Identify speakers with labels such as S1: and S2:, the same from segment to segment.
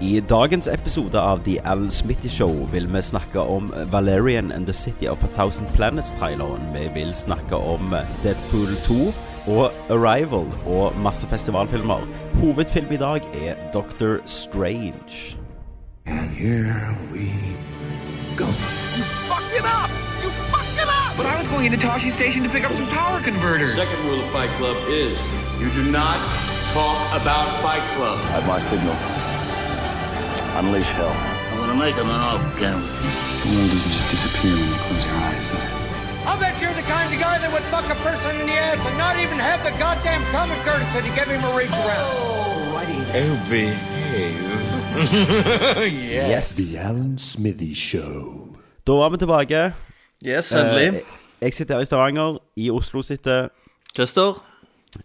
S1: I dagens episode av The Alan Smitty Show vil vi snakke om Valerian and the City of a Thousand Planets-traileren. Vi vil snakke om Deadpool 2 og Arrival og masse festivalfilmer. Hovedfilm i dag er Doctor Strange.
S2: And here we go.
S3: fucked it up! You fucked it up!
S4: But I was going into Toshi Station to pick up some power converters.
S5: Second rule of Fight Club is you do not talk about Fight Club.
S6: At my signal, unleash hell.
S7: I'm gonna make him an off camera.
S6: The world doesn't just disappear when you close your eyes, does it?
S8: I bet you're the kind of guy that would fuck a person in the ass and not even have the goddamn common courtesy to give him a reach around.
S7: Oh, behave. yeah.
S1: Yes.
S2: The Alan Smithy Show.
S1: Da var vi tilbake.
S9: Yes,
S1: Eh,
S9: endelig.
S1: Jeg sitter her i Stavanger. I Oslo sitter
S9: Christer?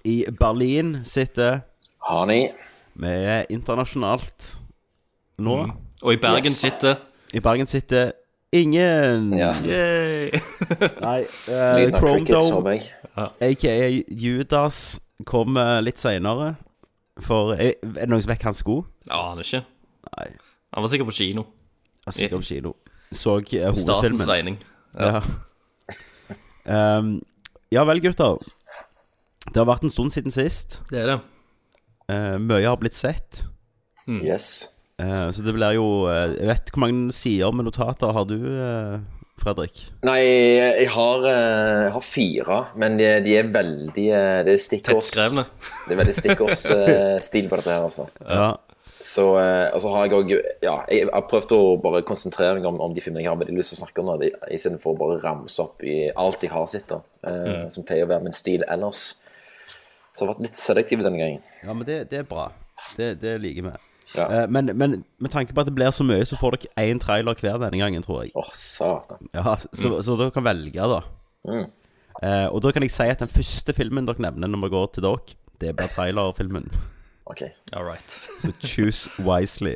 S1: I Berlin sitter
S5: Honey.
S1: Vi er internasjonalt nå.
S9: Og i Bergen sitter
S1: I Bergen sitter ingen.
S5: Ja.
S9: Yay!
S1: Nei, eh,
S5: Lyden av
S1: Chrome
S5: crickets,
S1: Dome
S5: håper jeg.
S1: A.k.a. Judas kommer litt senere For er er det noen som vekker hans sko?
S9: Aner ikke.
S1: Nei,
S9: Han var sikkert på kino.
S1: altså, sikkert om kino Så eh,
S9: Statens
S1: hovedfilmen
S9: regning.
S1: ja. um, ja vel gutter Det har vært en stund siden sist
S9: Det er det.
S1: Eh, Møye har blitt sett
S5: Yes.
S1: Eh, Så det blir jo eh, Jeg vet hvor mange sider med notater har du, eh, Fredrik?
S5: Nei, jeg har, eh, jeg har fire, men de, de er veldig eh, Det er stikkords
S9: Tettskrevne.
S5: Det er veldig stikkordsstil på dette her, altså.
S1: Ja,
S5: Så, eh, og så har jeg òg Ja, jeg har prøvd å bare konsentrere meg om, om de filmene jeg har veldig lyst til å snakke om, da, i- istedenfor å bare ramse opp i alt jeg har sett, da, eh, som pleier å være min stil ellers. Så jeg har vært litt selektiv denne gangen.
S1: ja men det, det er bra Det, det liker vi
S5: Ja.
S1: Eh, men, men med tanke på at det blir så mye, så får dere én trailer hver denne gangen, tror jeg.
S5: Åh, satan.
S1: Ja, så,
S5: Mm.
S1: så dere kan velge, da. Eh, og da kan jeg si at den første filmen dere nevner når vi går til dere, det blir trailerfilmen.
S5: OK.
S9: All right.
S1: Så choose wisely.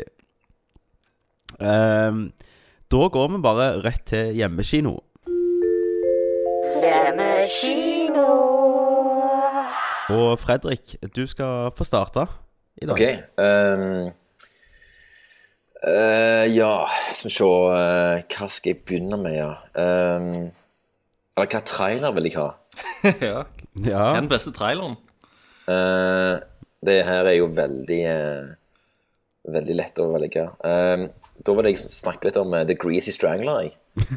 S1: Ehm, da går vi bare rett til hjemmekino. Hjemmekino. Og Fredrik, du skal få starte i dag.
S5: Ok, ehm, eh, ja, skal vi se eh, Hva skal jeg begynne med, ja? Ehm, eller hva trailer vil jeg ha?
S9: ja.
S1: Ja.
S9: Den beste traileren.
S5: Eh, det her er jo veldig eh, Veldig lett å velge. Ehm, da vil jeg snakke litt om eh, The Greasy Strangler. Jeg.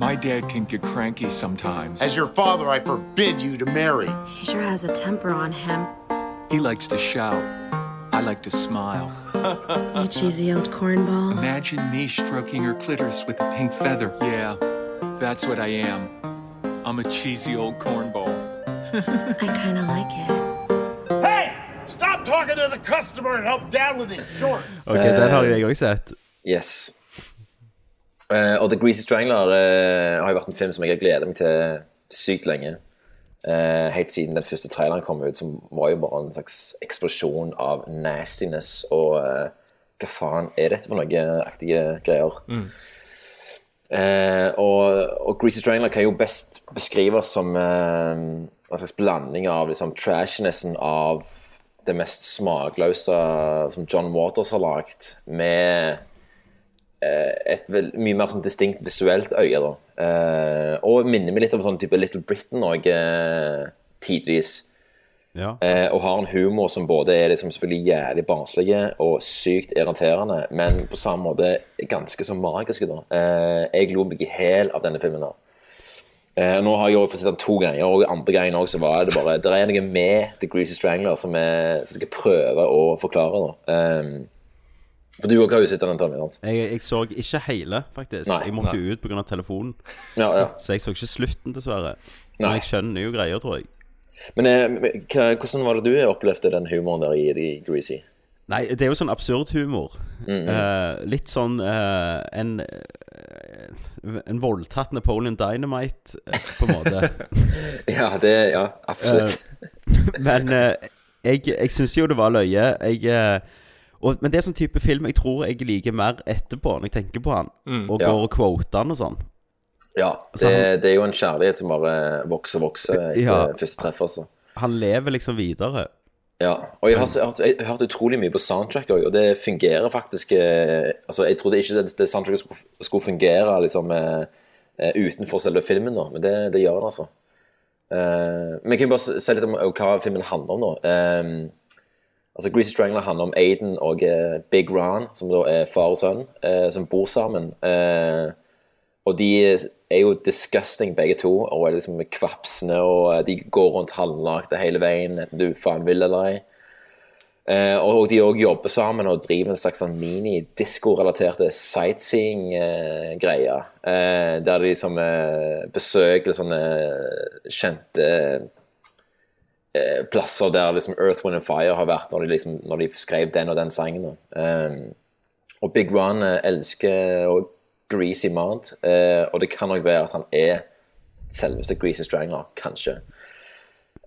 S10: My dad can get cranky sometimes.
S7: As your father, I forbid you to marry.
S11: He sure has a temper on him.
S10: He likes to shout. I like to smile.
S9: Uh-huh.
S11: You cheesy old cornball.
S10: Imagine me stroking her clitoris with a pink feather. Yeah, that's what I am. I'm a cheesy old cornball.
S11: I kinda like it.
S7: Hey! Stop talking to the customer and help down with his short.
S1: Ok, Den har jo
S5: Eh,
S1: jeg òg sett.
S5: Yes. Eh, og The Greasy Strangler eh, har jo vært en film som jeg har gledet meg til sykt lenge. Eh, helt siden den første traileren kom ut, som var jo bare en slags eksplosjon av nastiness og eh, hva faen er dette for noe aktige greier. Eh, og, og Greasy Strangler kan jo best beskrives som eh, en slags blanding av liksom, trashinessen av det mest smakløse som John Waters har lagd, med eh, et vel, mye mer sånn distinkt visuelt øye. da. Eh, og minner meg litt om sånn type Little Britain òg, eh, tidvis.
S1: Ja.
S5: Eh, og har en humor som både er liksom selvfølgelig jævlig barnslig og sykt irriterende, men på samme måte ganske så magisk. da. Eh, jeg lo meg i hæl av denne filmen. da. Eh, nå har jeg jo fått sett den to ganger, og andre gangen også så var det bare Det er noe med The Greasy Strangler som jeg som jeg skal prøve å forklare. da. Eh, for du også har jo sett den, Tommy? sant?
S1: Jeg, jeg så ikke hele, faktisk.
S5: Nei,
S1: jeg måtte jo ut pga. telefonen.
S5: Ja, ja.
S1: Så jeg så ikke slutten, dessverre. Men
S5: Nei.
S1: jeg skjønner jo greier, tror jeg.
S5: Men eh, men hva, hvordan var det du opplevde den humoren der i The Greasy?
S1: Nei, det er jo sånn absurd humor. Eh, litt sånn eh, en eh, En voldtatt Napoleon Dynamite, eh, på en måte.
S5: Ja, det Ja, absolutt.
S1: Eh, Men eh, jeg, jeg syns jo det var løye. Jeg, eh, og, men det er sånn type film jeg tror jeg liker mer etterpå, når jeg tenker på han. Og
S5: Mm, Ja.
S1: går og quoter han og sånn.
S5: Ja,
S1: Altså, han-
S5: det, det er jo en kjærlighet som bare vokser og vokser etter
S1: Ja.
S5: første treff, altså.
S1: Han lever liksom videre.
S5: Ja, og jeg har, jeg, har, jeg har hørt utrolig mye på soundtrack også, og det fungerer faktisk eh, altså Jeg trodde ikke det, det soundtracket skulle, skulle fungere liksom, eh, eh, utenfor selve filmen, nå, men det, det gjør det, altså. Eh, men jeg kan jo bare s- si litt om eh, hva filmen handler om, da. Eh, altså, Greasy Strangler handler om Aiden og eh, Big Ron, som da er far og sønn, eh, som bor sammen. Eh, og de er jo disgusting begge to, og er liksom kvapsende, og eh, de går rundt halvnakne hele veien, enten du faen vil eller ei. Eh, og de òg jobber sammen og driver en slags sånn mini-disko-relaterte sightseeing-greier. Eh, der de liksom eh, besøker sånne kjente eh, plasser der liksom Earth, Wind and Fire har vært når de, liksom, når de skrev den og den sangen. da. Eh, og Big Ron eh, elsker og Greasy Mount, eh, og det kan nok være at han er selveste Greasy Stranger, kanskje.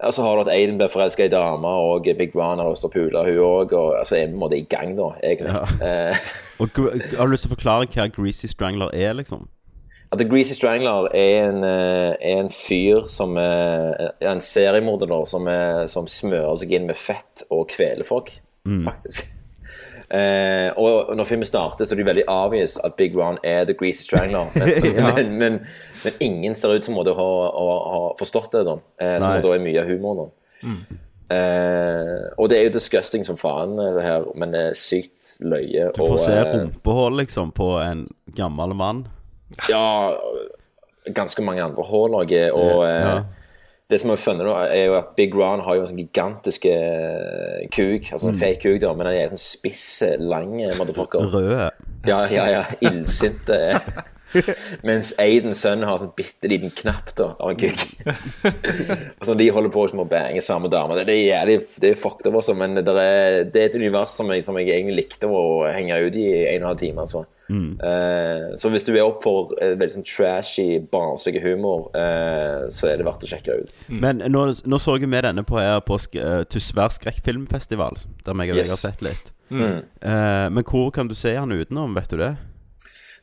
S5: Og så har du at Aiden blir forelska i dama, og Big Ron har lyst til å pule hun òg. Og, altså er vi på en måte i gang, da, egentlig. Eh,
S1: Og gr- Har du lyst til å forklare hva Greasy Strangler er, liksom?
S5: At The Greasy Strangler er en, eh, er en fyr som er ja, en seriemorder da, som, eh, som smører seg inn med fett og kveler folk,
S1: Mm.
S5: faktisk. Eh, og når filmen starter, så er det veldig obvious at Big Ron er The Greasy Strangler. Men,
S1: Ja.
S5: men, men, men ingen ser ut som måtte ha, ha, ha forstått det, da. Eh, som
S1: Nei.
S5: da er mye av humoren. da. Eh, og det er jo disgusting som faen, eh, det her, men eh, sykt løye.
S1: Du får
S5: og,
S1: se
S5: eh,
S1: rumpehull, liksom, på en gammel mann.
S5: ja, ganske mange andre hull òg. Og
S1: Ja.
S5: eh, det som er funnet nå, er jo at Big Ron har jo en sånn gigantisk eh, kuk, altså en
S1: Mm.
S5: fake kuk, da, men den er en sånn spiss, lang eh, motherfucker.
S1: Røde.
S5: Ja, ja, ja. Illsinte. eh. Mens Aidens sønn har sånn bitte liten knapp da, av en kuk. og sånn, De holder på som å bange samme dame. Det, det er jævlig det er fucked up, altså, men det er, det er et univers som jeg, som jeg egentlig likte å henge ut i en og en halv time. altså.
S12: Mm.
S5: Eh, så hvis du er opp for eh, veldig sånn trashy, barnslig humor, eh, så er det verdt å sjekke ut.
S1: Men nå, nå så vi denne på her på sk eh, Tysvær skrekkfilmfestival, der meg og deg
S5: Yes.
S1: har sett litt.
S5: Mm.
S1: Eh, men hvor kan du se han utenom, vet du det?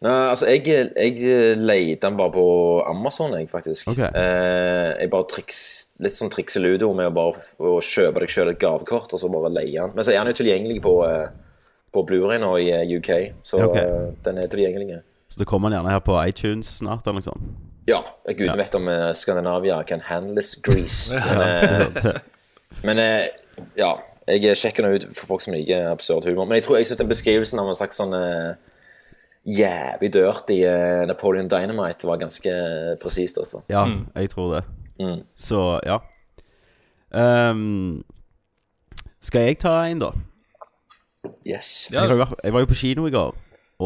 S5: Nei, altså, jeg, jeg leide den bare på Amazon, jeg, faktisk.
S1: Ok.
S5: Eh, jeg bare triks, litt sånn trikseludo med å bare f- å kjøpe deg selv et gavekort, og så bare leie den. Men så er den jo tilgjengelig på, eh, på Blu-ray nå i eh, UK, så
S1: Ok.
S5: eh, den er tilgjengelig.
S1: Så det kommer han gjerne her på iTunes snart, eller noe sånt.
S5: Ja, gud vet om eh, Skandinavia kan handles grease.
S1: Ja,
S5: Men,
S1: det-
S5: eh, men eh, ja, jeg sjekker nå ut for folk som liker absurd humor. Men jeg tror jeg synes den beskrivelsen av en slags sånn eh, jævlig dirty eh, Napoleon Dynamite var ganske presist, altså.
S1: Ja, jeg tror det.
S5: Mm.
S1: Så ja. Ehm, skal jeg ta en, da?
S5: Yes.
S1: Jeg, har jo vært, jeg var jo på kino i går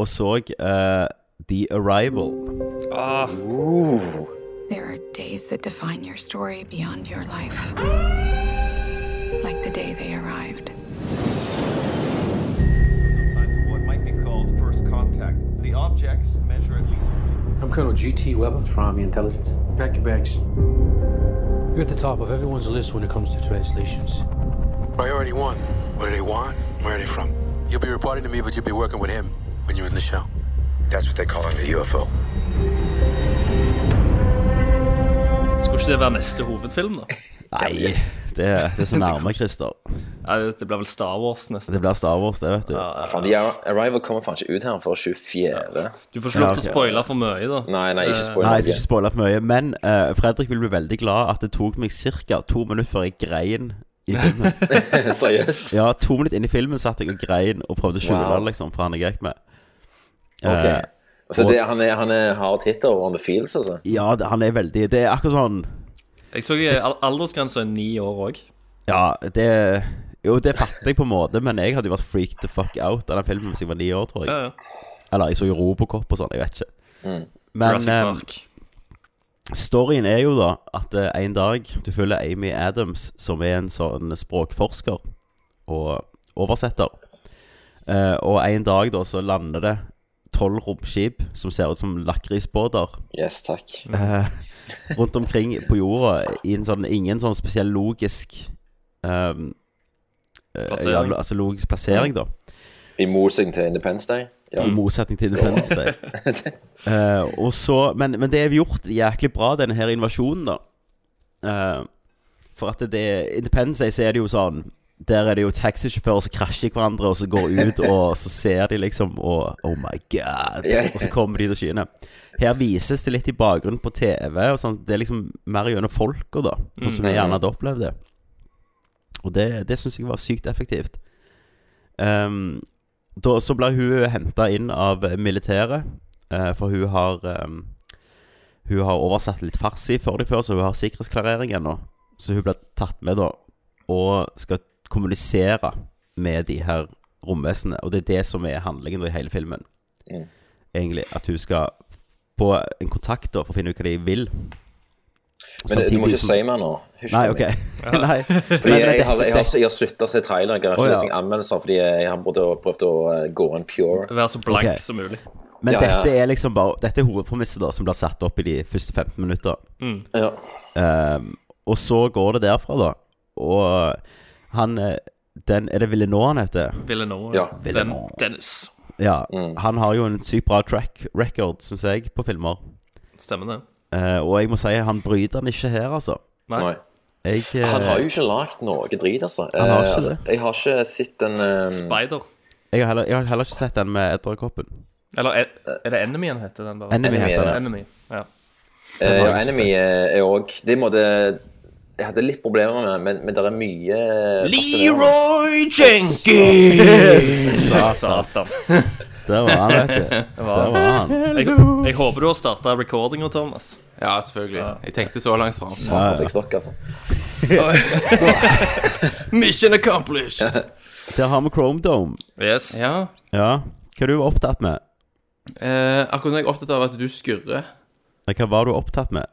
S1: og så eh, The Arrival.
S13: Ah. There are days that define your story beyond your life. Like the day they arrived.
S14: What might be called first contact. The objects measure at least.
S15: I'm Colonel G.T. Weber from Army Intelligence. Pack your bags. You're at the top of everyone's list when it comes to translations.
S6: Priority one. What do they want? Where are they from? You'll be reporting to me, but you'll be working with him when you're in the show. That's what they call in the UFO.
S9: Skulle ikke det være neste hovedfilm, da?
S1: Nei, det, det er så nærme, Christer.
S9: Nei, det blir vel Star Wars neste.
S1: Det blir Star Wars, det, vet du.
S5: Faen, de Arri- Arrival kommer faen ikke ut her før 24.
S9: Du får ikke lov til
S1: Ja,
S9: å
S1: ok.
S9: spoile for mye, da. Eh,
S5: Nei, nei, ikke spoil.
S1: Nei, jeg skal ikke spoile for mye, men eh, Fredrik vil bli veldig glad at det tok meg ca. to minutter før jeg grein i filmen.
S5: Seriøst?
S1: Ja, to minutter inn i filmen satt jeg og grein og prøvde å skjule
S5: Wow.
S1: det, liksom, for han jeg gikk med.
S5: Ok.
S1: Eh,
S5: Så
S1: og-
S5: det, han, er, han er hard hitter on the fields, altså?
S1: Ja, det, han er veldig Det er akkurat sånn
S9: Jeg så eh, al- aldersgrensa er ni år òg.
S1: Ja, det Jo, det fatter jeg på en måte, men jeg hadde jo vært freaked the fuck out av den filmen hvis jeg var ni år, tror jeg.
S9: Ja, ja.
S1: Eller jeg så jo Robocop og sånn, jeg vet ikke.
S9: Mm.
S1: Men
S9: Jurassic
S1: eh, storyen er jo da at eh, en dag du følger Amy Adams, som er en sånn språkforsker og oversetter. Eh, og en dag da så lander det tolv romskip som ser ut som lakrisbåter.
S5: Yes, takk.
S1: Eh, rundt omkring på jorda i en sånn, ingen sånn spesiell logisk ehm, eh,
S5: Plassering.
S1: ja, altså logisk plassering, da.
S5: I motsetning til Independence Day? Ja.
S1: I motsetning til Independence Day. Eh, og så, men, men det er gjort jæklig bra, denne her invasjonen, da. Eh, for at det Independence Day, så er det jo sånn Der er det jo taxisjåfører som krasjer i hverandre, og så går ut, og så ser de liksom Og oh my god!
S5: Ja, ja.
S1: Og så kommer de til skyene. Her vises det litt i bakgrunnen på TV. Og sånn, det er liksom mer gjennom folka, da. Sånn som vi gjerne hadde opplevd det. Og det, det syns jeg var sykt effektivt. Ehm, da, så blir hun henta inn av militæret, eh, for hun har ehm, Hun har oversatt litt farsi for dem før, så hun har sikkerhetsklarering ennå. Så hun blir tatt med, da, og skal kommunisere med de her romvesenene. Og det er det som er handlingen da i hele filmen.
S5: Mm.
S1: Egentlig at hun skal på en kontakt da for å finne ut hva de vil.
S5: Men du- du må
S1: Samtidig
S5: ikke
S1: som-
S5: si mer nå. Husk
S1: Nei,
S5: det.
S1: ok. Nei.
S5: Fordi
S1: Men- men dette-
S5: jeg, har, jeg, har,
S1: dette-
S5: jeg har sluttet å se traileren. Jeg har
S1: Å,
S5: ikke
S1: ja.
S5: lest anmeldelser sånn, fordi jeg har prøvd å, prøvd å eh, gå en pure.
S9: Være så blank
S1: Ok.
S9: som mulig.
S1: Men
S5: Ja,
S1: dette
S5: ja.
S1: er liksom bare Dette er hovedpremisset da som blir satt opp i de første 15 minutter.
S9: Mm.
S5: Ja.
S1: Ehm, og så går det derfra, da. Og han eh, den, Er det Villeneuve han heter?
S9: Villeneuve.
S1: Ja.
S9: Den, Dennis.
S1: Ja.
S5: Mm.
S1: Han har jo en sykt bra track record, syns jeg, på filmer.
S9: Stemmer det?
S1: Eh, og jeg må si han bryter den ikke her, altså.
S9: Nei.
S5: Nei.
S1: Jeg, eh,
S5: Han har jo ikke lagd noe drit, altså.
S1: Han har ikke
S5: Eh, altså, Jeg har ikke sett den eh,
S9: Spider.
S1: jeg, har heller, jeg har heller ikke sett den med Edderkoppen.
S9: Eller er, er det Enemy han heter? den der?
S1: Enemy heter den.
S9: Enemy, ja.
S5: eh,
S1: Den har jeg ikke
S5: Enemy
S1: sett.
S5: eh, er òg Det måtte Jeg hadde litt problemer med men, men det er mye eh,
S9: Leroy
S5: Jenkins!
S9: Satan.
S1: Der var han, vet du.
S9: Det var
S1: Der var han.
S9: Jeg, jeg håper du har starta recordinga, Thomas.
S12: Ja, selvfølgelig. Jeg tenkte så langt fram.
S5: Satan seg stokk, altså.
S12: Mission accomplished!
S1: Der har vi Chrome Dome.
S9: Yes.
S12: Ja.
S1: Ja. Hva er du opptatt med?
S12: Eh, akkurat nå er jeg opptatt av at du skurrer.
S1: Nei, Hva var du opptatt med?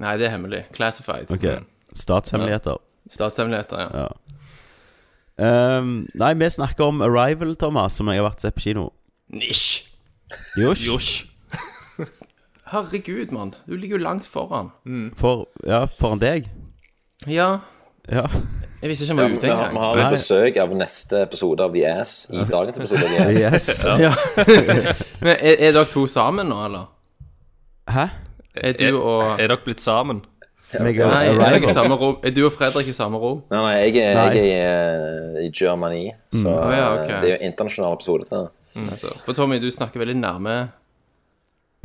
S12: Nei, det er hemmelig. Classified.
S1: Ok,
S5: Mm.
S1: Statshemmeligheter.
S12: Statshemmeligheter, ja.
S1: Ja. Ehm, nei, vi snakker om Arrival, Thomas, som jeg har vært og sett på kino.
S12: Nish!
S1: Josj.
S12: Herregud, mann. Du ligger jo langt foran.
S1: For, ja, foran deg.
S12: Ja.
S1: Ja.
S12: Jeg visste ikke han
S5: Ja,
S12: var
S5: men
S12: ute
S5: vi har, vi har
S12: engang.
S5: besøk av neste episode av The Ass i dagens episode av The Ass.
S1: Yes.
S12: Ja. Men er, er dere to sammen nå, eller?
S1: Hæ?
S12: Er du og
S9: Er dere blitt sammen?
S1: Meg og
S12: Nei, er, dere i
S1: Arrival.
S12: samme rom? er du og Fredrik i samme rom?
S5: Nei, nei, jeg er,
S1: Nei.
S5: Jeg er eh, i, i Germany, så
S12: Mm. Å, ja,
S5: eh,
S12: ok.
S5: det er jo internasjonal episode til det.
S12: For Tommy, du snakker veldig nærme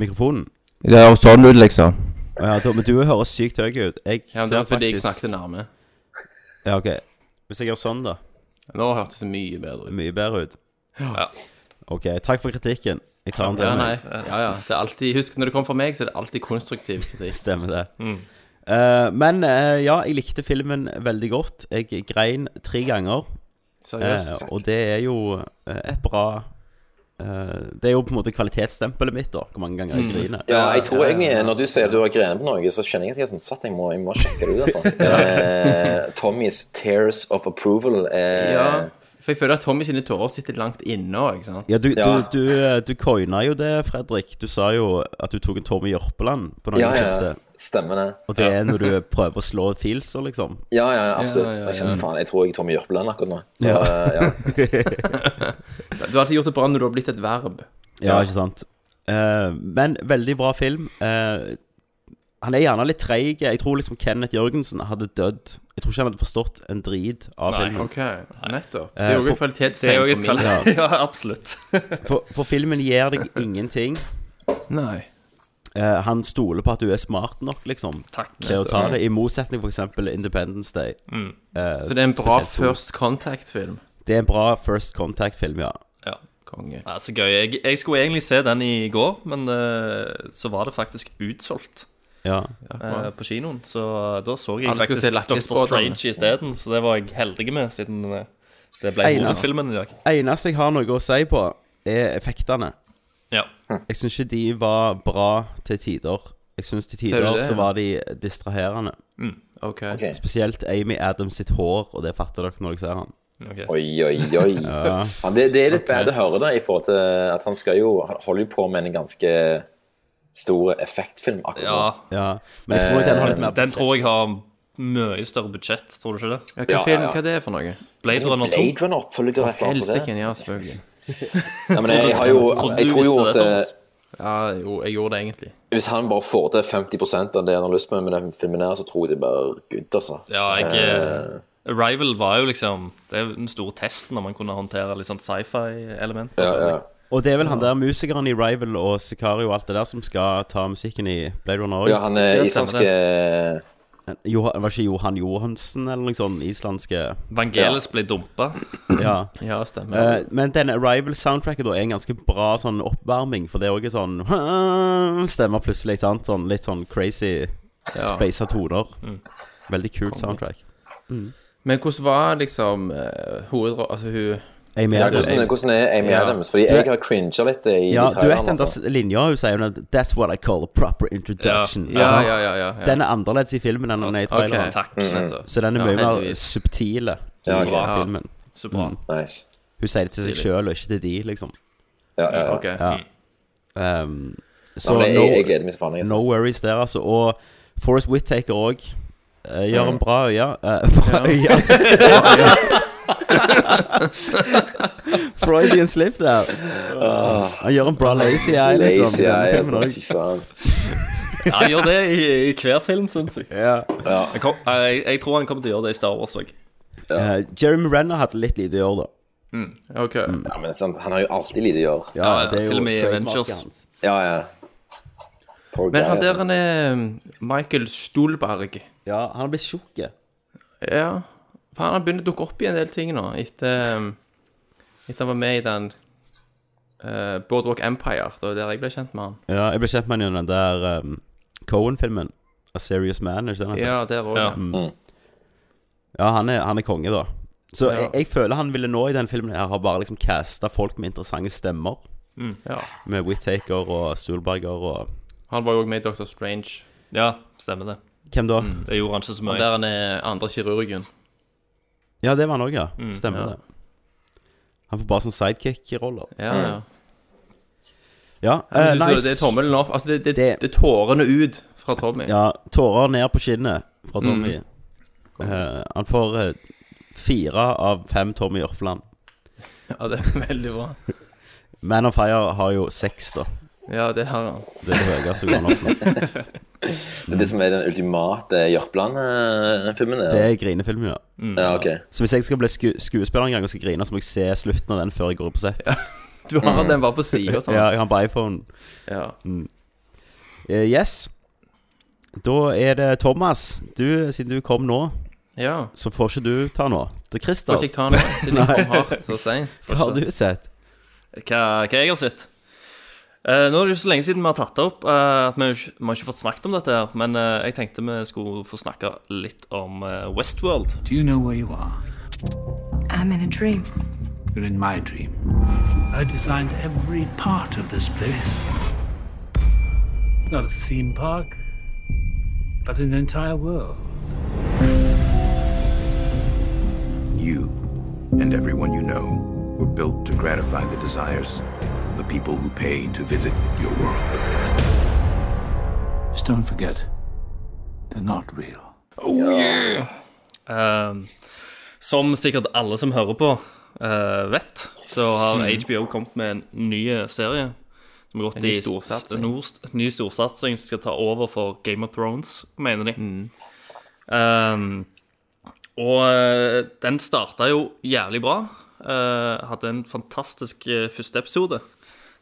S1: Mikrofonen.
S16: Det høres sånn ut, liksom.
S1: Ja, da, men du høres sykt høy ut. Jeg
S12: Ja, men det
S1: ser
S12: var fordi jeg
S1: faktisk-
S12: snakket nærme.
S1: Ja, ok. Hvis jeg gjør sånn, da.
S12: Nå hørtes det mye bedre ut.
S1: Mye bedre ut.
S9: Ja.
S1: Ok, takk for kritikken. Jeg tar den
S12: Ja,
S1: til
S12: nei.
S1: meg.
S12: Ja, ja. Det er alltid, husk, når det kommer fra meg, så er det alltid konstruktiv kritikk.
S1: Stemmer det.
S12: Mm.
S1: Eh, men eh, ja, jeg likte filmen veldig godt. Jeg grein tre ganger.
S12: Seriøst?
S1: Eh, og det er jo eh, et bra eh, Det er jo på en måte kvalitetsstempelet mitt, da. Hvor mange ganger
S12: Mm.
S1: jeg griner.
S5: Ja, jeg tror egentlig når du sier at du har grenet på noe, så kjenner jeg at jeg er sånn satt, jeg må, jeg må sjekke det ut, altså. eh, Tommys tears of approval eh,
S12: Ja, for jeg føler at Tommy sine tårer sitter langt inne også, ikke sant?
S1: Ja, du,
S5: Ja.
S1: du, du, eh, du coina jo det, Fredrik. Du sa jo at du tok en Tommy Jørpeland på noen
S5: ja, ja,
S1: kjente.
S5: stemmer det.
S1: Og det er når du prøver å slå feelser, liksom.
S5: Ja, ja, absolutt.
S12: Ja, ja, ja.
S5: Jeg kjenner faen, jeg tror jeg er Tommy Jørpeland akkurat nå. Så,
S1: Ja.
S5: eh, ja.
S12: Du har alltid gjort det bra når du har blitt et verb.
S1: Ja, ikke sant. Eh, men veldig bra film. Eh, han er gjerne litt treig. Jeg tror liksom Kenneth Jørgensen hadde dødd. Jeg tror ikke han hadde forstått en drit av
S9: Nei.
S1: filmen.
S12: Ok, nettopp. Det er
S1: Eh,
S12: jo et
S1: for-
S9: Det er
S12: kvalitetstegn
S9: jo
S12: for
S9: et
S12: min.
S9: kvalitet. Ja, absolutt.
S1: For, for filmen gir deg ingenting.
S12: Nei.
S1: Eh, han stoler på at du er smart nok, liksom,
S9: Takk.
S1: til å ta det. I motsetning f.eks. Independence Day.
S9: Mm.
S1: Eh,
S12: Så det er en bra
S1: spesielt to.
S12: first contact-film.
S1: Det er en bra First Contact-film, ja.
S9: Ja.
S12: Konge.
S9: Ja, så gøy. Jeg, jeg skulle egentlig se den i går, men eh, så var det faktisk utsolgt
S1: ja.
S9: eh, på kinoen. Så eh, da så jeg
S12: Alle skulle
S9: faktisk
S12: se Lucky
S9: Doctor
S12: Spot,
S9: Strange
S12: alle.
S9: isteden, så det var jeg heldig med, siden eh, det ble
S1: Eneste-
S9: hovedfilmen i dag.
S1: Eneste jeg har noe å si på, er effektene.
S9: Ja.
S1: Jeg syns ikke de var bra til tider. Jeg syns til
S12: Ser
S1: tider
S12: du det,
S1: så
S12: ja?
S1: var de distraherende.
S12: Ok.
S5: Ok.
S1: Spesielt Amy Adams sitt hår, og det fatter dere når dere ser han.
S9: Ok.
S5: Oi, oi, oi.
S1: Ja.
S5: Ja, det, det er litt bad å høre da, i forhold til at han skal jo, han holder jo på med en ganske stor effektfilm akkurat nå.
S9: ja.
S1: Ja. Men jeg tror nok den har litt mer
S9: Eh, Den tror jeg har mye større budsjett, tror du ikke det?
S12: Ja, hva,
S5: Ja,
S12: film,
S5: ja. altså
S12: hva er det for noe?
S9: Blade Runner 2.
S5: Blade Runner oppfølger rett og slett.
S12: Helsiken, ja, selvfølgelig.
S5: Nei, men jeg, jeg har jo,
S9: Trodde
S5: jeg
S9: du
S5: tror jo
S9: visste
S5: at
S9: det,
S5: eh,
S9: Thomas.
S12: Ja, jo, jeg gjorde det egentlig.
S5: hvis han bare får til 50 av det han har lyst med med den filmen her, så tror jeg det blir good, altså.
S9: Ja, jeg,
S5: Eh,
S9: Arrival var jo liksom Det er jo den store testen om man kunne håndtere litt sånn sci-fi-element.
S1: Og det er vel han der musikeren i Rival og Sicario og alt det der som skal ta musikken i Blade Runner
S5: Ja, han er islandske
S1: Johan, Var ikke Johan Johansen eller noe sånt? Islandske
S9: Vangelis ble dumpa.
S1: Ja.
S12: Ja, stemmer.
S1: Eh, men den Arrival-soundtracket da er en ganske bra sånn oppvarming, for det er òg sånn Stemmer plutselig, ikke sant? Sånn, litt sånn crazy
S12: Ja.
S1: spasa toner.
S12: Mm.
S1: Veldig kult soundtrack.
S12: Men hvordan var liksom uh, hovedrå... Altså hun
S1: Amy
S5: Ja,
S1: Adams.
S5: hvordan, hvordan er Amy
S12: Ja.
S5: Adams? Fordi
S12: Du
S5: jeg
S12: vet-
S5: har cringet litt i
S1: Ja, du vet
S5: traileren,
S1: den
S5: altså.
S1: der linja hun sier hun, That's what I call a proper introduction.
S12: Ja.
S1: Altså,
S12: Ja, ja, ja, ja, ja.
S1: Den er annerledes i filmen enn den er i traileren.
S12: Ok, takk, nettopp.
S1: Så den er
S12: Ja,
S1: mye mer
S12: heldigvis.
S1: subtile i
S5: Ja, ok. Ja.
S1: filmen. Mm.
S9: Så bra.
S5: Nice.
S1: Hun sier det til seg
S5: Stilig.
S1: sjøl og ikke til de, liksom.
S5: Ja, ja, ja.
S12: Ok.
S1: Ja. Um, så
S5: men jeg-
S1: no,
S5: jeg gleder meg så faen, jeg, altså.
S1: no worries der, altså. Og Forest Whittaker òg gjør en
S12: Mm.
S1: bra øye. eh, bra
S12: Ja.
S1: øye.
S12: Bra øye.
S1: Freudian slip der. Han gjør en bra Ah. lazy eye, liksom.
S5: Lazy
S1: i denne
S5: eye,
S1: filmen
S5: altså.
S1: også.
S5: Fy faen.
S9: Ja, han gjør det i, i hver film, syns jeg.
S1: Ja.
S9: Jeg, kom, jeg, jeg tror han kommer til å gjøre det i Star Wars òg.
S1: Eh, Jeremy Renner hadde litt lite å gjøre, da.
S12: Ok.
S5: Ja, men sant, han har jo alltid lite å gjøre.
S1: Ja,
S9: Ja,
S1: det er jo
S9: til og med i
S1: trademarket
S9: Avengers.
S1: hans.
S5: Ja, ja. Poor
S12: Men
S5: guy,
S12: han der
S5: altså.
S12: han er um, Michael Stolberg.
S1: Ja, han har blitt tjukk.
S12: Ja. For han har begynt å dukke opp i en del ting nå, etter um, Etter han var med i den eh, Boardwalk Empire. Det var der jeg ble kjent med han.
S1: Ja, jeg ble kjent med han gjennom den der um, Cohen-filmen. A Serious Man, er ikke den? heter?
S12: Ja, der òg. Ja.
S1: Mm. Ja, han er, han er konge, da. Så
S12: Ja.
S1: jeg, jeg føler han ville nå i den filmen her ha bare liksom casta folk med interessante stemmer.
S9: Mm.
S12: Ja.
S1: Med Whittaker og Stolberger og
S12: Han var jo òg med i Doctor Strange.
S9: Ja, stemmer det.
S1: Hvem da?
S12: Mm.
S9: Det gjorde han ikke så
S12: Han
S9: mye.
S12: der han er andre kirurgen.
S1: Ja, det var han òg, ja. Stemmer
S12: Mm, Ja.
S1: det. Han får bare sånn sidekick-roller.
S12: Ja, ja.
S1: Ja, eh,
S12: Men du så
S1: nice.
S12: Det er tommelen opp. Altså, det, det, det, er tårene ut fra Tommy.
S1: Ja, tårer ned på skinnet fra Tommy.
S12: Mm.
S1: Eh, han får eh, fire av fem Tommy Ørpland.
S12: Ja, det er veldig bra.
S1: Man of Fire har jo seks, da.
S12: Ja, det har han.
S1: Det er det høyeste vi kan oppnå.
S5: Det er det som er den ultimate Jørpeland-filmen.
S1: Det Eh, er grinefilm, ja.
S5: Ja, ok.
S1: Så hvis jeg skal bli sku skuespiller en gang og skal grine, så må jeg se slutten av den før jeg går opp på sett.
S12: Du har den bare på sida. Sånn.
S1: Ja, jeg har den på iPhone.
S12: Ja.
S1: Eh, yes. Da er det Thomas. Du, siden du kom nå,
S12: ja.
S1: så får ikke du ta nå. Det er Christer.
S12: Får ikke jeg ta noe siden jeg kom hardt så
S1: Hva har du
S12: seint.
S1: sett?
S9: Hva, hva jeg har sett? Eh, nå er det jo så lenge siden vi har tatt det opp eh, at vi, har jo ikke- vi har ikke fått snakket om dette her, men eh, jeg tenkte vi skulle få snakke litt om eh, Westworld.
S3: Do you know where you are?
S11: I'm in a dream.
S3: You're in my dream. I designed every part of this place. Not a theme park, but an entire world.
S2: You and everyone you know were built to gratify the desires of the people who pay to visit your world.
S3: Just don't forget, they're not real.
S9: Eh, som sikkert alle som hører på, eh, vet, så har HBO kommet med en ny eh, serie. Som har gått
S12: Mhm. En ny
S9: i s-
S12: storsatsing.
S9: nord- ny storsatsing som skal ta over for Game of Thrones, mener de.
S12: Mhm.
S9: Eh, og eh, den starta jo jævlig bra. Eh, hadde en fantastisk eh, første episode.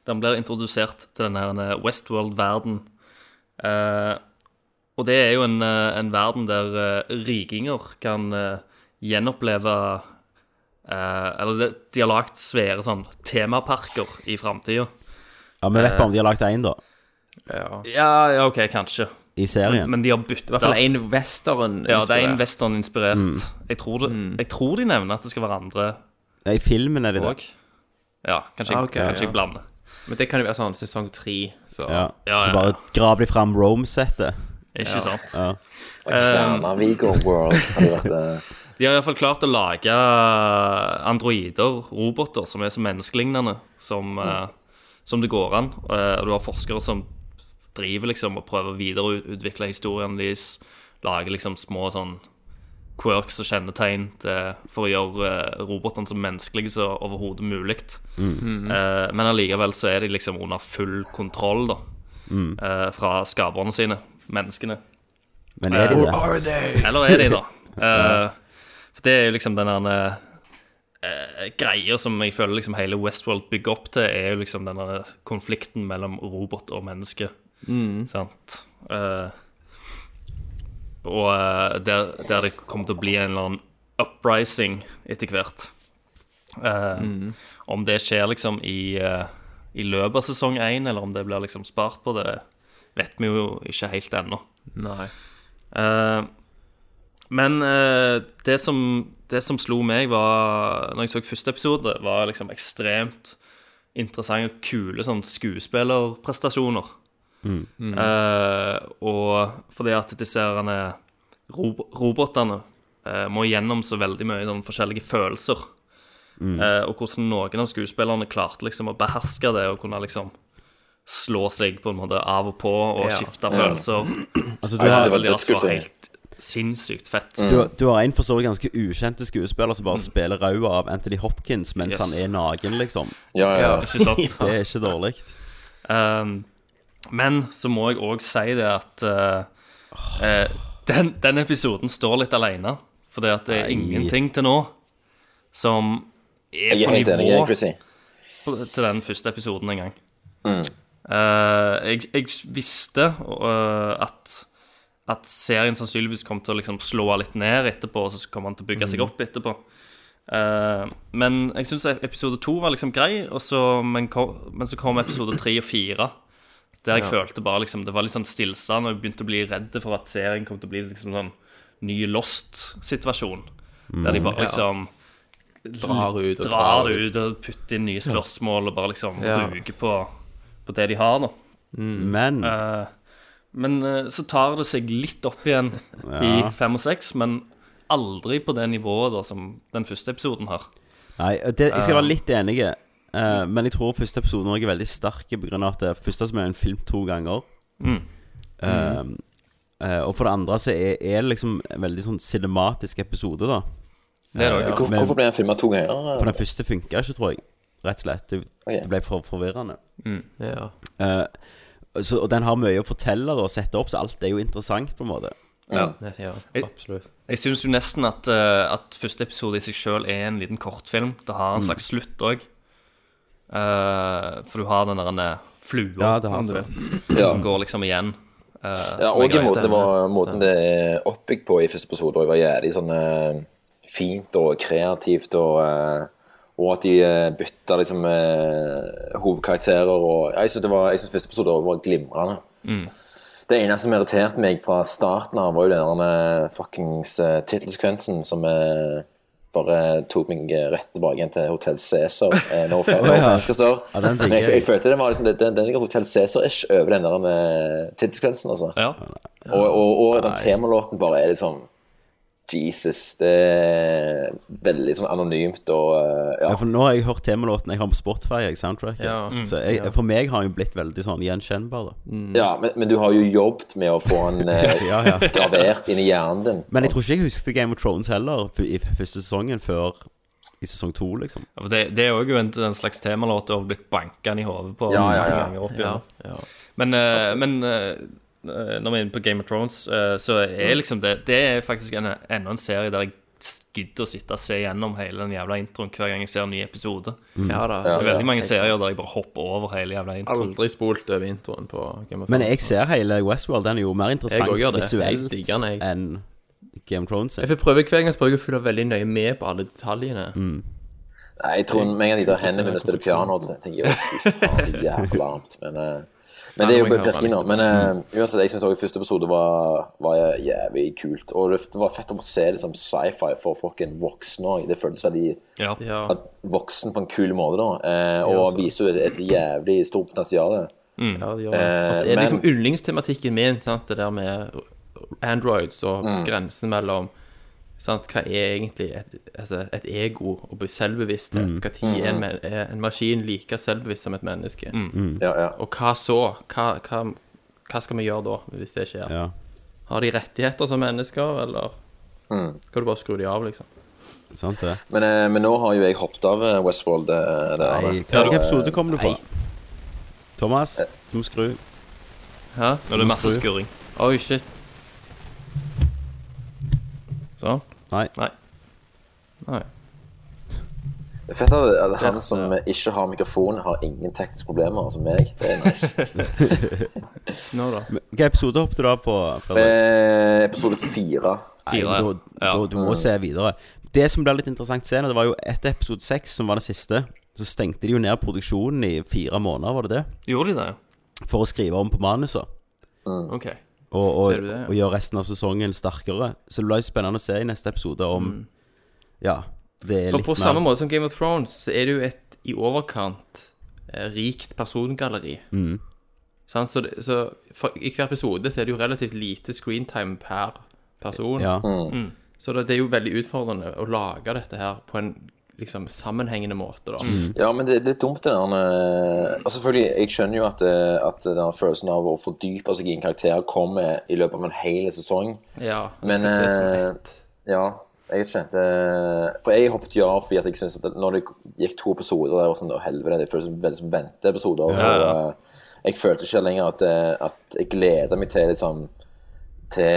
S9: Den blir introdusert til denne eh, Westworld-verden. Eh, og det er jo en, eh, en verden der eh, rikinger kan eh, gjenoppleve eh, Eller det- de har lagd svære sånn temaparker i framtida.
S1: Ja, Vi vet bare om de har lagd én, da.
S12: Ja.
S9: Ja, ja, OK, kanskje.
S1: I serien.
S9: Men de har
S12: I hvert fall
S9: bytta
S12: én western.
S9: Ja, det er en
S12: inspirert. Mm.
S9: western-inspirert. Jeg, tror det- jeg tror de nevner at det skal være andre
S1: Ja, I filmen er de det.
S9: òg. Ja, kanskje, jeg-
S12: Ah, ok,
S9: kanskje
S12: ja.
S9: jeg blander.
S12: Men det kan jo være sånn sesong tre, så
S1: Ja.
S9: Ja,
S1: Så
S9: ja,
S1: bare
S9: ja.
S1: grav de fram Rome-settet.
S9: Ikke sant? Eh,
S1: Ja.
S5: Kværnervigo World hadde vært eh,
S9: De har iallfall klart å lage eh, androider, roboter, som er så menneskelignende som, eh, som det går an. Eh, og du har forskere som driver liksom og prøver å videreutvikle historien deres. Lager liksom små sånn quirks og kjennetegn til, for å gjøre eh, robotene så menneskelige som overhodet mulig. Eh, men allikevel så er de liksom under full kontroll da, eh, fra skaperne sine, menneskene.
S1: Men er de det?
S9: Eller er de, da? Eh, For det er jo liksom den derne eh, greia som jeg føler liksom hele Westworld bygger opp til, er jo liksom den derne konflikten mellom robot og menneske.
S12: Mm.
S9: Sant? Eh, og eh, der, der det kommer til å bli en eller annen uprising etter hvert. Eh,
S12: Mm.
S9: Om det skjer liksom i, eh, i løpet av sesong én, eller om det blir liksom spart på, det vet vi jo ikke helt ennå.
S12: Nei.
S9: Eh, men eh, det, som, det som slo meg var, når jeg så første episode, var liksom ekstremt interessante og kule sånn skuespillerprestasjoner.
S1: Mm.
S12: Mm.
S9: Eh, og fordi at disse herne rob robotene eh, må gjennom så veldig mye sånn forskjellige følelser.
S1: Mm.
S9: Eh, og hvordan noen av skuespillerne klarte liksom å beherske det og kunne liksom slå seg på en måte av og på og
S12: Ja.
S9: skifte
S12: Ja.
S9: følelser.
S1: Altså, du
S9: Jeg
S1: har-
S9: synes det var
S1: Det var
S9: dødskult,
S1: dødskult,
S9: helt sinnssykt fett.
S1: Du, du har en for så vidt ganske ukjente skuespiller som bare spiller ræva av Anthony Hopkins mens
S9: Mm. Yes.
S1: han er naken, liksom.
S5: Ja, ja, ja.
S9: Ikke sant?
S1: det er ikke dårlig.
S9: Um, men så må jeg òg si det at eh, eh, den, den episoden står litt alene. For det at det er
S5: Nei.
S9: ingenting til nå som er
S5: Jeg er
S9: på
S5: helt enig,
S9: nivå
S5: jeg, Chrissy.
S9: på- til den første episoden engang.
S5: Mm.
S9: Eh, jeg, jeg visste eh, at, at serien sannsynligvis kom til å liksom slå han litt ned etterpå, og så kom han til å bygge seg
S12: Mhm.
S9: opp etterpå. Eh, men jeg syns episode to var liksom grei, og så, men, kom, men så kom episode tre og fire. Der jeg
S12: Ja.
S9: følte bare liksom Det var litt sånn stillstand, og jeg begynte å bli redd for at serien kom til å bli liksom sånn ny Lost-situasjon. Der de
S12: Mm.
S9: bare
S12: Ja.
S9: liksom
S12: Drar ut og
S9: drar
S12: drar
S9: ut og putter inn nye spørsmål og bare liksom
S12: Ja.
S9: bruker på, på det de har, da.
S1: Men
S9: Eh, men eh, så tar det seg litt opp igjen
S1: Ja.
S9: i fem og seks, men aldri på det nivået da som den første episoden har.
S1: Nei, det, jeg skal
S9: Eh.
S1: være litt enig, eh, men jeg tror første episode også er veldig sterk pga. at det første som er en film to ganger.
S9: Mm.
S1: Eh, eh, og for det andre så er, er det liksom en veldig sånn cinematisk episode, da. Eh,
S5: Det er det også, ja. Hvor- hvorfor ble den filmet to ganger?
S1: For den første funka ikke, tror jeg. Rett og slett. Det,
S5: Ok.
S1: det ble for forvirrende.
S9: Mm.
S12: Ja.
S1: Eh, så, og den har mye å fortelle da, og sette opp, så alt er jo interessant, på en måte.
S9: Ja.
S12: Ja, absolutt.
S9: Jeg, jeg syns jo nesten at, eh, at første episode i seg sjøl er en liten kortfilm. Det har en
S1: Mm.
S9: slags slutt òg. for du har den der eh, flua,
S1: Ja, det har
S9: om du
S1: det.
S9: vil,
S5: Ja.
S9: som går liksom igjen. eh,
S5: Ja,
S9: som er
S5: og i
S9: greit.
S5: måten det, var, måten det er oppbygd på i første episode, og var jævlig sånn eh, fint og kreativt, og, eh, og at de uh, bytta liksom eh, hovedkarakterer og ja, Jeg syns det var- jeg synes første episode var glimrende.
S9: Mm.
S5: Det eneste som irriterte meg fra starten av, var jo den der, eh, fuckings uh, tittelsekvensen som eh, bare tok meg eh, rett tilbake igjen til Hotell Cæsar. eh, no offense,
S1: Å, ja.
S5: no offense, Christer.
S1: Ja, den digger
S5: Men jeg,
S1: jeg.
S5: jeg følte det var liksom, den, den ligger Hotell Cæsar-ish over den der med tidsgrensen, altså.
S9: Ja.
S5: Og, og, og den
S1: Nei.
S5: temalåten bare er liksom Jesus. Det er veldig sånn anonymt og eh,
S1: Ja.
S5: ja.
S1: for nå har jeg hørt temalåten jeg har på Spotify, jeg, soundtracket.
S12: Ja. Mm.
S1: Så jeg,
S12: Ja.
S1: for meg har den jo blitt veldig sånn gjenkjennbar, da.
S5: ja men, men du har jo jobbet med å få den eh,
S1: Ja, ja.
S5: gravert inn i hjernen din.
S1: Men jeg tror ikke jeg husket Game of Thrones heller f- i f- første sesongen før i sesong to, liksom.
S9: Ja, for det, det er òg en, en slags temalåt og blitt banka i hodet på
S5: Ja, ja, ja.
S9: mange ganger opp igjen.
S12: Ja, ja.
S9: Men, eh, men eh, når vi er inne på Game of Thrones, eh, så er liksom det Det er faktisk en- enda en serie der jeg gidder å sitte og se gjennom hele den jævla introen hver gang jeg ser en ny episode.
S12: Mm. Ja da,
S9: det er
S12: ja,
S9: veldig mange
S12: ikke
S9: serier der jeg bare hopper over hele jævla introen.
S12: Aldri spolt over introen på Game of
S1: Men
S12: Thrones.
S1: jeg ser hele Westworld. Den er jo mer interessant
S12: Jeg også gjør det. Jeg
S1: visuelt
S12: digger den, jeg.
S1: enn Game of Thrones. er.
S12: Jeg får prøve hver gang så prøver jeg å følge veldig nøye med på alle detaljene.
S5: Nei, jeg tror med en gang de tar hendene mine og spiller piano, så tenker jeg fy faen, så jævla larmt. Men, eh, men det
S12: Nei, nå må
S5: er jo
S12: jeg høre
S5: virkelig nå.
S12: litt.
S5: Men eh, uansett, jeg syns også første episode var, var jævlig kult. Og det det var fett å se liksom, sci-fi for fucking voksne òg. Det føltes veldig
S9: Ja.
S12: Ja.
S5: at voksen på en kul måte, da. Eh, og
S12: Ja, altså.
S5: viser jo et, et jævlig stort potensial.
S9: Mm.
S12: Ja, det gjør det.
S5: Eh,
S12: altså, det er liksom
S5: men-
S12: yndlingstematikken min, sant? det der med androids og grensen mellom sant? Hva er egentlig et, altså, et ego og be- selvbevissthet? Hva tid er en, men- er en maskin like selvbevisst som et menneske?
S5: Ja, ja.
S12: Og hva så? Hva, hva, hva skal vi gjøre da, hvis det skjer?
S1: Ja.
S12: Har de rettigheter som mennesker, eller
S5: Mm.
S12: skal du bare skru de av, liksom?
S1: Sant det?
S5: Men, eh, men nå har jo jeg hoppet av eh, Westworld. eh, det er
S1: Nei,
S5: det.
S1: hvilken
S5: Og, eh,
S1: episode kommer du på? Thomas, du må skru.
S12: Hæ?
S9: Nå er det masse
S1: Skru.
S9: skurring.
S12: Oi, shit. Sånn.
S1: Nei.
S9: Nei.
S12: Nei.
S5: Det er fett at, at han som ikke har mikrofon, har ingen tekniske problemer, som meg. Det er nice.
S12: Nå da.
S1: Men Hvilke episoder hoppet du da på? Fredrik?
S5: Eh, episode fire.
S1: Nei, da, da, du må se videre. Det som ble litt interessant å se, nå, det var jo etter episode seks, som var den siste, så stengte de jo ned produksjonen i fire måneder, var det det?
S9: Gjorde de det?
S1: For å skrive om på manuset.
S9: OK.
S1: Og, og,
S9: Ser du det, ja.
S1: og gjøre resten av sesongen sterkere. Så det ble jo spennende å se i neste episode om Ja, det er
S12: For
S1: litt
S12: på samme måte som Game of Thrones, så er det jo et i overkant eh, rikt persongalleri.
S1: Mhm.
S12: Sant? Så, det, så for, i hver episode så er det jo relativt lite screentime per person.
S1: Ja.
S5: Mhm.
S1: Mhm.
S12: Så det, det er jo veldig utfordrende å lage dette her på en liksom sammenhengende måte, da.
S1: Mm.
S5: Ja, men det, det er dumt det der eh, Altså selvfølgelig, Jeg skjønner jo at, eh, at den følelsen av å fordype seg i en karakter kommer i løpet av en hel sesong.
S12: Ja, det
S5: Men
S12: skal ses som
S5: eh, Ja, jeg vet ikke. Det, for jeg hoppet ja fordi at jeg synes at når det gikk to episoder, det var sånn, å helvete, det føles som veldig som venteepisoder.
S12: Ja, ja.
S5: og, eh, Jeg følte ikke lenger at, eh, at jeg gleda meg til liksom til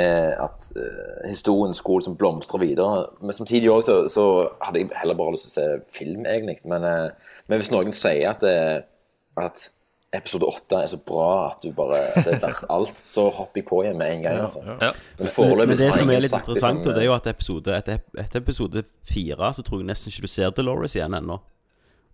S5: at eh, historien skulle liksom blomstre videre. Men samtidig også, så, så hadde jeg heller bare lyst til å se film, egentlig. Men, eh, men hvis noen sier at, eh, at episode åtte er så bra at du bare, at det er verdt alt, så hopper jeg på igjen med en gang.
S1: Ja,
S5: altså.
S1: ja.
S5: Men
S1: Men,
S5: foreløpig
S1: men
S5: så
S1: det
S5: har
S1: som
S5: ingen
S1: er litt
S5: sagt
S1: interessant,
S5: liksom,
S1: og det er jo at episode, etter, etter episode fire så tror jeg nesten ikke du ser Dolores igjen ennå.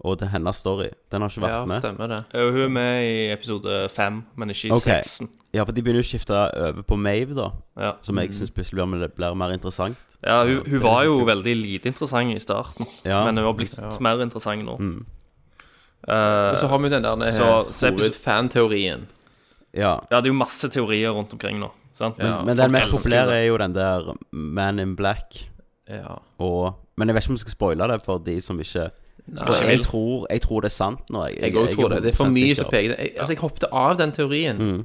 S1: Og det er hennes story. Den har ikke vært
S9: Ja,
S1: med.
S12: stemmer det.
S9: Eh, Hun er med i episode fem, men ikke i
S1: Ok.
S9: seksen.
S1: Ja, for de begynner jo å skifte over på Mave, da.
S9: Ja.
S1: Som jeg syns plutselig blir, blir mer interessant.
S9: Ja, hun,
S1: Det
S9: hun
S1: er
S9: var
S1: litt
S9: jo
S1: kult.
S9: veldig lite interessant i starten,
S1: Ja.
S9: men hun har blitt
S12: Ja.
S9: mer interessant nå.
S1: Mm.
S9: Eh,
S12: Og så har vi den der eh,
S9: så- så episode-
S12: hovedfanteorien.
S1: Ja.
S9: Ja, det er jo masse teorier rundt omkring nå. Sant?
S1: Men, men den mest populære er jo den der Man in Black.
S12: Ja.
S1: Og Men jeg vet ikke om jeg skal spoile det for de som ikke
S12: Nei.
S1: For
S12: Ikke
S1: jeg
S12: vil.
S1: tror, jeg tror det er sant nå. Jeg,
S12: Jeg òg tror det. Mm. Det er for
S1: 100%
S12: mye
S1: sikker.
S12: som peker jeg, Altså, jeg hoppet av den teorien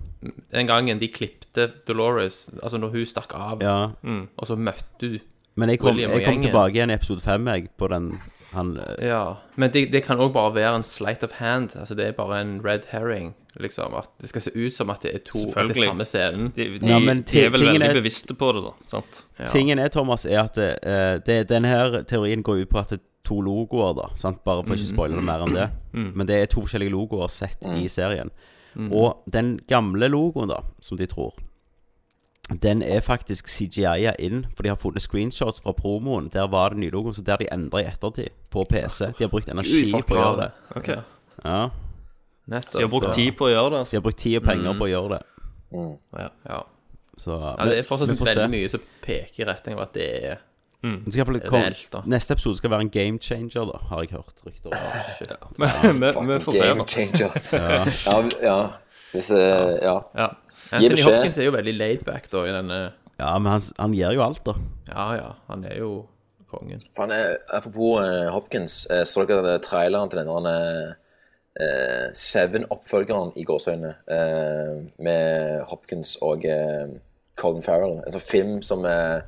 S12: den gangen de klipte Dolores, altså når hun stakk av,
S1: Ja.
S12: Mm. og så møtte du
S1: Men jeg kom,
S12: William og
S1: jeg kom
S12: gjengen.
S1: tilbake igjen i episode fem, jeg, på den han eh,
S12: Ja. Men det, det kan òg bare være en sleight of hand. Altså, det er bare en red herring, liksom. At det skal se ut som at det er to at det
S9: Selvfølgelig.
S12: er samme scenen.
S9: De, de,
S1: Ja, men
S9: de
S1: ti-
S9: er vel
S1: tingen
S9: veldig
S1: er-
S9: bevisste på det, da. Sant?
S1: Tingen er, Thomas, er at eh, det, denne her teorien går ut på at det er to logoer, da. Sant? Bare for ikke å spoile det mer enn det.
S12: Mm.
S1: Men det er to forskjellige logoer sett i serien.
S12: Mm.
S1: Og den gamle logoen, da, som de tror, den er faktisk CGI-a inn, for de har funnet screenshots fra promoen. Der var det nye logoen, så der de endra i ettertid, på PC. De har brukt energi
S9: folk
S1: på å
S9: har
S1: gjøre det.
S9: det. Ok.
S1: Ja.
S12: Nettopp,
S9: Så de har brukt tid på å gjøre det. altså.
S1: De har brukt tid og penger på å gjøre det.
S5: Mm.
S9: Ja.
S12: Ja.
S1: Så
S12: ja, det er fortsatt
S1: vi får se.
S12: veldig mye som peker i retning av at det er
S1: Det skal i hvert fall komme-
S12: reelt, da.
S1: Neste episode skal være en game changer, da, har jeg hørt rykter om.
S9: Men- men- men vi får se, da.
S5: eh, Game changer, altså.
S1: Ja.
S5: ja. ja. Hvis eh, Ja.
S9: Ja.
S5: Gi
S12: Anthony
S5: beskjed.
S12: Hopkins er jo veldig laid back, da, i denne
S1: Ja, men han, han gjør jo alt, da.
S12: Ja, ja. Han er jo kongen.
S5: Faen, eh, apropos eh, Hopkins, eh, så dere den traileren til den der eh, Seven-oppfølgeren i gåsøgne eh, med Hopkins og eh, Colin Farrell? En sånn film som eh,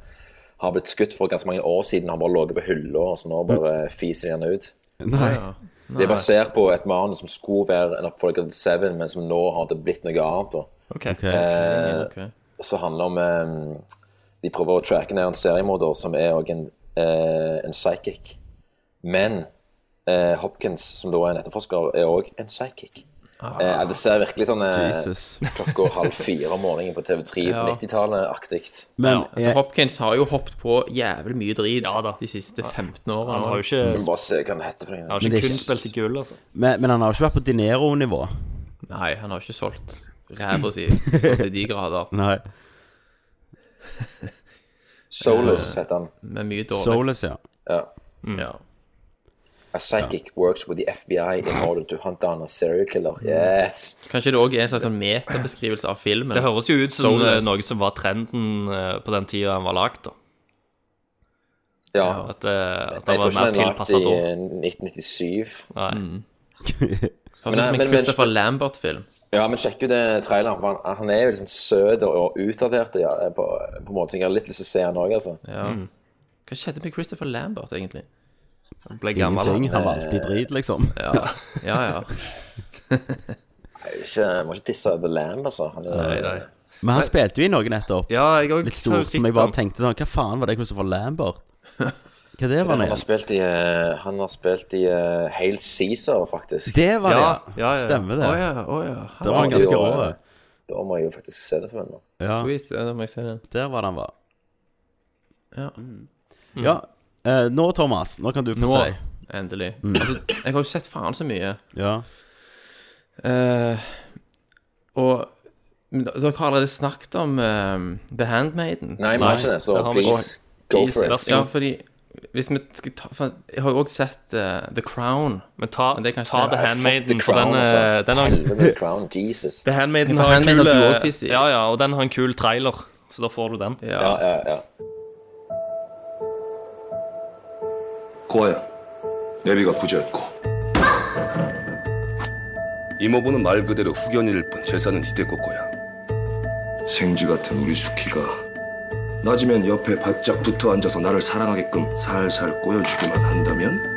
S5: har blitt skutt for ganske mange år siden, har bare ligget på hylla, og så nå bare fiser de den ut.
S1: Nei.
S5: Det er basert på et manus som skulle være en oppfølger til Seven, men som nå har det blitt noe annet. da.
S9: Ok. Ok,
S5: Eh,
S12: ok.
S5: Så handler det om eh, De prøver å tracke ned en seriemorder som er også en, eh, en psychic. Men eh, Hopkins, som da er en etterforsker, er òg en psychic.
S12: Ah.
S5: Eh, det ser virkelig sånn eh,
S1: Jesus.
S5: klokka halv fire om morgenen på TV3 på
S12: Ja.
S5: 90-tallet-aktig.
S1: Men eh,
S12: ja, altså, Hopkins har jo hoppet på jævlig mye drit de siste 15 årene.
S9: Han har jo ikke-
S5: Vi må Bare se hva den heter. for noe.
S9: Han har
S1: Men
S9: ikke
S1: det er
S9: kun
S1: ikke-
S9: spilt i gull, altså.
S1: Men, men han har jo ikke vært på Dinero-nivå.
S12: Nei, han har ikke solgt ræva si sånn til de grader.
S1: Nei.
S5: Solus heter han.
S12: Men mye dårlig. Mm.
S1: Soulless, ja.
S5: Ja.
S9: Mm.
S12: Ja.
S5: A psychic works with the FBI in order to hunt down a serial killer. Yes!
S12: Kanskje det òg er en slags sånn metabeskrivelse av filmen.
S9: Det høres jo ut som eh,
S12: Soulless.
S9: noe som var trenden eh, på den tida den var lagd, da.
S5: Ja.
S9: At, eh, at den
S5: Jeg tror
S9: var mer
S5: ikke den er Eh, lagt i
S9: tilpassa da.
S5: 1997.
S9: Nei.
S12: Høres ut som en Christopher Lambert-film.
S5: Ja, men sjekk ut det traileren. For han, han er jo litt sånn søt og utdatert. Ja, på, på en måte. Jeg har litt lyst til å se han òg, altså.
S12: Ja.
S9: Mm.
S12: Hva skjedde med Christopher Lambert, egentlig?
S9: Han ble
S1: Ingenting. Han var alltid drit, liksom.
S12: Ja, ja. ja.
S5: Jeg vil ikke, jeg må ikke disse The Lamb, altså. Han er,
S9: Nei, nei.
S1: Men han spilte jo i noen nettopp.
S9: Ja, jeg har
S1: Litt
S9: har jo
S1: stor,
S9: sett
S1: som jeg bare
S9: han.
S1: tenkte sånn Hva faen var det Christopher Lambert? Hva det var
S5: Han
S1: det?
S5: har spilt i, eh, han har spilt i eh, Hail Caesar, faktisk.
S1: Det var Ja, det. ja, ja. Stemmer det. Å ja, å ja. Det var en ganske
S5: Da-
S1: rå.
S5: Da må jeg jo faktisk se det for meg nå.
S1: Ja.
S12: Sweet, ja, da må jeg se den.
S1: Der var den var.
S12: Ja.
S1: Ja. eh, nå, Thomas, nå kan du få
S12: Mm. Nå,
S1: si.
S12: endelig.
S1: Mm.
S12: Altså, jeg har jo sett faen så mye.
S1: Ja.
S12: Eh, og men d- dere har allerede snakket om eh, The Handmaiden.
S5: Nei, vi har Nei, ikke det, så det har vi ikke. please,
S12: Og-
S5: go for it. Vær så god.
S12: Ja, fordi hvis vi skal ta for Jeg har jo også sett eh, The Crown.
S9: Men ta, ta The Handmaiden, for den, eh, den har-
S5: altså. Helvete, The Crown, Jesus.
S9: The Handmaiden
S12: For
S9: har en
S12: Handmaiden
S9: kul
S12: har du
S9: eh,
S12: også, Fizzy.
S9: Ja, ja, og den har en kul trailer, så da får du den.
S5: Ja, ja, ja.
S17: 고아야, 내비가 부재했고 이모부는 말 그대로 후견일 뿐 재산은 이대꼬꼬야. 생쥐 같은 우리 숙희가 낮이면 옆에 바짝 붙어 앉아서 나를 사랑하게끔 살살 꼬여주기만 한다면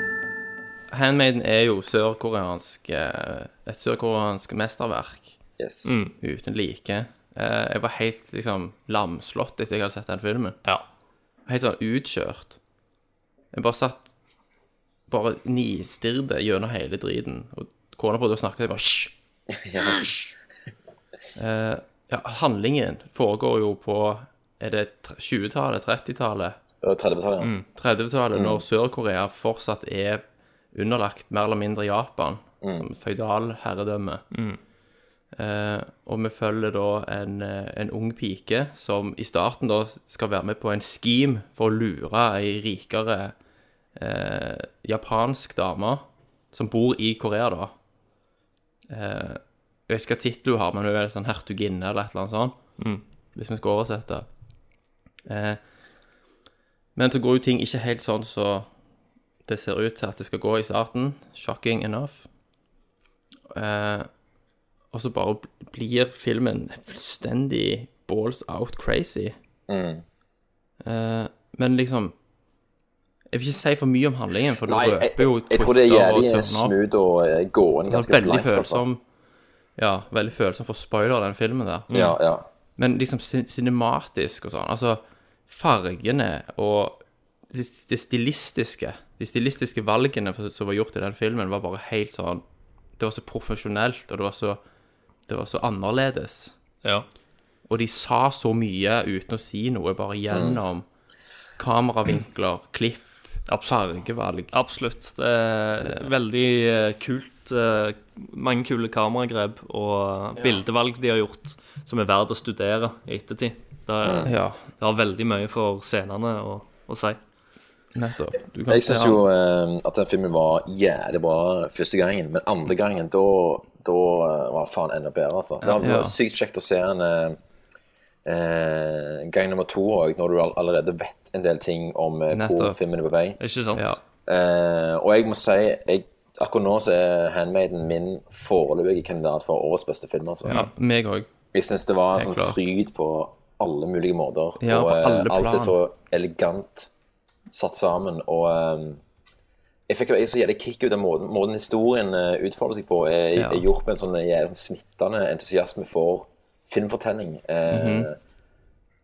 S12: Handmaiden er jo sørkoreansk eh, et sørkoreansk mesterverk.
S5: Yes.
S9: Mm.
S12: Uten like. Eh, Jeg var helt liksom lamslått etter jeg hadde sett den filmen. Helt sånn utkjørt. Jeg bare satt Bare nistirret gjennom hele driten. Og kona prøvde å snakke, og jeg bare Hysj! Hysj! Eh, ja, handlingen foregår jo på Er det tre- 20-tallet? 30-tallet?
S5: Det var 30-tallet, ja.
S12: Mm. 30-tallet,
S5: Mm.
S12: når Sør-Korea fortsatt er underlagt mer eller mindre Japan,
S5: Mm.
S12: som føydal herredømme.
S5: Mm.
S12: Eh, og vi følger da en, eh, en ung pike som i starten da skal være med på en scheme for å lure ei rikere eh, japansk dame som bor i Korea, da. Eh, jeg vet ikke hva tittel hun har, men hun er vel sånn hertuginne eller et eller annet sånt.
S9: Mm.
S12: Hvis vi skal oversette. Eh, men så går jo ting ikke helt sånn som det ser ut til at det skal gå i starten. Shocking enough. Eh, og så bare bl- blir filmen fullstendig balls out crazy.
S5: Mm.
S12: Eh, men liksom Jeg vil ikke si for mye om handlingen, for da
S5: Nei, jeg,
S12: røper jo
S5: jeg, jeg tror det er
S12: twister og
S5: jævlig
S12: turn-up.
S5: smooth og eh, gående
S12: Den er
S5: ganske
S12: veldig
S5: blankt, altså.
S12: følsom Ja, veldig følsom for spoiler, den filmen der.
S5: Ja, ja.
S12: Men liksom cin- cinematisk og sånn. Altså, fargene og det, det stilistiske De stilistiske valgene for- som var gjort i den filmen, var bare helt sånn Det var så profesjonelt, og det var så, det var så annerledes.
S9: Ja.
S12: Og de sa så mye uten å si noe, bare
S5: Mm.
S12: gjennom kameravinkler, klipp, fargevalg.
S9: Absolutt. Det er veldig eh, kult. eh, Mange kule kameragrep og bildevalg de har gjort, som er verdt å studere i ettertid. Det, er,
S12: Mm. Ja.
S9: det har veldig mye for scenene å, å si.
S12: Nettopp. Du kan
S5: Jeg
S12: se
S5: syns
S12: han-
S5: jo eh, at den filmen var jævlig bra første gangen, men andre gangen, da, da eh, var faen enda bedre, altså. Det var
S12: Ja.
S5: sykt kjekt å se den eh, eh, gang nummer to òg, når du all- allerede vet en del ting om eh, hvor
S12: Nettopp.
S5: filmen er på vei.
S9: Ikke sant?
S5: Eh, og jeg må si jeg, akkurat nå så er 'Handmaiden' min foreløpige kandidat for årets beste film. Altså.
S12: Ja, meg òg.
S5: Jeg syns det var
S12: Helt
S5: sånn
S12: klart.
S5: fryd på alle mulige måter.
S12: Ja, på
S5: og eh,
S12: alle
S5: alt
S12: plan.
S5: er så elegant satt sammen. Og eh, jeg fikk jo jeg så jævlig kick ut av måten, måten historien eh, utfolder seg på. Er,
S12: Ja.
S5: er gjort med en sånn, jævlig sånn smittende entusiasme for filmfortelling. Eh,
S12: Mhm. Mm.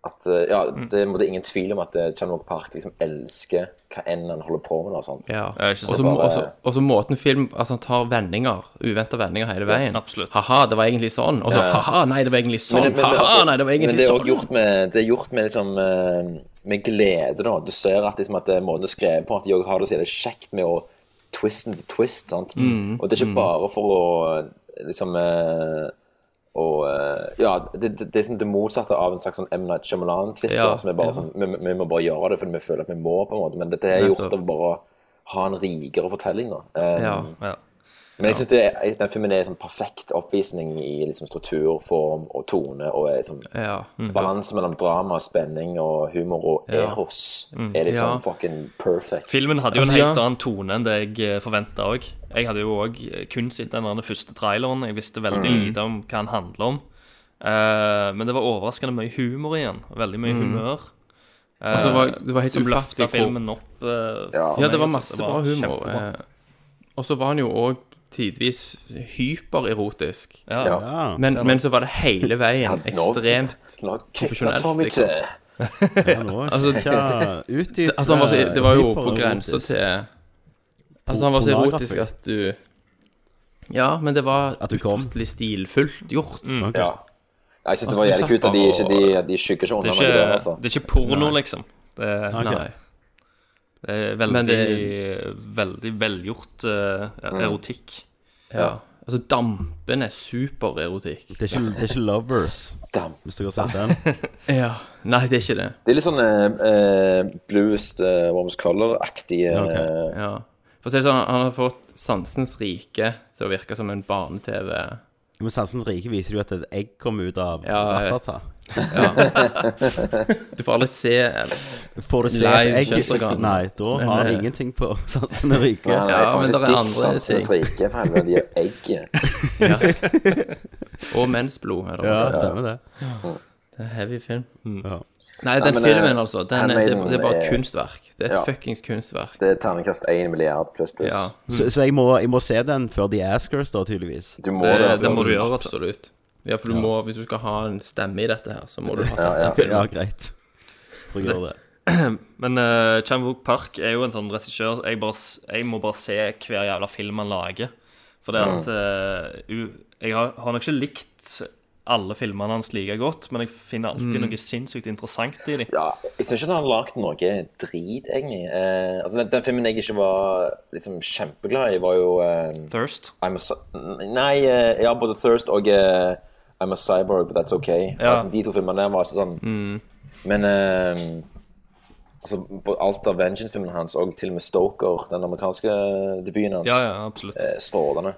S5: At, eh, ja, det er på en måte ingen tvil om at eh, Chan Wook Park liksom elsker hva enn han holder på med. nå, sant?
S12: Ja.
S5: Og så
S12: Også, må-
S5: bare-
S12: også, også måten film Altså, han tar vendinger, uventa vendinger hele veien.
S5: Yes, absolutt.
S12: Haha, det var egentlig sånn. Og så
S5: Ja.
S12: haha, nei, det var egentlig sånn.
S5: Men- men-
S12: haha, nei, det var
S5: men
S12: egentlig
S5: det er også
S12: sånn.
S5: gjort med, det er gjort med, liksom, eh, med glede. da. Du ser at, liksom, at det er måten det er skrevet på, at de også har det så jævlig kjekt med å twist and twist. sant?
S12: Mm,
S5: Og det er ikke
S12: mm.
S5: bare for å liksom eh, å, eh, ja, det, det, det er som det motsatte av en slags sånn M. Night Shyamalan-twist.
S12: Ja,
S5: da, som er bare
S12: ja.
S5: sånn, vi, vi må bare gjøre det fordi vi føler at vi må. på en måte, Men dette er gjort
S12: Nettopp.
S5: av bare å ha en rikere fortelling. da. Eh,
S12: Ja, ja.
S5: men jeg
S12: Ja.
S5: synes det er- den filmen er en sånn perfekt oppvisning i liksom struktur, form og tone. Og er liksom
S12: Ja. Mm.
S5: balanse mellom drama, spenning og humor og
S9: Ja.
S5: eros
S9: Mm.
S5: er liksom
S9: Ja.
S5: fucking perfect.
S9: Filmen hadde jo en
S5: Altså, ja.
S9: helt annen tone enn det jeg forventa òg. Jeg hadde jo òg kun sett den der første traileren. Jeg visste veldig
S5: Mm.
S9: lite om hva den handler om. Eh, men det var overraskende mye humor igjen. Veldig mye
S12: Mm.
S9: humør. eh,
S12: Og så var- det var helt
S9: som løftet
S12: ufattelig hvor-
S9: filmen opp. eh, for
S12: Ja,
S9: meg,
S12: det var
S9: altså.
S12: masse bra humor.
S9: kjempebra.
S12: eh, Og så var han jo òg tidvis hypererotisk.
S9: Ja. Ja.
S12: Men,
S9: Ja.
S12: men så var det hele veien
S5: nå-
S12: ekstremt
S5: nå kicker
S12: profesjonelt. liksom.
S5: Tommy til.
S1: Ja, nå
S12: Altså,
S1: sjekka ut i
S12: altså, han var så, det var jo på
S1: Eh, hypererotisk.
S12: grensa til Altså, han var så
S1: Pornografi.
S12: erotisk at du Ja, men det var ufattelig stilfullt gjort.
S1: Mm.
S5: Ja. Jeg synes det
S12: Altså,
S5: var jævlig kult at de ikke, de, de skygger seg
S9: Det er
S5: unna noe der,
S9: ikke,
S5: altså.
S9: det er ikke porno,
S5: Nei.
S9: liksom. Det er,
S5: Ok.
S9: nei. Det er veldig,
S12: Men det-
S9: veldig velgjort eh,
S12: Mm.
S9: erotikk.
S12: Ja. Altså, dampen er supererotikk.
S1: Det er ikke, det er ikke Lovers, hvis dere har sett den.
S12: Ja. Nei, det er ikke det.
S5: Det er litt sånn eh, eh, bluest, eh, warmest color-aktig. eh,
S12: Ja. For å si det sånn, han har fått sansens rike til å virke som en barne-TV.
S1: Men Sansens rike viser jo at et egg kom ut av
S12: Ja, jeg
S1: ratata.
S12: vet. Ja. Du får aldri se
S1: Får du se et egg? Nei, da har
S12: Men,
S1: han
S12: eh,
S1: ingenting på Sansene rike.
S5: Nei, nei,
S12: Ja,
S5: faen,
S12: men
S5: det
S12: der er andre ting.
S5: dissansens rike, for helvete, de er egg.
S12: Ja. Og mensblod. er det
S1: Ja,
S12: vel?
S1: stemmer det.
S12: Det er heavy film.
S1: Ja.
S12: Nei, den
S5: men,
S12: filmen,
S5: eh,
S12: altså. Den, er- det, det er bare et
S5: Handmaiden
S12: kunstverk. Det er et
S5: ja.
S12: fuckings kunstverk.
S5: Det er terningkast 1 milliard pluss pluss.
S12: Ja.
S1: Så, så jeg, må, jeg må se den før de askers, da, tydeligvis.
S5: Du må
S12: Det,
S5: det,
S12: det
S5: altså.
S12: må du gjøre, altså. absolutt. Ja, for du må, hvis du skal ha en stemme i dette her, så må du ha sett
S1: ja.
S12: den filmen.
S1: Ja, greit. Får jeg gjøre det.
S9: Men uh, Chan-wook Park er jo en sånn regissør jeg, bare, s- jeg må bare se hver jævla film han lager. For det at eh, u- Jeg har, har nok ikke likt alle filmene hans like godt, men jeg finner alltid
S5: Mm.
S9: noe sinnssykt interessant i dem.
S5: Ja, jeg syns ikke han har lagd noe drit, egentlig. Eh, altså, den, den filmen jeg ikke var liksom, kjempeglad i, var jo eh,
S9: Thirst?
S5: I'm a, Cy- nei, eh, ja, både Thirst og eh, I'm a Cyborg, but that's okay.
S9: Ja.
S5: Altså, de to filmene der var sånn Men eh, altså, på alt av Vengeance-filmene hans, og til og med Stoker, den amerikanske debuten hans,
S9: Ja, ja, absolutt.
S5: eh, strålende.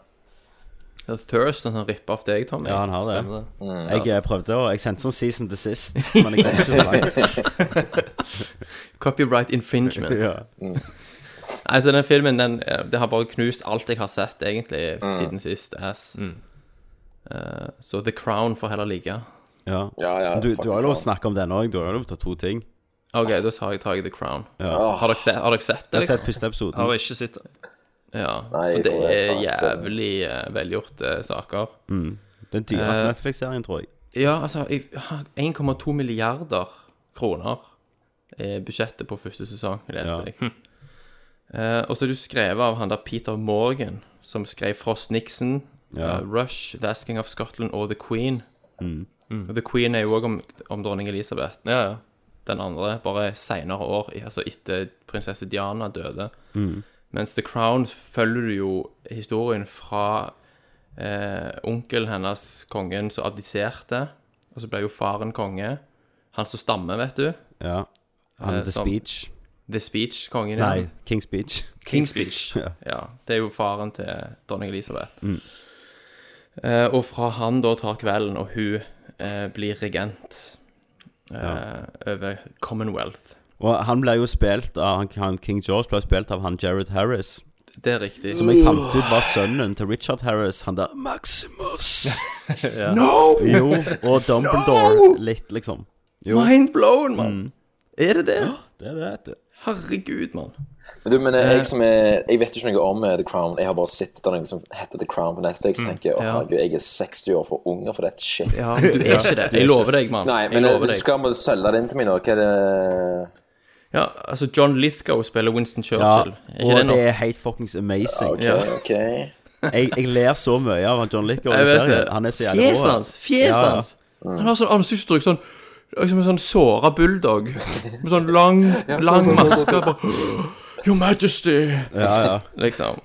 S12: Ja, Thirst, han ripper av deg, Tommy.
S1: Ja, han har det.
S12: Stemmer
S1: Mm.
S12: Så-
S1: Jeg eh, prøvde å Jeg sendte sånn season to sist, men jeg kom ikke så langt.
S12: Copyright infringement.
S1: Ja.
S12: Altså, den filmen, den, eh, det har bare knust alt jeg har sett, egentlig,
S5: Mm.
S12: siden sist. Ass. Eh, så The Crown får heller ligge.
S1: Ja.
S5: Ja, ja,
S1: Men du, du
S12: fucking
S1: har jo lov
S12: faen.
S1: å snakke om den òg. Du har jo lov til å ta to ting.
S12: OK, da tar jeg tak i The Crown.
S1: Ja.
S12: Har, dere sett, har dere sett det?
S1: Ah. Jeg
S12: liksom?
S1: har sett første episoden.
S9: Har jeg ikke sett
S12: Ja.
S1: Nei,
S12: for det
S1: jeg
S12: er
S1: får det faen
S12: jævlig eh, velgjorte saker.
S1: Mm. Den dyreste
S12: Eh,
S1: Netflix-serien, tror jeg.
S12: Ja, altså jeg- 1,2 milliarder kroner er budsjettet på første sesong, leste
S1: Ja.
S12: jeg. Eh, og så er du skrevet av han der Peter Morgan, som skrev Frost Nixon,
S1: Ja.
S12: eh, Rush, The Asking of Scotland og The Queen.
S1: Mm.
S12: Og The Queen er jo òg om, om dronning Elisabeth.
S9: Ja, ja.
S12: Den andre, bare seinere år, i- altså etter prinsesse Diana døde.
S1: Mm.
S12: Mens The Crown følger du jo historien fra eh, onkelen hennes, kongen, som abdiserte. Og så ble jo faren konge. Han som stammer, vet du.
S1: Ja. Han
S12: Eh,
S1: The
S12: som-
S1: Speech.
S12: The Speech, kongen. ja.
S1: Nei, King's Speech.
S12: King's Speech. ja. Det er jo faren til dronning Elisabeth.
S1: Mm.
S12: Eh, og fra han da tar kvelden, og hun eh, blir regent eh, over Commonwealth.
S1: Og han ble jo spilt av han- han King George ble spilt av han Jared Harris.
S12: Det er riktig.
S1: Som jeg fant ut var sønnen til Richard Harris, han der Maximus.
S12: Ja.
S1: No! Jo, og Dumbledore litt, liksom. Jo.
S12: Mind blown, mann!
S1: Mm.
S12: Er det det?
S1: Det er det, vet du.
S12: Herregud, mann.
S5: Men du, men eh, jeg som er Jeg vet jo ikke noe om eh, The Crown. Jeg har bare sett det er noe som heter The Crown på Netflix.
S12: Mm.
S5: og tenker jeg,
S12: Ja.
S5: «Å, herregud, jeg er 60 år for unge for det shit.
S12: Ja, men du er ikke det. Jeg lover deg, mann.
S5: Nei,
S12: Jeg
S5: men eh,
S12: lover
S5: hvis
S12: deg.
S5: du skal må du selge det inn til meg nå, hva er det
S12: Ja, altså John Lithgow spiller Winston
S1: Ja,
S12: Churchill. er ikke
S1: og
S12: det
S1: det,
S12: nok?
S1: er helt fuckings amazing.
S12: Ja, ok,
S5: ok.
S1: jeg, jeg ler så mye av han John Licker i
S12: Jeg vet
S1: serien.
S12: det.
S1: Han er så jævlig altså.
S12: Fjeset hans! Fjeset hans! Han har sånn ansiktsuttrykk, sånn Liksom en sånn såra bulldog. Med sånn lang, lang maske. Bare, Your Majesty!
S1: Ja, ja.
S12: Liksom.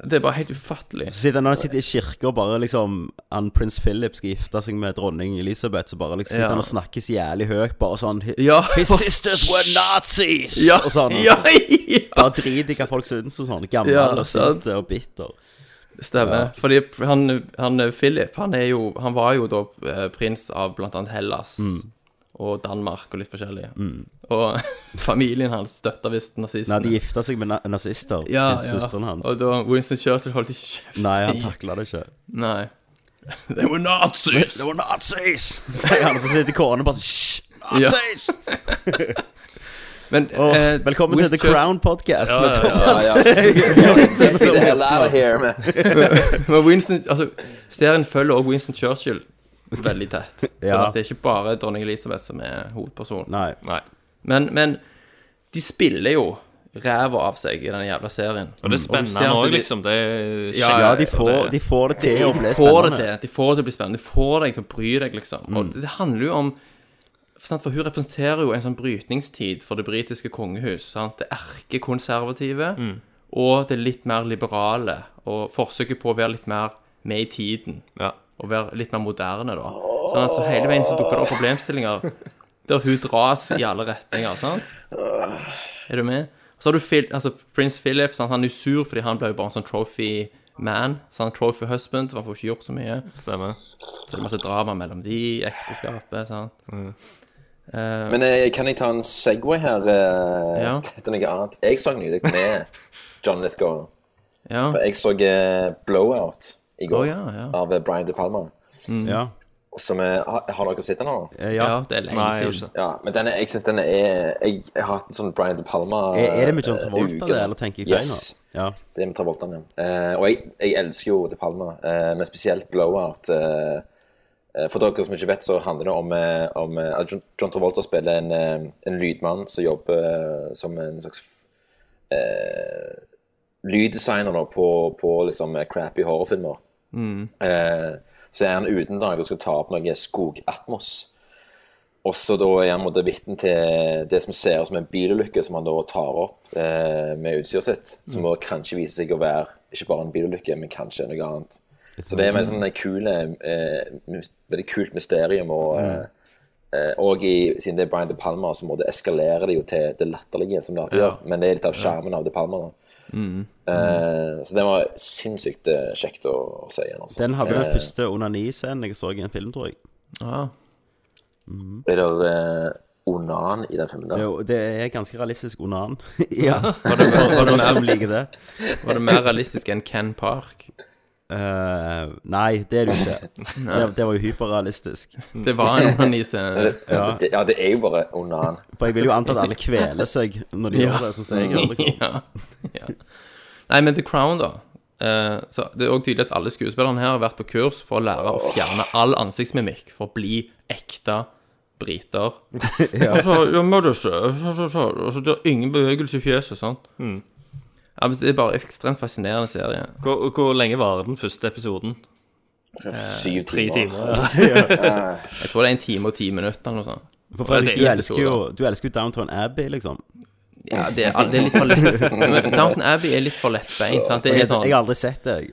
S12: Det er bare helt ufattelig.
S1: Så sitter han, han sitter i kirke og bare liksom Han prins Philip skal gifte seg med dronning Elisabeth, så bare liksom sitter
S12: Ja.
S1: han og snakker så jævlig høyt, bare sånn hi-
S12: Ja.
S1: His sisters were Nazis!
S12: Ja.
S1: Og sånn.
S12: Ja,
S1: Bare drit i hva folk syns og sånn. Gammel
S12: Ja,
S1: og
S12: sant.
S1: sint og bitter.
S12: Stemmer.
S1: Ja.
S12: Fordi han, han Philip, han er jo Han var jo da eh, prins av blant annet Hellas
S1: Mm.
S12: og Danmark og litt forskjellig.
S1: Mm.
S12: Og familien hans støtta visst nazistene.
S1: Nei, de gifta seg med na nazister.
S12: ja,
S1: til
S12: ja.
S1: Søsteren hans.
S12: Og da Winston Churchill holdt ikke kjeft.
S1: Nei, han takla det ikke.
S12: Nei. They were Nazis!
S1: They were Nazis! Sier han, og så sitter kårene bare sånn Hysj!
S12: Ja.
S1: Nazis!
S12: Men
S1: Og
S12: eh,
S1: velkommen til
S12: Winston
S1: The Crown Podcast
S12: Ja,
S1: med
S12: ja, ja.
S1: Thomas.
S12: Ja, ja.
S1: Hagen.
S5: Get the hell out of here, man.
S12: Men Winston, altså Serien følger også Winston Churchill veldig tett. Så
S9: Ja.
S12: at det er ikke bare dronning Elisabeth som er hovedpersonen.
S1: Nei.
S12: Men, men de spiller jo ræva av seg i den jævla serien.
S9: Og det er
S12: Mm. du ser
S9: spennende
S12: at
S9: også,
S12: de-
S9: liksom. Det er
S1: Ja, ja, de får- de får det til å bli spennende.
S12: de Får det til, de får det til å bli spennende. De får deg til å bry deg, liksom. Og det handler jo om sant, For hun representerer jo en sånn brytningstid for det britiske kongehus. Sant? Det erkekonservative
S9: Mm.
S12: og det litt mer liberale. Og forsøket på å være litt mer med i tiden. Og være litt mer moderne, da. Sånn at så hele veien så dukker det opp problemstillinger der hun dras i alle retninger, sant? Er du med? Så har du Phil, altså Prince Philip, sant? han er jo sur fordi han ble jo bare en sånn trophy man. Sant? Trophy husband, for han får ikke gjort så mye.
S9: Stemmer.
S12: Så det er masse drama mellom de, ekteskapet, sant. Eh,
S5: Men eh, kan jeg ta en Segway her? eh,
S12: Ja.
S5: Til noe annet. Jeg så nylig med John Lithgow.
S12: Ja.
S5: For jeg så eh, Blowout i går
S12: Å, ja, ja.
S5: av eh, Brian De Palma.
S12: Mm. Ja.
S5: Som er, har, har dere sett den nå?
S1: Ja.
S12: Ja, det er lenge Nei, jeg har siden. ikke.
S5: Ja, men denne, jeg syns den er jeg, jeg har hatt en sånn Brian De Palma
S1: Er, er det med John
S5: eh,
S1: Travolta,
S5: uke.
S1: det, eller tenker jeg feil
S5: yes.
S1: nå? Ja.
S5: Det er med Travolta, ja. Eh, og jeg, jeg elsker jo De Palma, eh, men spesielt Blowout. eh, eh, for dere som ikke vet, så handler det om, eh, om eh, at John- John Travolta spiller en, eh, en lydmann som jobber eh, som en slags eh, lyddesigner da, på, på liksom eh, crappy horrorfilmer.
S12: Mm.
S5: Eh, så er han utendag og skal ta opp noe skogatmos. Og så da er han på en måte vitne til det som ser ut som en bilulykke, som han da tar opp eh, med utstyret sitt. Som
S12: Mm.
S5: da kanskje viser seg å være ikke bare en bilulykke, men kanskje noe annet. Så det er veldig sånn en kule, eh, mus- veldig kult mysterium. Og, eh,
S12: Mm.
S5: eh, og i, siden det er Brian De Palma, så må det eskalere det jo til det latterlige, som det alltid
S12: Ja.
S5: gjør. Men det er litt av skjermen av De Palma. da.
S12: Mm.
S5: Eh, så det var sinnssykt eh, kjekt å, å se igjen. Altså.
S1: Den hadde den
S5: Eh,
S1: første onaniscenen jeg så i en film, tror jeg.
S12: Ah.
S5: Er det eh, onan i den filmen?
S1: Det, er
S5: der?
S1: jo- det er ganske realistisk onan. ja.
S12: Ja. Var det- var det
S1: For noen
S12: mer-
S1: som liker det.
S12: var det mer realistisk enn Ken Park?
S1: Eh, nei, det er det jo ikke.
S12: Nei.
S1: det, det var jo hyperrealistisk.
S12: Det var en onaniscene.
S1: Ja.
S5: Det- Ja, det er jo bare onan.
S1: For jeg vil jo anta at alle kveler seg når de gjør det, sånn som jeg gjør. Liksom.
S12: ja. ja. Nei, men The Crown, da. Eh, så Det er òg tydelig at alle skuespillerne her har vært på kurs for å lære å fjerne all ansiktsmimikk for å bli ekte briter.
S1: Ja.
S12: Og så Altså, ja, må du se, så, så, så, og så, altså, Det er ingen bevegelse i fjeset, sant?
S9: Mm.
S12: Ja, men Det er bare en ekstremt fascinerende serie.
S9: Hvor, hvor lenge varer den første episoden?
S12: Eh,
S5: Syv
S9: Tre timer.
S12: Jeg tror det er en time og ti minutter eller noe sånt.
S1: For Fredrik,
S12: Det
S1: du
S12: er
S1: elsker jo, du elsker jo Downtown Abbey, liksom.
S12: Ja, det er, det er litt for lett. Men Downton Abbey er litt for lettbeint. sant? Det er
S1: Jeg-
S12: sånn,
S1: Jeg har aldri sett det. jeg.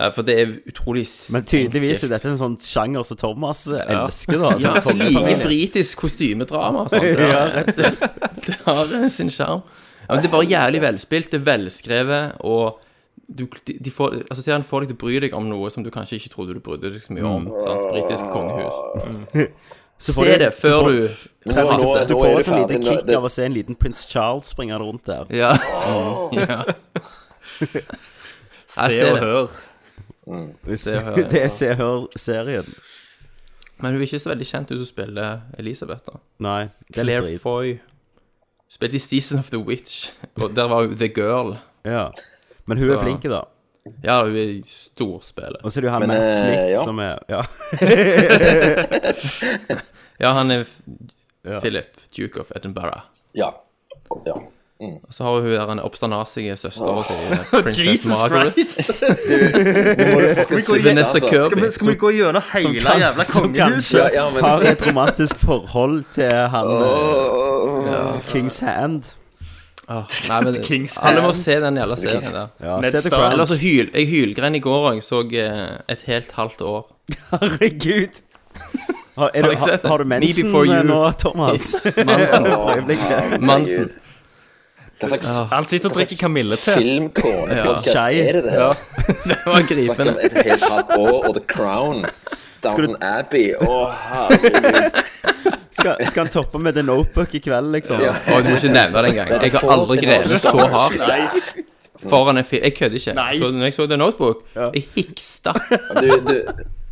S12: ja, for det er utrolig
S1: Men tydeligvis er jo dette en sånn sjanger som Thomas eh,
S12: Ja.
S1: elsker, da.
S12: Ja, altså,
S1: Som
S12: like britisk kostymedrama. Sant? Det,
S1: Ja,
S12: har,
S1: rett og
S12: det, har sin sjarm. Ja, men det er bare jævlig velspilt, det er velskrevet, og du, de, de får, altså, serien får deg til å bry deg om noe som du kanskje ikke trodde du brydde deg så mye om.
S1: Mm.
S12: Sant? Britisk kongehus.
S1: Så får
S12: Se
S1: du-
S12: det før du
S1: Fredrik,
S12: Fredrik,
S1: du,
S12: det-
S1: du
S12: er
S1: får
S12: du
S1: et sånn lite
S12: ferdig. Nå-
S1: kick
S12: det-
S1: av å se en liten prins Charles springe rundt der.
S12: Ja.
S1: Mm.
S12: ja. Jeg
S1: Se
S12: ser
S1: og
S12: det.
S1: hør.
S12: Mm. Se og hør,
S1: Det
S12: ja.
S1: er Se og Hør-serien.
S12: Men hun er ikke så veldig kjent ut som spiller Elisabeth, da.
S1: Nei, det er litt
S12: Claire
S1: drit.
S12: Foy. Spilte i Season of the Witch, og der var hun The Girl.
S1: Ja. Men hun er flink, da.
S12: Ja, hun er storspiller.
S1: Og så er det jo han Men, Matt eh, Smith ja. som er- ja.
S12: ja, han er f-
S1: Ja.
S12: Philip, Duke of Edinburgh.
S5: Ja. ja. Mm.
S12: Og så har hun der en oppstandasige søster
S5: Åh.
S12: og sier Princess
S9: Jesus
S12: Margaret.
S9: Christ!
S12: Du,
S9: Skal vi gå igjen-
S12: Vanessa
S9: altså,
S12: Kirby.
S9: skal vi- skal vi
S12: som-
S9: gå gjennom hele
S12: som kan-
S9: jævla
S12: som
S9: kongehuset?
S12: kanskje-
S1: Kanskje har et romantisk forhold til han
S12: Åh.
S1: eh, ja, Kings Hand.
S12: Åh, Nei, men
S1: King's
S12: alle må
S1: Hand.
S12: se den jævla serien
S1: King's-
S12: der.
S1: Ja, Ned se The Stark. Crown.
S12: Eller så hyl, jeg hylgren i går òg. Så eh, et helt halvt år.
S1: Herregud. Har, er du,
S12: Har jeg
S1: har,
S12: sett den?
S1: har du
S12: Me
S1: mensen
S12: before you.
S1: nå, Thomas?
S12: Mensen.
S1: For øyeblikket.
S12: Mansen.
S5: Hva slags,
S12: Ja.
S9: Han sitter og drikker Kamille til.
S5: Filmkårepodkast er det det her?
S9: Ja.
S12: Det var
S5: Snakk om et helt halvt år og The Crown. Downton Abbey. Å, herregud.
S1: Skal, skal han toppe med The Notebook i kveld, liksom?
S12: Ja. Å, du må ikke nevne det engang. Jeg har aldri grevet så hardt foran en film. Jeg kødder ikke. Så når jeg så The Notebook, jeg hiksta.
S5: Du, du,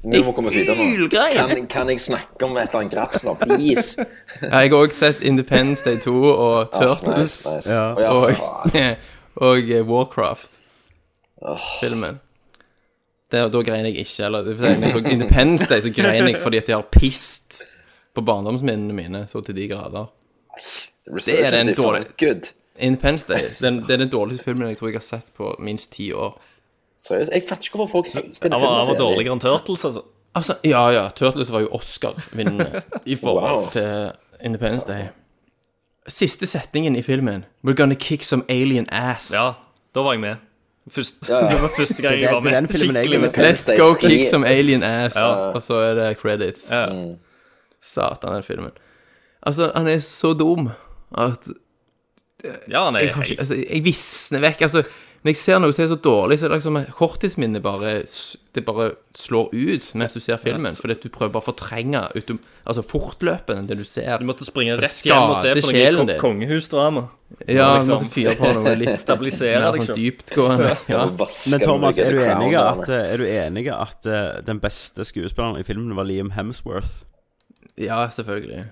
S5: vi må komme oss videre nå.
S12: Hylgrein!
S5: Kan, kan jeg snakke om et eller annet graps nå, please?
S12: Ja, Jeg har også sett Independence Day 2 og Turtles
S5: nice, nice. Ja. Ja,
S12: og,
S5: faen.
S12: og eh, Warcraft-filmen. det, da grein jeg ikke. Eller det vil si, når jeg så Independence Day, så grein jeg fordi at de har pist på barndomsminnene mine så til de grader. Det er
S5: Resurgence
S12: den
S5: er faen
S12: dårlige Independence Day. Den, det er den dårligste filmen jeg tror jeg har sett på minst ti år.
S5: Seriøst? Jeg fatter ikke hvorfor folk hater
S9: Han var, han var dårligere enn Turtles, altså.
S12: Altså, ja, ja. Turtles var jo Oscar-vinnende i forhold
S9: Wow.
S12: til Independence Day. Siste setningen i filmen We're gonna kick some alien ass.
S9: Ja, da var jeg med. Først,
S12: Ja, ja.
S9: Det var første gang jeg var med. Skikkelig med.
S12: Let's go kick some alien ass.
S9: Ja.
S12: Og så er det credits. Satan, den filmen. Altså, han er så dum at
S9: Ja, han er
S12: jeg, har ikke- altså, jeg visner vekk. Altså, når jeg ser noe som er så dårlig, så er det liksom korttidsminnet bare s- Det bare slår ut mens du ser filmen, fordi at du prøver bare å fortrenge utom, altså fortløpende det du ser.
S9: Du måtte springe
S12: For det
S9: rett hjem og se på
S12: skader
S9: noe
S12: sjelen
S9: ko-
S12: din.
S9: kongehusdrama.
S12: Ja,
S9: Liksom.
S12: måtte fyre på noe litt
S9: Stabilisere,
S12: mer
S9: liksom.
S12: sånn dyptgående. Ja.
S1: Men Thomas, er du enig at, eh, er du enig at eh, den beste skuespilleren i filmen var Liam Hemsworth?
S12: Ja, selvfølgelig.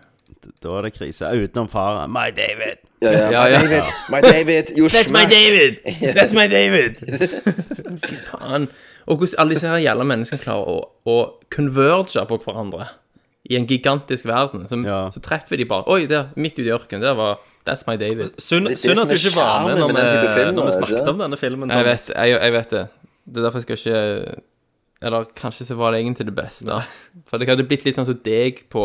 S1: Da er det krise. Utenom faren. My David!
S5: Ja, ja, my David, my David, you
S12: That's my
S5: smack.
S12: David! That's my David! Fy faen. Og hvordan alle disse her jævla menneskene klarer å, å converge på hverandre i en gigantisk verden. Så, så treffer de bare Oi, der, midt ute i ørkenen, der var That's my David.
S9: Synd synd at du ikke var med når vi, når vi
S5: altså.
S9: snakket om denne filmen.
S12: Jeg
S9: sånn Thomas.
S12: vet, jeg, jeg vet det. Det er derfor jeg skal ikke Eller kanskje så var det egentlig det beste. For det hadde blitt litt sånn som deg på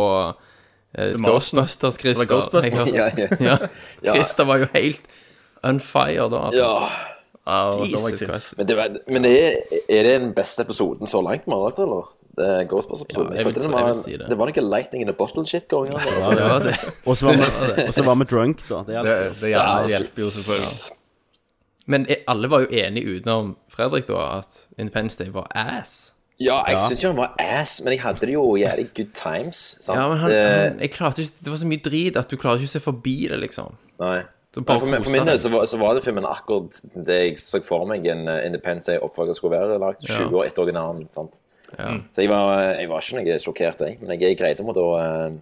S12: eh,
S9: The Martian.
S12: Ghostbusters, Christer.
S9: Eller Ghostbusters.
S12: Jeg hørte-
S9: Ja, ja.
S12: ja.
S5: Ja.
S12: Christer var jo helt on fire da, altså.
S5: Ja.
S12: Jesus Christ.
S5: Men, det, var- men det er, er det den beste episoden så langt vi har lagt, eller? Det er Ghostbusters-episoden.
S12: Ja,
S5: Jeg
S12: jeg vil-
S5: følte det
S12: jeg
S5: var,
S12: vil si det.
S5: det var noe lightning in a bottle shit going on. altså.
S1: Ja, det var det. Og så var vi- og så var vi drunk, da. Det hjelper jo.
S9: Det, det hjelper,
S5: altså.
S9: det hjelper jo selvfølgelig.
S12: Men eh, alle var jo enige utenom Fredrik, da, at Independence Day var ass.
S5: Ja, jeg synes jo han var ass, men jeg hadde det jo jævlig good times. Sant?
S12: Ja, men han,
S5: Eh,
S12: han, jeg klarte ikke, Det var så mye drit at du klarer ikke å se forbi det, liksom.
S5: Nei.
S12: Så
S5: Nei,
S12: bare
S5: for, min- for
S12: kosa
S5: min del
S12: deg.
S5: så var, så var det filmen akkurat det jeg så for meg en eh, Independence Day-oppfølger skulle være, lagt
S12: Ja.
S5: 20 år etter originalen. sant?
S12: Ja.
S5: Så jeg var, eh, jeg var ikke noe sjokkert, jeg, men jeg greide om å da eh,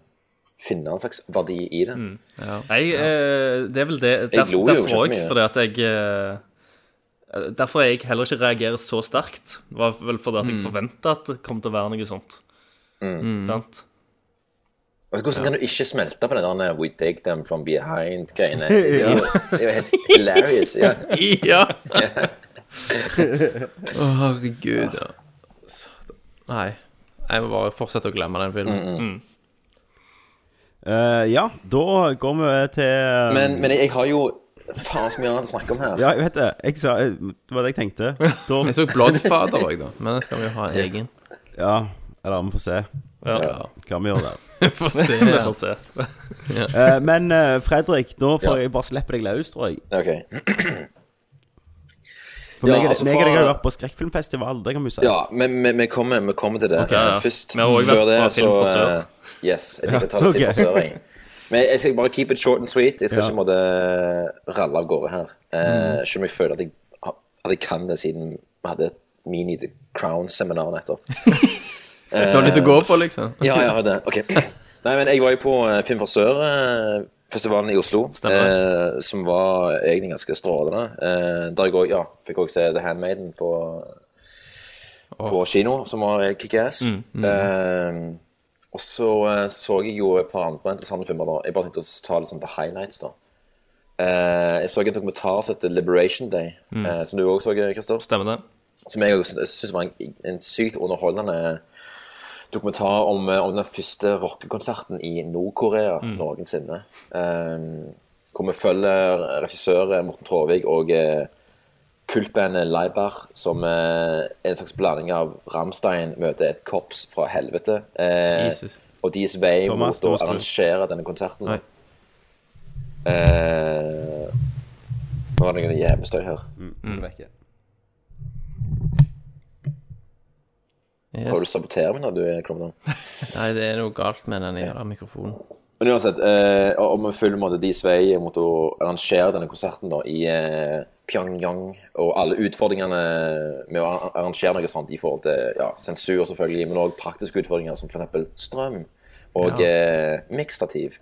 S5: finne en slags verdi i det.
S12: Mm.
S9: Jeg, eh, det er vel det
S5: Jeg
S9: der,
S5: lo jo
S9: Derfor òg,
S5: kjempemye.
S9: fordi at jeg eh, Derfor jeg heller ikke reagerer så sterkt. var vel fordi at jeg
S5: Mm.
S9: forventa at det kom til å være noe sånt.
S5: Mm.
S9: Sant?
S5: Altså, hvordan kan du ikke smelte på den der eh, We take them from behind-greiene?
S9: Ja.
S5: Det er jo- det er jo helt hilarious. Ja.
S12: Ja. Å, herregud, ja. Satan. Nei. Jeg må bare fortsette å glemme den filmen.
S5: Mm, mm.
S1: Eh, ja, da går vi til eh,
S5: Men, men jeg, jeg har jo faen så mye annet å snakke om her.
S1: Ja, jeg vet det. Jeg sa, eh, det var det jeg tenkte. Da...
S12: Jeg så Bloodfather også, da. Men den skal vi jo ha en egen.
S1: Ja, eller vi får se.
S12: Ja.
S1: Hva vi gjør der.
S12: Vi får se,
S9: Vi får se.
S12: Ja.
S1: Eh, men eh, Fredrik, nå får
S5: Ja.
S1: jeg bare slippe deg løs, tror jeg.
S5: Ok.
S1: For
S5: Ja,
S1: meg,
S5: altså,
S1: meg og
S5: for-
S1: deg har jo vært på skrekkfilmfestival, det kan vi si.
S5: Ja, men vi- vi kommer, vi kommer til det.
S1: Ok,
S5: Men
S1: ja.
S5: Først,
S1: Vi har også
S5: før
S1: vært fra
S5: det,
S1: Film fra Sør.
S5: eh, Yes, jeg tenkte å ta
S1: Ja,
S5: litt
S1: ok.
S5: fra sør, jeg. Men jeg skal bare keep it short and sweet. Jeg skal
S1: Ja.
S5: ikke måtte ralle av gårde her. Eh,
S1: Mm.
S5: Selv om jeg føler at jeg, har- at jeg kan det, siden vi hadde et Mini The Crown-seminar nettopp.
S12: Du har litt å gå på, liksom.
S5: ja, jeg har det. Ok. Nei, men jeg var jo på eh, Film fra Sør-festivalen i Oslo, eh, som var egentlig ganske strålende. Eh, der jeg også, ja, fikk også se The Handmaiden på, på kino, som var helt kickass.
S12: Mm, mm.
S5: Eh, og så eh, så jeg jo et par andre interessante filmer. da. Jeg bare tenkte å ta litt sånn the highlights, da. Eh, jeg så en dokumentar som heter Liberation Day,
S9: Mm.
S5: eh, som du òg så, Christer.
S9: Stemmer det.
S5: Som jeg også syns var en, en sykt underholdende dokumentar om, eh, om den første rockekonserten i Nord-Korea
S9: Mm.
S5: noensinne. Eh, hvor vi følger regissør Morten Traavik og eh, kultbandet Leiber, som eh, er en slags blanding av Rammstein møter et korps fra helvete. eh,
S12: Jesus.
S5: og deres vei
S12: Thomas,
S5: mot å
S12: Thomas Cruz.
S5: arrangere denne konserten.
S12: Nei.
S5: Eh, nå er det noe jævlig støy her.
S12: Mm.
S5: Prøver du å sabotere meg når du er Cromdon?
S12: Nei, det er noe galt med den jævla mikrofonen.
S5: Men uansett, eh, om vi følger måte deres vei mot å arrangere denne konserten da, i eh, Pyongyang, og alle utfordringene med å ar- arrangere noe sånt i forhold til ja, sensur selvfølgelig, men også praktiske utfordringer som f.eks. strøm og
S12: Ja.
S5: eh, miksstativ.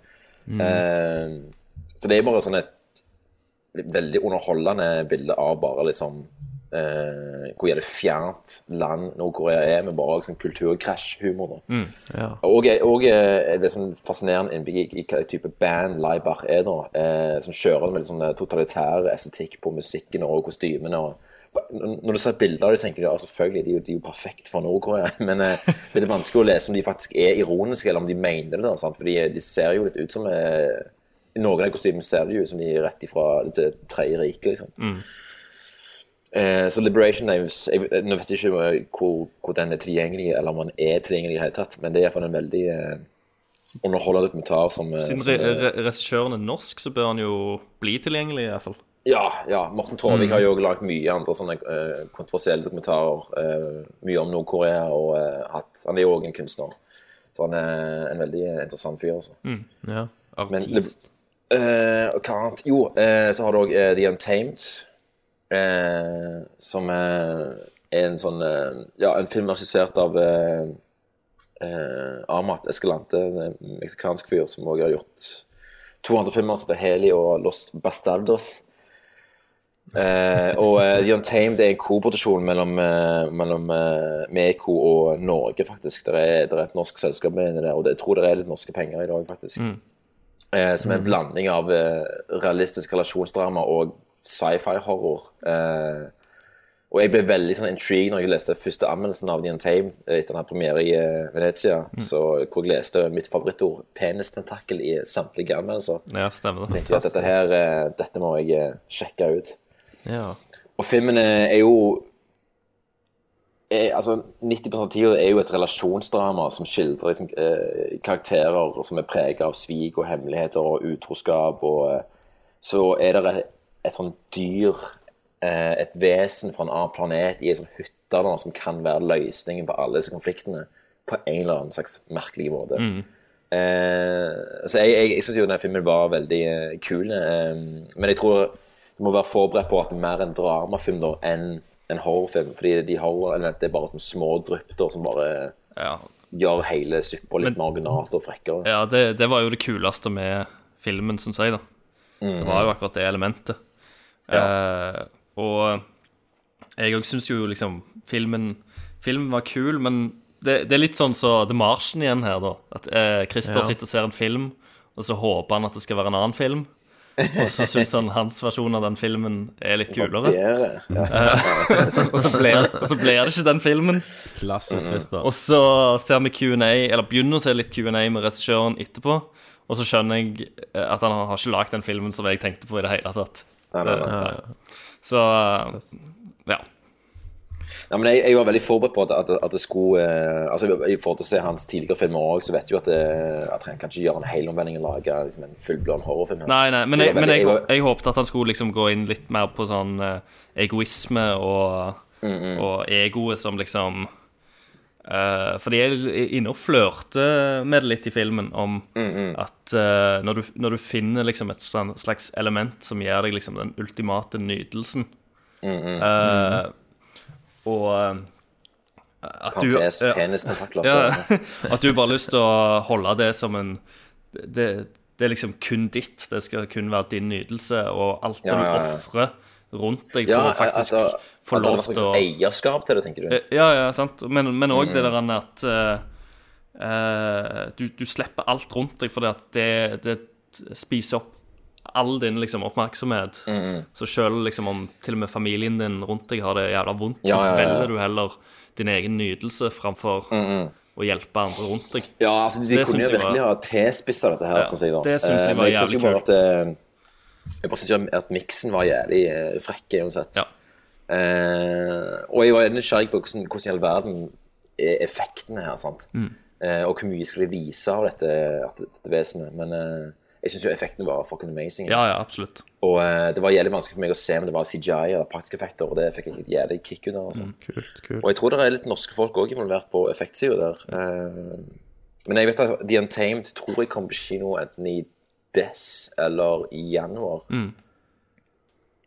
S12: Mm.
S5: Eh, så det er bare sånn et veldig underholdende bilde av bare liksom eh, hvor jævlig fjernt land Nord-Korea er, med bare liksom, kulturkrasj-humor. da.
S12: Mm. Ja.
S5: Og, og eh, det som fascinerende innbygg i, i hva type band Laibach er, da, eh, som kjører med litt sånn eh, totalitær estetikk på musikken og kostymene. og når du ser bilder av dem, tenker du ja, selvfølgelig, de er jo, de er jo perfekte for Nord-Korea. Men eh, det er vanskelig å lese om de faktisk er ironiske, eller om de mener det. da, sant? For de, de ser jo litt ut som eh, Noen av kostymene ser det jo ut som de er rett ifra det tredje riket. liksom.
S9: Mm.
S5: Eh, så Liberation Names jeg, jeg- Nå vet jeg ikke hvor, hvor den er tilgjengelig, eller om den er tilgjengelig i det hele tatt, men det er iallfall en veldig eh, underholdende dokumentar som eh,
S9: Siden
S5: som,
S9: re
S5: eh,
S9: re regissøren er norsk, så bør han jo bli tilgjengelig, i hvert fall.
S5: Ja, ja. Morten Traavik
S9: Mm.
S5: har jo også lagd mye andre sånne eh, kontroversielle dokumentarer. eh, mye om Nord-Korea og eh, hatt Han er jo òg en kunstner. Så han er en veldig eh, interessant fyr, altså.
S12: Mm. Ja.
S5: Men-
S12: Artist.
S5: Eh, og hva annet? Jo, eh, så har du òg The Untamed. eh, som eh, er en sånn eh, Ja, en film regissert av eh, eh, Amat Escalante, en eh, meksikansk fyr som òg har gjort to andre filmer, som heter Heli og Lost Bastardos. Eh, og eh, The Untamed er en koproduksjon mellom, eh, mellom eh, Meko og Norge, faktisk. Det er, der er et norsk selskap med inni der, og det, jeg tror det er litt norske penger i dag, faktisk.
S9: Mm.
S5: Eh, som er en
S9: Mm.
S5: blanding av eh, realistisk relasjonsdrama og sci-fi-horror. Eh, og jeg ble veldig sånn intrigued når jeg leste første anmeldelsen av The Untamed eh, etter den her premiere i eh, Venezia,
S9: Mm.
S5: så, hvor jeg leste mitt favorittord, penistentakel, i samtlige anmeldelser.
S9: Ja, stemmer
S5: Jeg
S9: det.
S5: tenkte at dette her, eh, dette må jeg eh, sjekke ut.
S12: Ja.
S5: Og filmen er er jo er, altså 90 av tida er jo et relasjonsdrama som skildrer liksom, eh, karakterer som er prega av svik og hemmeligheter og utroskap. Og, eh, så er det et, et sånn dyr, eh, et vesen fra en annen planet i ei sånn hytte da, som kan være løsningen på alle disse konfliktene på en eller annen slags merkelig måte.
S9: Mm.
S5: Eh, så jeg, jeg, jeg synes jo den filmen var veldig eh, kul, eh, men jeg tror du må være forberedt på at det er mer en dramafilm da, enn en horrorfilm, fordi de horrorelementene er bare som små drypp da, som bare gjør hele suppa litt
S9: Men-
S5: mer originalt og frekkere.
S9: Ja, det, det var jo det kuleste med filmen, syns jeg, da.
S5: Mm.
S9: Det var jo akkurat det elementet. Eh, og jeg òg syns jo liksom filmen, filmen var kul, men det, det er litt sånn som så The Martian igjen her, da. At eh, Christer
S12: Ja.
S9: sitter og ser en film, og så håper han at det skal være en annen film. Og så syns han hans versjon av den filmen er litt kulere.
S5: Bedre, ja.
S9: Eh, og, så blir, og så blir det ikke den filmen.
S1: Klassisk Christer.
S9: Og så ser vi Q&A, eller begynner å se litt Q&A med regissøren etterpå, og så skjønner jeg eh, at han har ikke lagt den filmen som jeg tenkte på i det hele tatt.
S5: Nei, nei, nei.
S9: Eh, Så eh, ja.
S5: Ja, men jeg, jeg var veldig forberedt på at, at, at det skulle eh, altså I forhold til å se hans tidligere filmer òg, så vet du at, det, at han kan ikke gjøre en helomvending og lage liksom, en fullblån horrorfilm. her.
S9: Nei, nei, men
S5: Så
S9: jeg,
S5: var
S9: men
S5: veldig-
S9: jeg,
S5: var-
S9: jeg håpet at han skulle liksom gå inn litt mer på sånn eh, egoisme og,
S5: Mm,
S9: og egoet som liksom eh, For de er inne og flørter med det litt i filmen om
S5: Mm,
S9: at eh, når, du, når du finner liksom et sånn slags element som gir deg liksom den ultimate nytelsen
S5: Mm,
S9: eh, Og eh, at du
S5: Parentes,
S9: ja.
S5: penistentakler.
S9: Ja, at du bare har lyst til å holde det som en det, det er liksom kun ditt. Det skal kun være din nytelse, og alt det
S5: Ja, ja, ja.
S9: du ofrer rundt deg,
S5: Ja,
S9: for å
S5: at-
S9: faktisk
S5: at-
S9: få
S5: at det er
S9: lov
S5: noe slags
S9: til å Eh,
S5: Eierskap til det, tenker du?
S9: Ja, ja, sant. Men òg
S5: Mm.
S9: det der at eh, eh, du, du slipper alt rundt deg, fordi at det, det spiser opp all din liksom, oppmerksomhet.
S5: Mm.
S9: Så selv liksom, om til og med familien din rundt deg har det jævla vondt,
S5: Ja, ja, ja,
S9: så
S5: ja.
S9: velger du heller din egen nytelse framfor
S5: Mm, mm.
S9: å hjelpe andre rundt deg.
S5: Ja, altså, de
S9: Det
S5: kunne
S9: syns
S5: jo
S9: jeg
S5: virkelig
S9: var-
S5: ha tespissa dette her.
S9: Ja,
S5: synes jeg da.
S9: det syns jeg
S5: Eh, men
S9: var
S5: synes jo
S9: jævlig
S5: bare At, eh, jeg bare syns jo at miksen var jævlig eh, frekk uansett. Eh, og jeg var nysgjerrig på hvordan, hvordan i all verden er effektene her. sant?
S9: Mm.
S5: Eh, og hvor mye skal de vise av dette, at- dette vesenet. Men eh, jeg syns jo effektene var fucking amazing.
S9: Ja, ja, absolutt.
S5: Og eh, det var jævlig vanskelig for meg å se om det var CGI eller praktiske effekter, og det fikk jeg et jævlig kick under. altså.
S9: Mm.
S12: Kult, kult.
S5: Og jeg tror det er litt norske folk òg involvert på effektsida der. Eh, Men jeg vet at The Untamed tror jeg kom på kino enten i Dess eller i januar.
S9: Mm.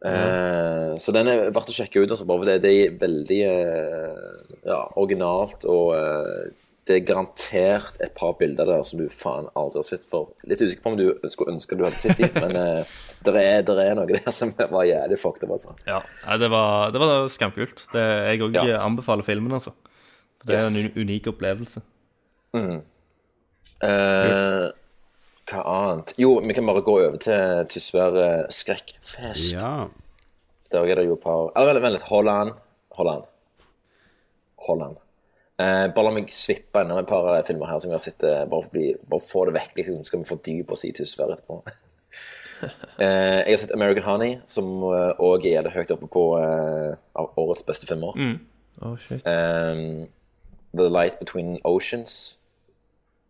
S5: Eh, Så den er verdt å sjekke ut. Altså, bare for det, det er veldig eh, ja, originalt og eh, det er garantert et par bilder der som du faen aldri har sett før. Litt usikker på om du skulle ønske du hadde sett dem, men eh, der, er, der er noe der som var jævlig fucked up, altså.
S9: Ja, nei, det var, det var skamkult. Det, jeg òg anbefaler filmen, altså. For det er
S5: Yes.
S9: en un- unik opplevelse.
S5: Mm. Eh, hva annet? Jo, vi kan bare gå over til, til Sverre Skrekkfest.
S1: Ja.
S5: Der er det jo et par Eller vent litt. Holland. Holland. Holland. Eh, bare la meg svippe innom et par filmer her som vi har sett. eh, Bare, for å bli, bare få det vekk, liksom, så skal vi fordype oss i Tysvær etterpå. Eh, jeg har sett American Honey, som òg er jævlig høyt oppe på eh, av årets beste filmer.
S12: Mm. Oh, shit.
S5: Um, The Light Between Oceans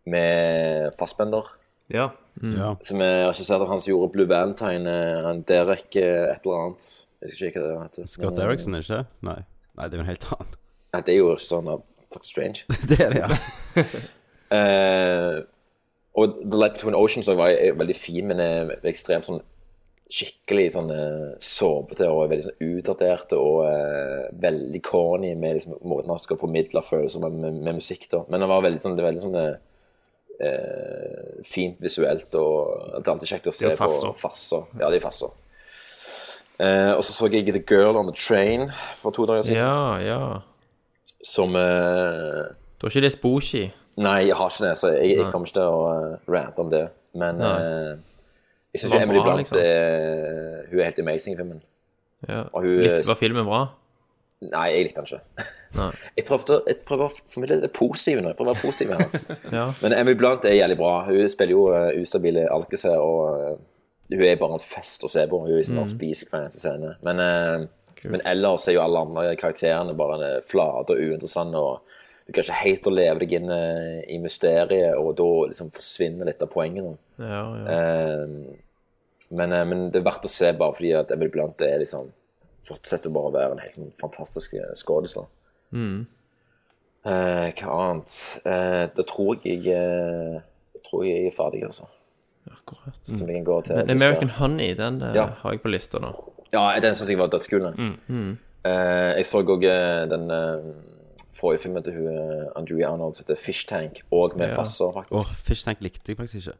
S5: med Fassbender.
S9: Ja.
S5: Som er regissert av han som gjorde Blue Valentine, eh, han Derek eh, et eller annet. Jeg husker ikke hva det heter.
S1: Scott
S5: Men, eh,
S1: Derrickson, ikke det? Nei. Nei, det er jo en helt annen.
S5: Nei, det er jo regissøren av Doctor Strange.
S1: Det er det, ja.
S5: Eh, og The Light Between Oceans også var er veldig fin, men er ekstremt sånn skikkelig sånn eh, såpete og veldig sånn utdatert og eh, veldig corny med liksom, måten han skal formidle følelser med, med, med musikk da. Men det var veldig sånn, det er veldig sånn eh, eh, fint visuelt og det er alltid kjekt å
S9: Det er
S5: se på
S9: fasser.
S5: fasser. Ja, de er fasser. Eh, og så så jeg The Girl on the Train for to dager siden.
S12: Ja, ja.
S5: Som eh,
S12: Du har ikke lest Boshi?
S5: Nei, jeg har ikke det, så jeg, jeg
S12: Nei.
S5: kommer ikke til å eh, rante om det. Men
S12: Nei.
S5: eh, jeg syns
S12: Det var
S5: Emily
S12: bra,
S5: Blunt
S12: liksom.
S5: er, hun er helt amazing i filmen.
S12: Ja.
S5: Og hun-
S12: Likte- var filmen bra?
S5: Nei, jeg likte den ikke.
S12: Nei.
S5: Jeg prøvde, å- jeg prøver å formidle det positive nå. Jeg prøver å være positiv her.
S12: Ja.
S5: Men Emily Blunt er jævlig bra. Hun spiller jo eh, ustabile alkiser, og eh, hun er bare en fest å se på. Hun er liksom
S12: Mm.
S5: bare spiser hver eneste scene. Men, eh,
S12: Kult.
S5: men ellers er jo alle andre karakterene bare eh, flate og uinteressante. og du kan ikke helt å leve deg inn eh, i mysteriet, og da liksom forsvinner litt av poenget. nå.
S12: Ja, ja.
S5: Eh, men, eh, men det er verdt å se bare fordi at Emily Blunt er liksom, fortsetter bare å være en helt sånn fantastisk eh, skuespiller.
S12: Mm.
S5: Eh, hva annet? Eh, da tror jeg jeg, eh, jeg tror jeg er ferdig, altså.
S12: Akkurat. Mm.
S5: Som vi kan gå til.
S12: Men
S5: til
S12: American
S5: Sverige.
S12: Honey, den eh,
S5: Ja.
S12: har jeg på lista nå.
S5: Ja, den syns jeg var dødskul. den.
S12: Mm.
S5: Eh, jeg så òg den eh, forrige filmen til hun, eh, Andrea Arnold som heter Fish Tank, og med
S1: Ja.
S5: Fasser, faktisk.
S1: Åh, Fish Tank likte jeg faktisk ikke.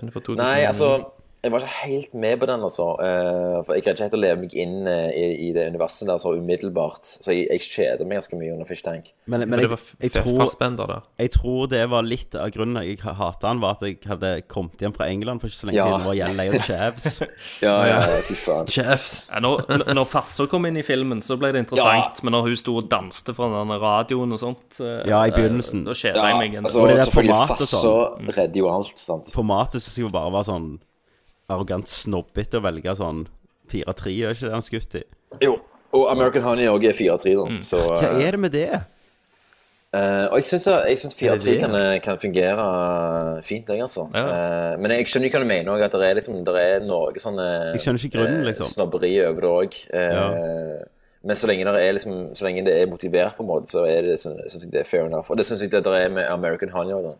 S12: Den er for
S5: Nei, altså Jeg var ikke helt med på den, altså. Eh, for jeg greide ikke helt å leve meg inn eh, i, i det universet der så umiddelbart. Så jeg, jeg kjeder meg ganske mye under Fish Tank.
S1: Men, men jeg, jeg, tror, jeg tror det var litt av grunnen jeg hata han, var at jeg hadde kommet hjem fra England for ikke så lenge
S5: Ja.
S1: siden og var jævlig lei av Chavs.
S5: Ja, ja, ja, Eh, fy faen.
S9: Ja, når, n- når Fasser kom inn i filmen, så ble det interessant. Men når hun sto og danste fra den radioen og sånt eh,
S1: Ja, i begynnelsen.
S9: eh, Da kjeda jeg meg. en del.
S5: altså,
S1: Og det der
S5: selvfølgelig
S1: formatet og
S5: Fasser
S1: sånn.
S5: redder jo alt, sant.
S1: Formatet syns jeg bare var sånn arrogant snobbete å velge sånn 4-3, gjør ikke det han skutt i?
S5: Jo. Og American Honey òg er 4-3, da. Så
S1: Hva er det med det?
S5: Eh, og jeg syns, jeg syns
S1: Er det
S5: 4-3
S1: det?
S5: kan, eh, kan fungere fint, jeg, altså. Eh, men jeg skjønner ikke hva du mener òg, at det er, liksom, det er noe sånn eh,
S1: Jeg skjønner ikke grunnen,
S5: eh,
S1: liksom.
S5: Snobberi over det òg. Men så lenge, det er liksom, så lenge det er motivert, på en måte, så er det, så, synes jeg det er fair enough. Og det syns jeg det der er med American Honey òg.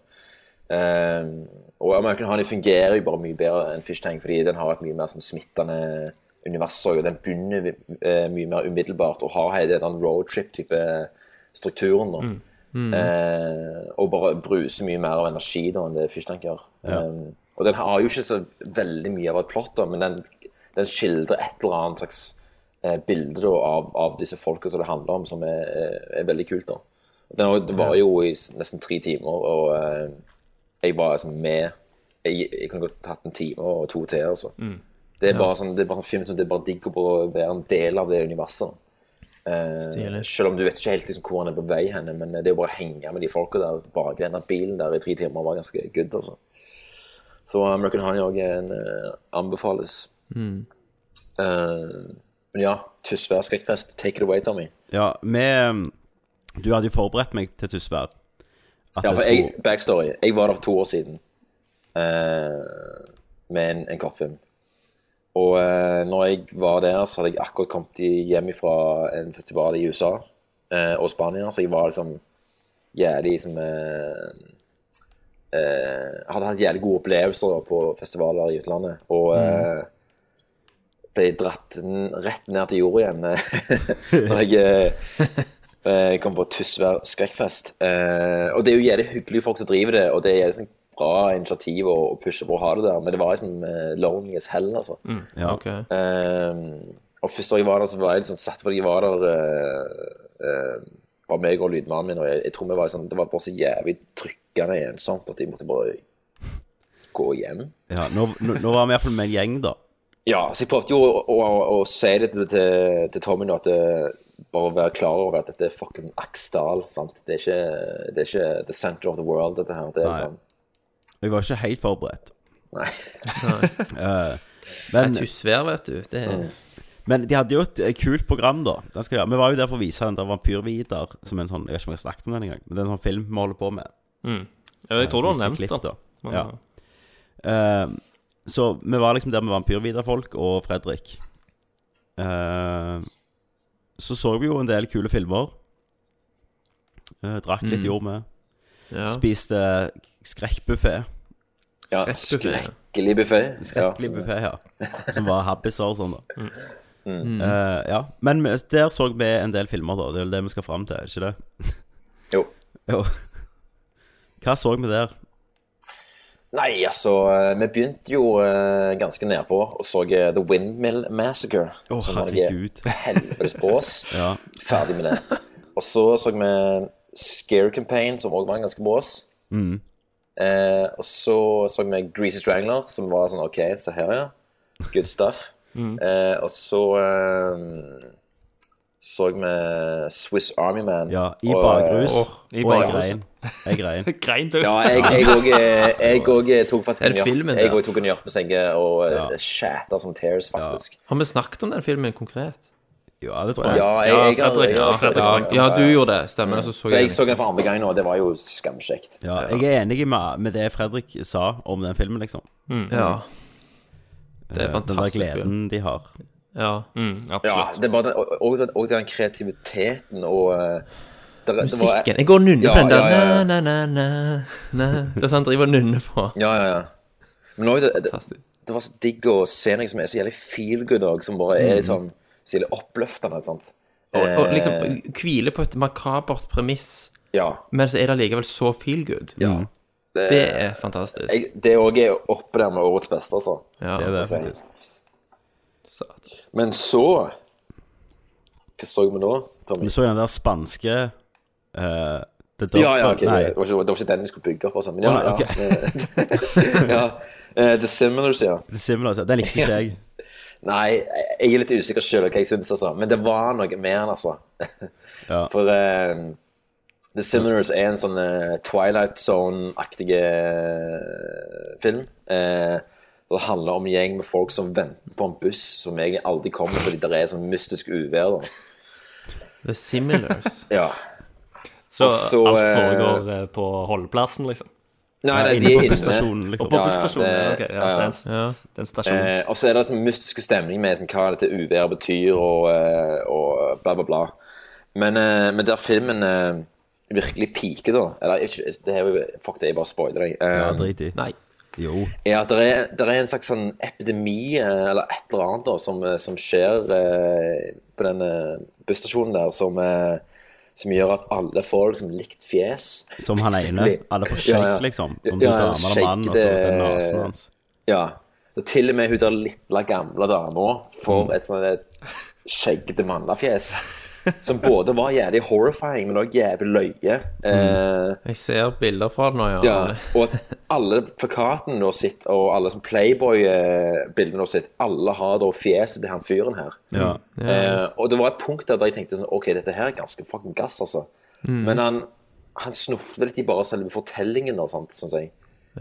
S5: Ehm, og American Honey fungerer jo bare mye bedre enn Fish Tank, fordi den har et mye mer sånn, smittende univers. også, Og den begynner eh, mye mer umiddelbart og har hele den roadtrip-type strukturen. da.
S12: Mm. Mm.
S5: Eh, og bare bruser mye mer av energi da enn det Fishtank gjør.
S12: Ja.
S5: Um, og den har jo ikke så veldig mye av et plott, da, men den, den skildrer et eller annet slags eh, bilde da, av, av disse folka som det handler om, som er, eh, er- er veldig kult. da. Den var, den var jo i s- nesten tre timer, og eh, jeg var liksom med jeg, jeg kunne godt hatt en time og to til. altså.
S12: Mm.
S5: Det er
S12: Ja.
S5: bare sånn, det er bare sånn film som det er bare digg å bare være en del av det universet. da. Eh,
S12: Stilig.
S5: selv om du vet ikke helt liksom, hvor han er på vei henne, men eh, det å bare henge med de folka der bak den der bilen der i tre timer var ganske good, altså. Så eh, American Honey òg uh, anbefales.
S12: Mm.
S5: Eh, men ja, Tysvær skrekkfest, take it away, Tommy.
S1: Ja, vi Du hadde jo forberedt meg til Tysvær. At
S5: Ja,
S1: det
S5: for jeg,
S1: skulle-
S5: backstory. Jeg var der for to år siden eh, med en, en kortfilm. Og eh, når jeg var der, så hadde jeg akkurat kommet i- hjem fra en festival i USA eh, og Spania, så jeg var liksom jævlig liksom, eh, eh, Hadde hatt jævlig gode opplevelser da, på festivaler i utlandet. Og
S1: Mm.
S5: eh, ble dratt n rett ned til jorda igjen eh, når jeg eh, Eh, Jeg kom på Tysvær Skrekkfest. Eh, og det er jo jævlig hyggelige folk som driver det, og det er jævlig sånn bra initiativ å å pushe på å ha det der, men det var liksom eh, lonely as hell, altså.
S12: Mm, ja. Ok.
S5: Eh, og først da jeg var der, så var jeg litt sånn satt fordi jeg var der eh, eh, var meg og lydmannen min, og jeg, jeg tror vi var sånn, det var bare så jævlig trykkende ensomt at jeg måtte bare gå hjem.
S1: Ja, nå, nå, nå var vi iallfall med en gjeng, da.
S5: Ja, så jeg prøvde jo å, å, å si det til, til, til Tommy nå, at det, bare være klar over at dette er fucking Aksdal, sant? Det er ikke, det er ikke the center of the world, dette her. Det er
S1: Nei.
S5: sånn,
S1: Jeg var ikke helt forberedt.
S5: nei.
S1: Eh,
S12: Nei, Tysvær, vet du. Det er
S1: Men de hadde jo et eh, kult program, da. Den skal, vi var jo der for å vise den der Vampyrvidar, som er en sånn Jeg vet ikke om jeg har snakket om den engang, men det er en sånn film vi holder på med.
S9: Mm. Ja, jeg
S1: Eh,
S9: tror
S1: som
S9: du har
S1: viste
S9: nevnt
S1: klipp,
S9: det. Men,
S1: Ja. Eh, så vi var liksom der med Vampyrvidar-folk og Fredrik. Eh, så så vi jo en del kule filmer. Eh, drakk litt
S12: Mm.
S1: jord med.
S12: Ja.
S1: Spiste skrekkbuffé.
S5: Ja, Skrekkbuffet. skrekkelig buffet, ja.
S1: Skrekkelig buffet, ja. Som var habbiser og sånn, da.
S5: Mm.
S1: Eh, ja. Men vi- der så vi en del filmer, da. Det er vel det vi skal fram til, er ikke det?
S5: Jo.
S1: jo. Hva så vi der?
S5: Nei, altså, eh, vi begynte jo eh, ganske nedpå og så eh, The Windmill Massacre.
S1: Å,
S5: som var noe
S1: herregud.
S5: Helvetes brås.
S1: Ja.
S5: Ferdig med det. Og så så vi Scare Campaign, som også var en ganske brås.
S1: Mm.
S5: Eh, og så så vi Greasy Strangler, som var sånn OK, se her, ja. Good stuff.
S12: Mm.
S5: Eh, og så eh, så vi Swiss Army Man.
S1: Ja, i
S5: og- eh,
S1: bakrus. og
S5: i
S1: jeg
S5: bakrus.
S1: grein. Jeg grein.
S9: Grein,
S5: Ja, jeg- jeg òg jeg òg tok faktisk
S12: Er
S5: en
S12: det filmen
S5: hjørp Jeg
S12: der?
S5: òg tok en hjørp på seg og ja. shatter som tears, faktisk.
S12: Har vi snakket om den filmen konkret?
S1: Ja, det
S5: tror jeg. Ja, jeg- jeg- jeg-
S12: Fredrik, ja,
S5: jeg-
S12: Fredrik snakket om
S5: ja,
S12: det. ja, du gjorde det, stemmer.
S5: Mm.
S12: Så så
S5: Så jeg
S12: jeg
S5: så den for andre gang nå, og det var jo skamkjekt.
S1: Ja, jeg er enig med, med det Fredrik sa om den filmen, liksom.
S12: Mm. Ja. Det er
S1: Eh,
S12: fantastisk
S1: Den der gleden de har.
S12: Ja.
S5: Ja, det er bare den, og, og, den- og den kreativiteten og eh, det- det var-
S12: Musikken. Jeg går og nynner
S5: Ja,
S12: på den der.
S5: ja, ja, ja.
S12: Na, na, na, na, na. Det er sånn han driver og nynner på.
S5: Ja, ja, ja. Men nå, er det, det, det var så digg å se noe som er så jævlig feel good òg, som bare er
S12: Mm.
S5: liksom så jævlig oppløftende. Sant?
S12: Og, og
S5: Eh,
S12: liksom hvile på et makabert premiss,
S5: Ja.
S12: men så er det allikevel så feel good.
S5: Ja.
S12: Det, er fantastisk.
S5: Jeg, det òg er oppe der med årets beste, altså.
S12: Ja. Det er det, faktisk.
S5: Men så Hva så vi nå, Tommy?
S1: Vi så den der spanske eh, The Dog
S5: Ja, ja, ok,
S1: Nei.
S5: det, var ikke, det var ikke den vi skulle bygge opp, altså. Men
S1: Å,
S5: ja,
S1: nei,
S5: ja. ja. eh, The Similars, ja.
S1: The Similars, ja. Den likte ikke jeg.
S5: Nei, jeg er litt usikker sjøl hva jeg syns, altså. Men det var noe med den, altså. For eh, The Similars er en sånn eh, Twilight Zone-aktig eh, film. Eh, og det handler om en gjeng med folk som venter på en buss som egentlig aldri kommer fordi det er sånn mystisk uvær. da.
S12: The Similars.
S5: Ja.
S9: Så,
S5: Og så,
S9: alt
S5: eh,
S9: foregår eh, på holdeplassen, liksom?
S5: Nei, nei, de er inne.
S1: liksom.
S9: Og på busstasjonen, ja, ok. Ja,
S5: ja,
S9: Det,
S5: ja.
S9: er en, det er en stasjon.
S5: Eh, og så er det en mystisk stemning med liksom, hva dette uværet betyr, og, eh, og bla, bla, bla. Men, eh, men der filmen eh, virkelig piker, da Eller ikke, det er jo Fuck det, jeg bare spoiler deg. Eh,
S1: Ja, drit i.
S12: Nei.
S1: Jo.
S5: er at det er, der er en slags sånn epidemi eh, eller et eller annet da, som, eh, som skjer eh, på den eh, busstasjonen der, som, eh, som gjør at alle får liksom likt fjes.
S1: Som han
S5: basically.
S1: ene. Alle får shake, liksom. Om du er dame eller
S5: shake
S1: mann, og så
S5: det-
S1: den nasen hans.
S5: Ja. Så til og med hun der lille gamle dama får et sånt eh, et skjeggete mannefjes. Som både var jævlig horrifying, men òg jævlig løye. Eh,
S12: Jeg ser bilder fra den nå, ja.
S5: ja, og at alle plakatene nå sitt, og alle som Playboy-bildene nå sitt, alle har da fjeset til han fyren her.
S1: Ja.
S5: Eh, og det var et punkt der jeg tenkte sånn, ok, dette her er ganske fucking gass, altså.
S12: Mm.
S5: Men han, han snuffet litt i bare selve fortellingen og sånt, synes jeg.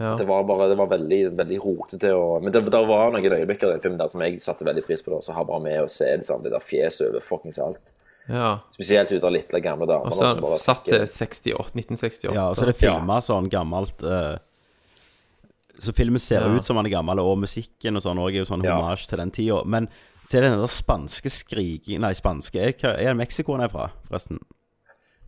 S12: Ja.
S5: Det var bare, det var veldig, veldig rotete og Men det, det var noen øyeblikker i den filmen der som jeg satte veldig pris på, da, så har bare med å se liksom, det der fjeset over fuckings alt.
S12: ja.
S5: Spesielt ut av lille gamle damer.
S12: Og
S5: da,
S12: så
S5: som bare
S12: satt
S5: tenker-
S12: det 68, 1968.
S1: Ja, og så er det filma sånn gammelt eh, Så filmen ser
S12: Ja.
S1: ut som han er gammel, og musikken og sånn også er jo sånn
S12: Ja.
S1: hommage til den tida. Men så er det den der spanske skriking Nei, spanske Er, hva- er det Mexico han er fra, forresten?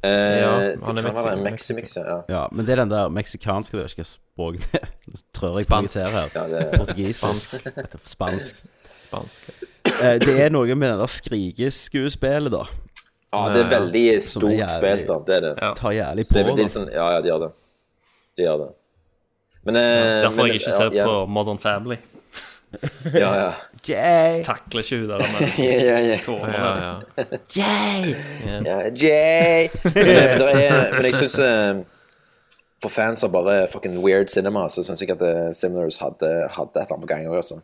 S5: Eh,
S12: Ja,
S5: det
S12: han er
S5: kan være en
S12: Mexi-
S5: Mexi-mix, ja.
S1: Ja, men det er den der meksikanske Det er ikke språket det er. Nå trør jeg på
S5: Spansk.
S1: gitar her.
S5: Ja, det er-
S1: Portugisisk. Spansk.
S5: Spansk.
S12: Spansk.
S1: Eh, Det er noe med det der skrikeskuespillet, da.
S5: Ja, det er veldig
S1: Som er
S5: stort
S1: jævlig-
S5: spilt, da. Det er det.
S1: Tar jævlig
S5: Så det er
S1: på,
S5: vel litt
S1: da.
S5: Sånn, ja, ja, de gjør det. De gjør det. Men, eh,
S9: Derfor
S5: men-
S9: har jeg ikke
S5: ja,
S9: sett
S5: ja.
S9: på Modern Family.
S5: Ja, ja.
S1: Jay.
S9: Takler ikke hun der med
S5: Ja, ja, ja.
S9: kårene.
S5: Ja, ja.
S1: Jay!
S5: Ja, Jay! Men, eh, der er, men jeg syns For fans av bare fucking weird cinema, så syns jeg at eh, Simoners hadde, hadde et eller annet på gang òg, altså.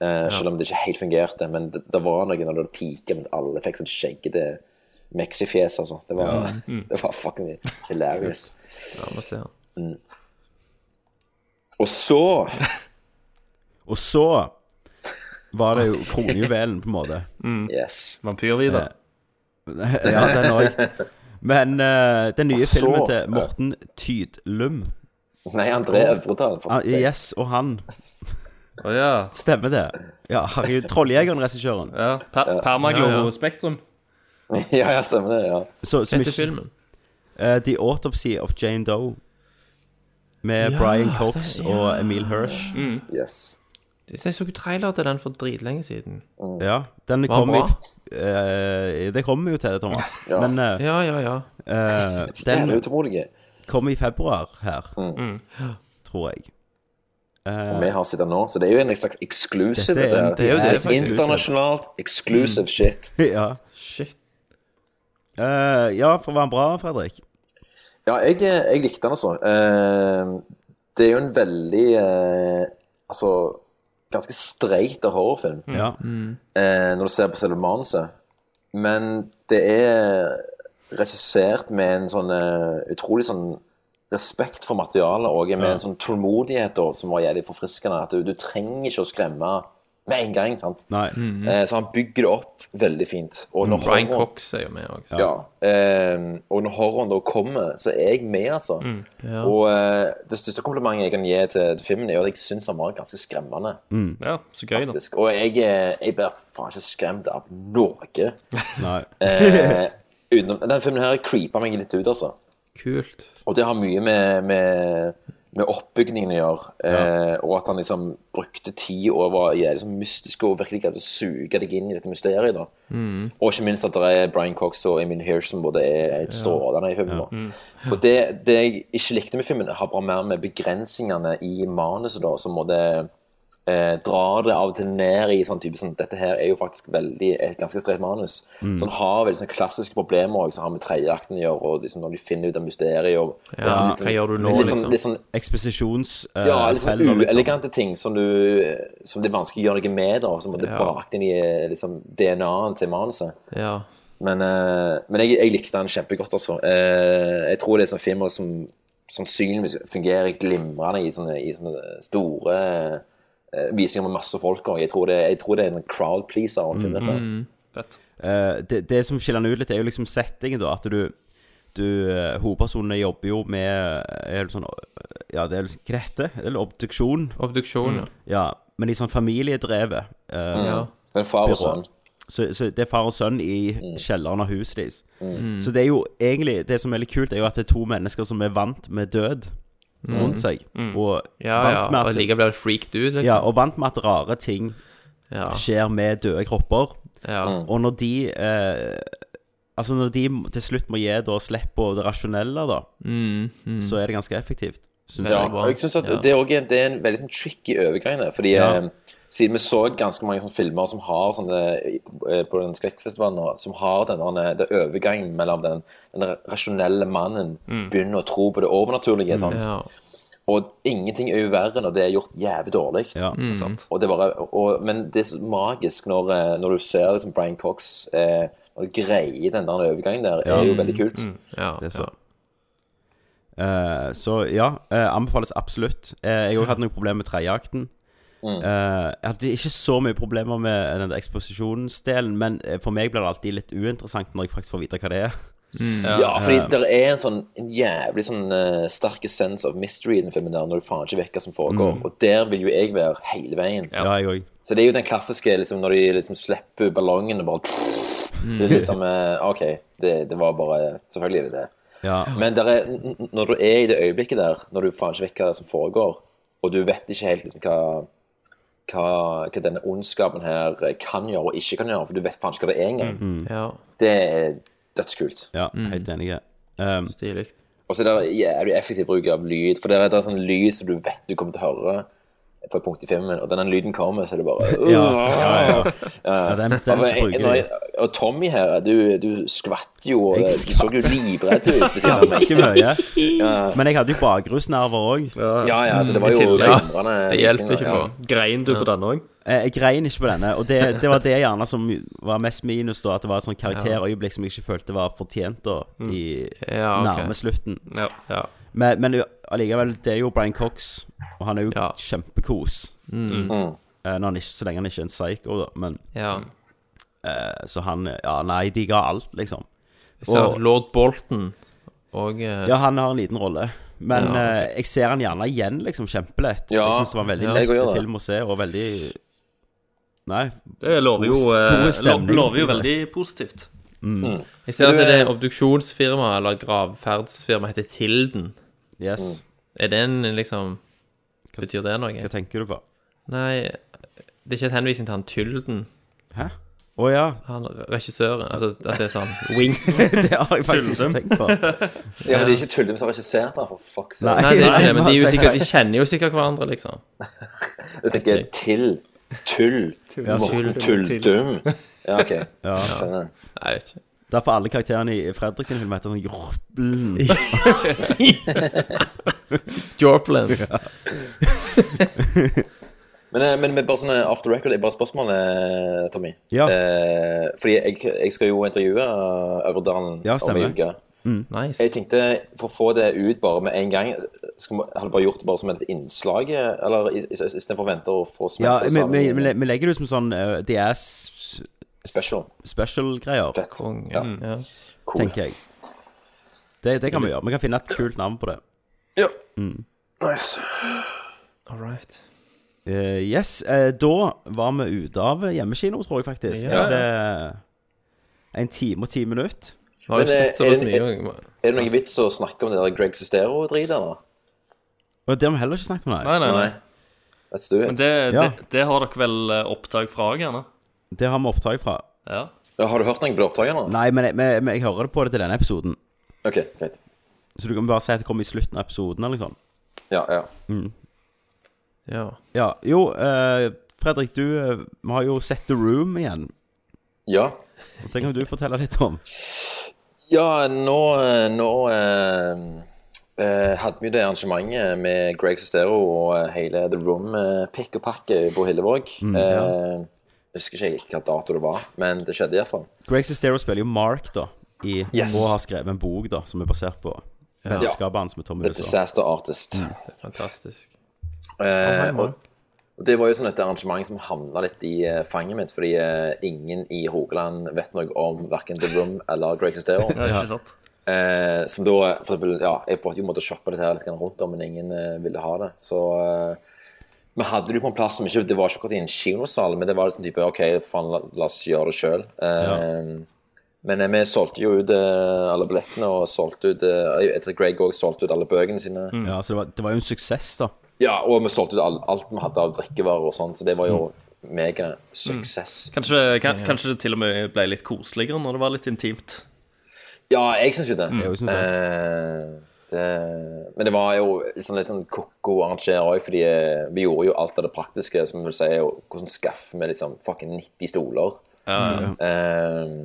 S5: Eh, selv om det ikke helt fungerte. Men det, det var noe når det pika, men alle fikk sånn skjeggete meksifjes, altså. Det var,
S12: Ja. Mm.
S5: det var fucking hilarious.
S12: Ja, må se han.
S5: Mm. Og så
S1: Og så var det jo kronjuvelen, på en måte.
S5: Yes.
S9: Vampyrvidda.
S1: Ja, den òg. Men eh, den nye
S5: Og så-
S1: filmen til Morten Tydlum
S5: Nei, André Øvredal, for
S1: Ah,
S5: å si.
S1: Yes, og han.
S9: Å ja.
S1: Stemmer det. Ja, herregud. Trolljegeren, regissøren.
S9: ja. Per Permaglo
S1: Ja, ja.
S9: Spektrum.
S1: Ah,
S5: Ja, ja, stemmer det. ja.
S1: Så, som
S9: Etter
S1: ikke-
S9: filmen.
S1: Eh, The Autopsy of Jane Doe. Med
S12: Ja,
S1: Brian Cox
S12: det-
S1: og
S12: ja.
S1: Emil Hirsch.
S5: Yes.
S12: Jeg så jo trailer til den for dritlenge siden.
S1: Ja, den
S12: Var
S1: kom i
S12: bra.
S1: eh, Det kommer vi jo til, Thomas.
S12: Ja.
S1: Men eh,
S12: Ja, ja, ja.
S1: eh,
S5: Jævlig
S1: den
S5: utålmodige.
S1: kom i februar her,
S5: Mm.
S1: tror jeg.
S5: Og vi har sittet nå, så det er jo en slags exclusive.
S1: Dette er en-
S5: der.
S1: det er liksom. jo det,
S5: Yes,
S1: faktisk. Mm.
S5: Internasjonalt exclusive shit.
S1: ja.
S12: Shit.
S1: Eh, ja, for var den bra, Fredrik?
S5: Ja, jeg, jeg likte den, altså. Eh, det er jo en veldig eh, Altså ganske streit horrorfilm.
S1: Ja.
S5: eh, når du ser på selve manuset. Men det er regissert med en sånn eh, utrolig sånn respekt for materialet og med
S1: Ja.
S5: en sånn tålmodighet da, som var jævlig forfriskende. At du, du trenger ikke å skremme med en gang. sant?
S1: Nei.
S5: Eh, så han bygger det opp veldig fint. Og når
S12: Brian
S5: horroren-
S12: Cox er jo med òg.
S5: ja. Eh, og når horroren da kommer, så er jeg med, altså.
S12: Ja.
S5: Og eh, det største komplimentet jeg kan gi til, til filmen, er jo at jeg syns han var ganske skremmende.
S1: Mm.
S9: Ja, så gøy, da.
S5: faktisk. Og jeg, eh, jeg blir faen ikke skremt av noe.
S1: Nei.
S5: Eh, utenom, den filmen her creeper meg litt ut, altså.
S12: Kult.
S5: Og det har mye med, med, med oppbygningen å gjøre. Eh, og at han liksom brukte tid og var ja, liksom mystisk og virkelig greide å suge deg inn i dette mysteriet. da.
S12: Mm.
S5: Og ikke minst at det er Brian Cox og Emil Hirsch som både er helt strålende i filmen. da. Og det, det jeg ikke likte med filmen, har bare mer med begrensningene i manuset, da, som måtte eh, dra det av og til ned i sånn type sånn, Dette her er jo faktisk veldig, et ganske streit manus.
S12: Mm.
S5: Så han har veldig sånn klassiske problemer også, som har med tredjeakten å gjøre, og liksom når de finner ut av mysteriet og
S12: Ja,
S5: og litt sånn-
S12: hva gjør du nå,
S5: litt sånn-
S12: liksom? eh,
S5: Litt sånn
S1: Eksposisjonsfeller,
S5: ja, litt sånn
S1: liksom.
S5: uelegante ting som, du, som det er vanskelig å gjøre noe med, da, og som måtte
S12: Ja.
S5: bakt inn i eh, liksom, DNA-en til manuset.
S12: Ja.
S5: Men, eh, men jeg, jeg likte den kjempegodt, altså. Eh, jeg tror det er sånn film som sannsynligvis fungerer glimrende i sånne, i sånne store eh, visninger med masse folk. Og jeg, tror det, jeg tror det er en crowd pleaser. å finne dette.
S9: Fett.
S1: Eh, det, det som skiller den ut litt, er jo liksom settingen, da. At du, du eh, Hovedpersonene jobber jo med er jo sånn, Ja, det er liksom Hva det heter det? Obduksjon.
S12: Obduksjon, ja.
S1: Ja, men i sånn familiedrevet. eh,
S5: Ja. Men far og
S1: byrå.
S5: sønn.
S1: Så, så det er far og sønn i kjelleren av huset deres.
S5: Mm.
S1: Så det er jo egentlig Det som er litt kult, er jo at det er to mennesker som er vant med død rundt seg.
S12: Mm.
S1: Og
S12: Ja, ja.
S1: vant med
S12: Og
S1: at
S12: likevel blir det freaked ut, liksom.
S1: ja, og vant med at rare ting
S12: Ja.
S1: skjer med døde kropper.
S12: Ja. Mm.
S1: Og når de eh, Altså, når de til slutt må gi da slipp på det rasjonelle, da,
S12: Mm, mm.
S1: så er det ganske effektivt, syns
S5: Ja,
S1: jeg.
S5: og jeg synes at det, er også, en- det er en veldig sånn tricky overgang der. Fordi
S1: Ja.
S5: eh, siden vi så ganske mange sånne filmer som har sånne, eh, på den skrekkfestivalen nå, som har denne, det overgangen mellom den, den rasjonelle mannen
S12: Mm.
S5: begynner å tro på det overnaturlige. Sant?
S12: Ja.
S5: Og ingenting er jo verre når det er gjort jævlig dårlig.
S12: Mm. sant.
S5: Og det er bare, og, men det er så magisk når, eh, når du ser liksom Brian Cox eh, når du greier den der overgangen der,
S1: Ja.
S5: er jo veldig kult.
S12: Mm. Ja,
S1: Det er så. Eh, så ja, eh, anbefales absolutt. Eh, jeg òg hadde noen problemer med tredjeakten.
S5: Mm.
S1: Eh, jeg hadde ikke så mye problemer med den der eksposisjonsdelen, men eh, for meg blir det alltid litt uinteressant når jeg faktisk får vite hva det er.
S5: Ja, fordi det er en sånn en jævlig sånn eh, sterk essens av mystery i den filmen der, når du faen ikke vet hva som foregår.
S1: Mm.
S5: Og der vil jo jeg være hele veien.
S1: Eh, ja, jeg òg.
S5: Så det er jo den klassiske liksom, når de liksom slipper ballongen og bare Så det er liksom eh, OK, det, det var bare Selvfølgelig er det det.
S1: Ja.
S5: Men der er, n- n- når du er i det øyeblikket der, når du faen ikke vet hva som foregår, og du vet ikke helt liksom, hva, hva, hva Mm.
S1: Mm.
S5: denne ondskapen her kan gjøre og ikke kan gjøre, for du vet faen ikke hva det er engang,
S12: Ja.
S5: det, er- dødskult.
S1: Ja, helt enig. Um,
S12: Stilig.
S5: Og så er det jævlig effektiv bruk av lyd. For det er, det er sånn lyd som du vet du kommer til å høre på et punkt i filmen, og da den lyden kommer, så er det bare
S1: Ja, ja, ja. Ja, den- den
S5: Og
S1: er ikke
S5: jeg- når jeg- Og Tommy her, du, du skvatt jo og Du så jo livredd ut. ved siden av meg.
S1: Ganske mye.
S5: Ja.
S1: Men jeg hadde jo bakrusnerver òg.
S5: Ja, ja, altså, det var jo glimrende Det hjelper visninger, ikke ja. på.
S9: Grein du på denne òg?
S1: Eh, Jeg grein ikke på denne, og det, det var det gjerne som var mest minus, da. At det var et sånt karakterøyeblikk som jeg ikke følte var fortjent, da, i
S12: Mm. Ja, ok.
S1: nærme slutten.
S9: Ja.
S1: Men, men jo- allikevel, det er jo Brian Cox, og han er jo kjempekos.
S12: Mm.
S5: Mm.
S1: Eh, Når han ikke, så lenge han ikke er en psycho, da, men
S12: Ja.
S1: eh, Så han Ja, nei, de ga alt, liksom.
S12: Jeg ser Lord Bolton og eh,
S1: Ja, han har en liten rolle. Men
S12: Ja, ok.
S1: eh, jeg ser han gjerne igjen, liksom, kjempelett.
S12: Ja,
S1: jeg syns det var en veldig
S12: ja, jeg
S1: lett
S12: går gjør det.
S1: film å se, og veldig Nei.
S9: Det lover jo,
S1: god-
S9: eh,
S1: god
S9: lo-
S1: stemning,
S9: lover jo
S1: liksom.
S9: veldig positivt.
S1: Mm.
S12: Jeg ser at det er obduksjonsfirma eller gravferdsfirma heter Tilden.
S1: Yes.
S12: Er det en liksom Betyr det noe? Hva
S1: tenker du på?
S12: Nei, det er ikke et henvisning til han Tylden.
S1: Hæ? Å ja.
S12: Han regissøren. Altså at det er sånn wing.
S1: Det har jeg faktisk ikke tenkt på.
S5: Ja, men det er ikke Tullum som har regissert den, for fuck's
S12: Nei,
S5: sake.
S12: det er ikke det, men de, er jo sikkert, de kjenner jo sikkert hverandre, liksom.
S5: Du tenker til, tull,
S1: Ja,
S5: Morten
S1: tull.
S5: Tulldum. Ja, OK.
S1: Ja.
S5: Skjønner.
S12: Nei, jeg vet ikke.
S1: Derfor alle karakterene i Fredrik sin film heter sånn Jorplen.
S12: Jorplen.
S5: Men, eh, men, men bare sånn eh, off the record, er bare spørsmålet, Tommy.
S1: Ja.
S5: Eh, fordi jeg, jeg skal jo intervjue eh, Øverdalen
S1: Ja,
S5: om
S1: stemmer.
S5: en uke.
S1: Mm.
S12: Nice.
S5: Jeg tenkte, for å få det ut bare med en gang, skal vi, hadde vi bare gjort det bare som et innslag, eh, eller i- i- istedenfor å vente og få
S1: Ja,
S5: smelte
S1: vi, vi, vi, le- vi legger det ut som sånn uh, The Ass
S5: Special.
S1: Special-greier.
S5: Ja.
S12: Ja.
S1: Tenker jeg. Det, det kan vi gjøre. Vi kan finne et kult navn på det.
S5: Ja.
S1: Mm.
S5: Nice.
S12: All right.
S1: Eh, yes, eh, da var vi ute av hjemmekino, tror jeg faktisk.
S12: Ja.
S1: Etter en time og ti minutter.
S12: Vi har jo
S5: Men, eh,
S12: sett såpass
S5: er det-
S12: mye. og-
S5: Er det noen vits å snakke om det der Greg Sestero-dritet, eller?
S1: Og det har vi heller ikke snakket om, nei.
S9: Nei, nei, nei.
S5: Let's do
S9: Men
S5: it.
S9: det,
S1: Ja.
S9: det, det har dere vel eh, opptak fra, gjerne?
S1: Det har vi opptak fra.
S9: Ja.
S5: Ja, Har du hørt noen på det opptaket nå?
S1: Nei, men jeg, men, men jeg hører det på det til denne episoden.
S5: OK, greit.
S1: Så du kan bare si at det kommer i slutten av episoden, eller sånn. noe sånt.
S5: Ja, ja.
S1: Mm.
S12: Ja.
S1: Ja, jo, eh, Fredrik, du eh, Vi har jo sett The Room igjen.
S5: Ja.
S1: Det kan du fortelle litt om.
S5: Ja, nå, eh, nå eh, eh, hadde vi jo det arrangementet med Greg Sestero og eh, hele The Room eh, pikk og pakke på Hillevåg.
S1: Mm,
S5: eh, jeg husker ikke hvilken dato det var, men det skjedde iallfall.
S1: Greg Sestero spiller jo Mark, da, i,
S5: Yes.
S1: og har skrevet en bok da, som er basert på
S5: Ja.
S1: vennskapet hans med Tommy
S5: The Disaster Artist.
S12: Det er fantastisk.
S5: Eh,
S12: Ja,
S5: og og det var jo sånn et arrangement som havna litt i eh, fanget mitt, fordi eh, ingen i Rogaland vet noe om verken The Room eller Greg Sestero.
S9: Ja, ikke sant?
S5: Eh, som da, for eksempel, ja, jeg prøvde jo å måtte shoppe dette her litt grann rundt om, men ingen eh, ville ha det. Så eh, vi hadde det jo på en plass som ikke Det var ikke akkurat i en kinosal, men det var liksom type OK, faen, la, la oss gjøre det sjøl. Men eh, vi solgte jo ut eh, alle billettene, og solgte ut eh, Jeg vet at Greg òg solgte ut alle bøkene sine.
S1: Ja, så det var, det var jo en suksess, da.
S5: Ja, og vi solgte ut all, alt vi hadde av drikkevarer og sånn, så det var jo megasuksess.
S9: Kanskje, kan, kanskje det til og med ble litt koseligere når det var litt intimt.
S5: Ja, jeg syns jo det.
S9: Mm. Jeg synes det.
S5: Eh, det. Men det var jo litt sånn, litt sånn ko-ko å arrangere òg, fordi eh, vi gjorde jo alt av det praktiske, som vil si og hvordan skaffe med liksom fucking 90 stoler.
S9: Ja, ja,
S5: Eh,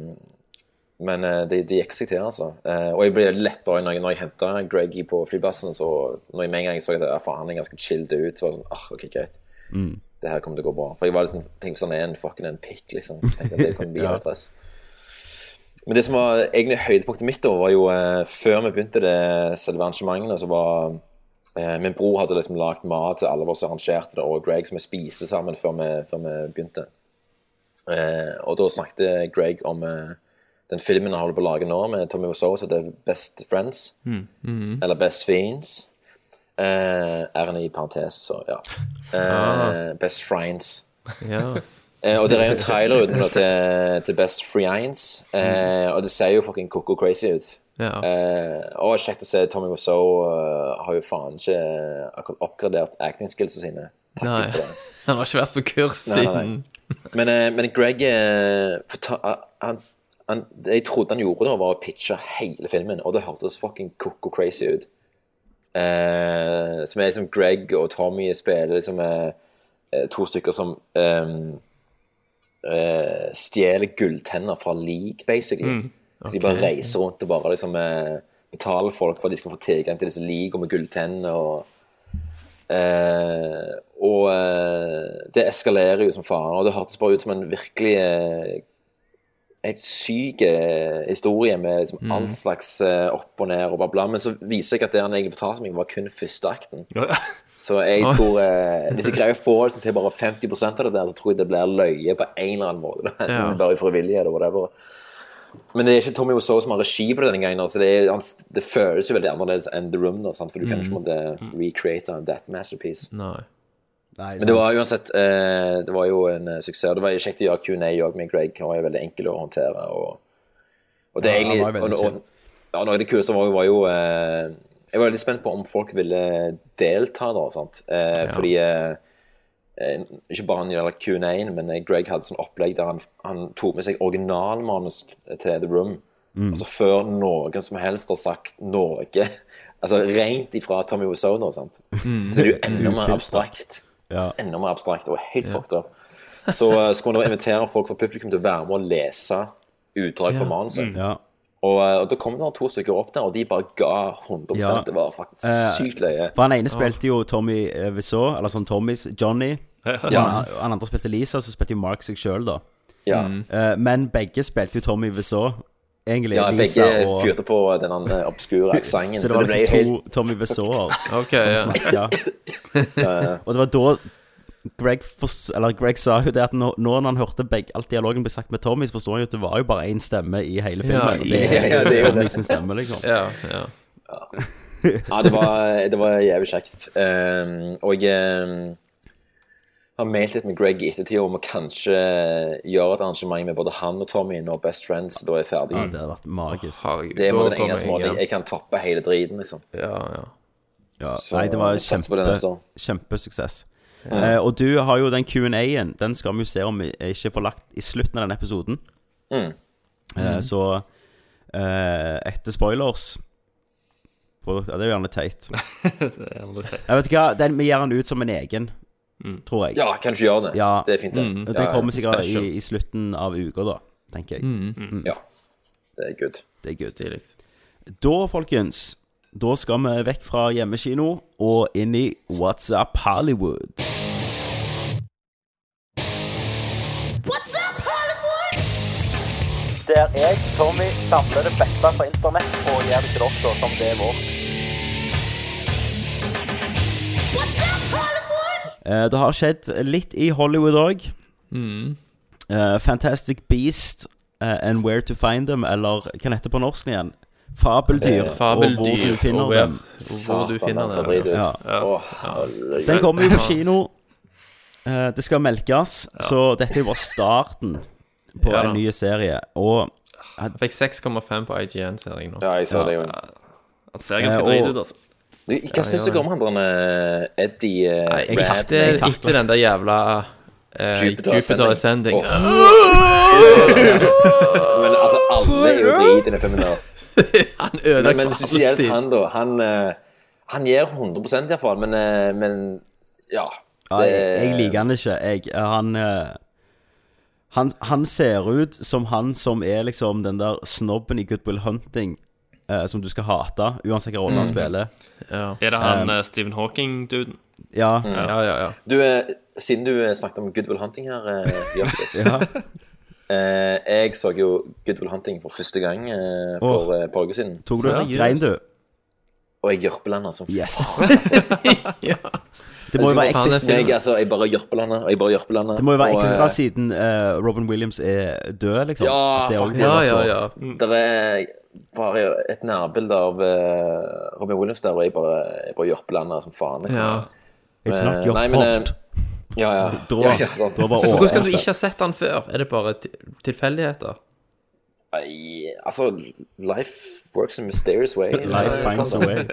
S5: men eh, det, det gikk seg til, altså. Eh, og jeg ble litt letta når, jeg- når jeg henta Greggy på flyplassen. Så når jeg med en gang så at ja, faen, han er ganske chilled ut, så var jeg sånn ah, OK, greit.
S1: Mm.
S5: Det her kommer til å gå bra. For jeg var liksom, tenkte sånn, er en fucking en pikk, liksom. Jeg Tenkte at det kommer til å bli
S1: Ja.
S5: jævlig stress. Men det som var egentlig høydepunktet mitt da, var jo eh, før vi begynte det selve arrangementene, så var eh, min bror hadde liksom lagd mat til alle våre som arrangerte det, og Greg, som vi spiste sammen før vi, før vi begynte. Eh, og da snakket Greg om eh, den filmen han holder på å lage nå, med Tommy Wiseau, som heter Best Friends,
S12: Mm. Mhm.
S5: eller Best Fiends. Eh, R-en i parentes, så ja. Eh,
S12: Ah.
S5: Best Friends.
S12: Ja.
S5: Eh, og det er jo en trailer uten noe til, til Best Friends, eh, og det ser jo fucking koko crazy ut.
S12: Ja.
S5: Eh, og kjekt å se Tommy Wiseau eh, har jo faen ikke eh, akkurat oppgradert acting skillsene sine. Takk
S12: Nei.
S5: for det.
S12: Han har ikke vært på kurs
S5: Nei, nei,
S12: siden
S5: Men, eh, men Greg eh, forta- han, han, det jeg trodde han gjorde, da, var å pitche hele filmen, og det hørtes fucking koko crazy ut. Eh, som er liksom Greg og Tommy spiller liksom eh, eh, to stykker som ehm, eh, stjeler gulltenner fra lik, basically.
S18: Mm,
S5: Så de bare
S18: ok.
S5: reiser rundt og bare liksom eh, betaler folk for at de skal få tilgang til disse ligene med gulltenner og Eh, og eh, det eskalerer jo som faen, og det hørtes bare ut som en virkelig eh, en syk eh, historie med liksom,
S18: Mm.
S5: all slags eh, opp og ned og bla, bla. Men så viser jeg at det han egentlig fortalte meg, var kun første akten. Så jeg
S18: Ah.
S5: tror eh, Hvis jeg greier å få liksom, til bare 50 av det der, så tror jeg det blir løye på en eller annen måte.
S18: Ja.
S5: bare frivillig eller whatever. Men det er ikke Tommy Wiseau som har regi på det denne gangen, så det, er, han, det føles jo veldig annerledes enn The Room, da, sant? for du kan
S12: Mm.
S5: ikke på en måte recreate that masterpiece.
S12: Nei.
S5: Men det var uansett eh, Det var jo en eh, suksess. Det var kjekt å gjøre Q&A òg med Greg. Han var jo veldig enkel å håndtere. Og, og det
S18: Ja,
S5: er egentlig
S18: han var veldig
S5: og, og, ja, Noe av det kuleste var jo, var jo eh, Jeg var veldig spent på om folk ville delta, da. Sant? Eh,
S18: Ja.
S5: Fordi eh, eh, ikke bare han gjelder Q&A-en, men eh, Greg hadde sånn opplegg der han, han tok med seg originalmanus til The Room.
S18: Mm.
S5: Altså før noen som helst har sagt noe. Altså rent ifra Tommy Wiseau nå, sant.
S18: Mm.
S5: Så er det jo enda mer
S18: Ufiltret.
S5: abstrakt. Enda mer abstrakt og helt fucked up. Så eh, skulle man da invitere folk fra publikum til å være med og lese utdrag fra
S1: Ja.
S5: manuset.
S1: Mm. Ja.
S5: Og, eh, og da kom det to stykker opp der, og de bare ga 100
S1: Ja.
S5: Det var faktisk
S1: Eh,
S5: sykt løye.
S1: For han ene spilte jo Tommy eh, Wiseau, eller sånn Tommys Johnny. Og
S5: Ja.
S1: han, han andre spilte Lisa, så spilte jo Mark seg sjøl, da.
S5: Ja.
S12: Mm.
S1: Eh, men begge spilte jo Tommy Wiseau, egentlig.
S5: Ja,
S1: Lisa
S5: begge
S1: og
S5: fyrte på den andre obskure aksenten.
S1: Så det var liksom
S5: ble
S1: to
S5: helt-
S1: Tommy Wiseauer
S12: Ok,
S1: som
S12: ja.
S1: snakka.
S5: Ja, ja.
S1: og det var da Greg, fors- eller Greg sa jo det at nå, nå når han hørte begge, alt dialogen ble sagt med Tommy, så forsto han jo at det var jo bare én stemme i hele filmen.
S12: Ja,
S1: og det er
S12: ja,
S1: jo
S12: det er jo
S1: Tommy
S12: det.
S1: sin stemme, liksom.
S12: Ja, ja.
S5: Ja, det var, det var jævlig kjekt. Ehm, og jeg ehm, har mailt litt med Greg i ettertid om å kanskje gjøre et arrangement med både han og Tommy når Best Friends da er ferdig.
S1: Ja, det hadde vært magisk.
S5: det er på en måte den eneste måten jeg- jeg kan toppe hele driten, liksom.
S1: Ja,
S5: Så,
S1: nei, det var
S5: jeg satser på det neste
S1: kjempe,
S5: år.
S1: kjempesuksess.
S5: Ja.
S1: Eh, og du har jo den Q&A-en. Den skal vi jo se om vi ikke får lagt i slutten av denne episoden.
S5: Mm.
S1: Eh, så eh, etter spoilers på, ja, Det er jo gjerne teit. Jeg vet ikke hva, den, Vi gir den ut som en egen,
S5: Mm.
S1: tror jeg.
S5: Ja, kanskje gjør det.
S1: Ja.
S5: Det er fint, det. Mm.
S1: Og
S5: Ja,
S1: det
S5: ja.
S1: kommer sikkert i,
S5: Special.
S1: i slutten av uka, da, tenker jeg.
S5: Mm. Ja. Det er good.
S1: Det er good. Da, folkens, da skal vi vekk fra hjemmekino og inn i What's Up Hollywood.
S18: What's up, Hollywood?
S1: Der jeg, Tommy, samler det beste fra internett og gjør det til dere som det er vårt. Eh, Det har skjedd litt i Hollywood òg.
S12: Mm.
S1: Eh, Fantastic Beast eh, and Where to Find Them, eller hva heter det på norsk igjen? Fabeldyr,
S12: Eh, fabeldyr,
S1: og hvor du finner
S12: og hvor-
S1: dem.
S12: og hvor du finner
S5: altså,
S12: dem,
S5: drit ut.
S1: ja.
S5: Å, herregud.
S1: Så den kommer jo på kino. Eh, det skal melkes, så dette er jo bare starten på
S12: Ja da.
S1: en ny serie. Og
S12: Jeg fikk 6,5 på IGN, ser jeg nå.
S5: Ja, jeg så det jo.
S9: Han ser
S1: ganske Eh, og- drøyt ut, altså.
S5: Du,
S12: Ja,
S5: hva syns
S12: ja.
S5: dere om han der eh, Eddie eh,
S12: Nei, jeg
S5: Rad-
S12: tapte etter den der jævla eh,
S5: Jupiter
S12: Jupiter Ascending.
S5: Ascending. Men altså, alle er jo drit i den filmen der.
S12: Han ødelegger
S5: Men- Men
S12: for
S5: spesielt
S12: alltid.
S5: han, da. Han, eh, han gir 100 iallfall, men, eh, men ja.
S1: ja, jeg, jeg liker han ikke. Jeg, han, eh, han Han ser ut som han som er liksom den der snobben i Good Will Hunting eh, som du skal hate, uansett hvilken rolle han
S9: Mm.
S1: spiller.
S9: Er det han
S1: Um,
S9: eh, Stephen Hawking-duden?
S1: Ja.
S12: Ja, ja, ja.
S5: Du, eh, siden du eh, snakket om Good Will Hunting her, eh, Jørgens
S1: Ja.
S5: eh, Jeg så jo Good Will Hunting for første gang eh, for
S1: Åh.
S5: eh, et par uker siden.
S1: Tok du Grein du?
S5: Og jeg jørpelanda som
S1: Yes.
S5: Det
S1: Det må jo være ekstra-
S5: jeg, altså, jeg bare jørpelanda, og jeg bare jørpelanda.
S1: Det må jo være
S5: og, eh,
S1: ekstra siden eh, Robin Williams er død, liksom.
S5: Ja,
S1: Det er også altså,
S5: faktisk.
S1: litt sårt.
S12: Mm.
S5: Det er bare et nærbilde av eh, Robin Williams der, og jeg bare, jeg bare jørpelanda som faen. Liksom.
S12: Ja.
S1: It's not your
S5: nei, men, eh,
S1: fault.
S5: ja, ja.
S1: Dra-
S5: ja, ja, sant.
S1: dra bare
S12: Så Hvordan skal du ikke ha sett han før? Er det bare til- tilfeldigheter?
S5: Nei, altså, life eh, works in mysterious way.
S12: Life finds a way.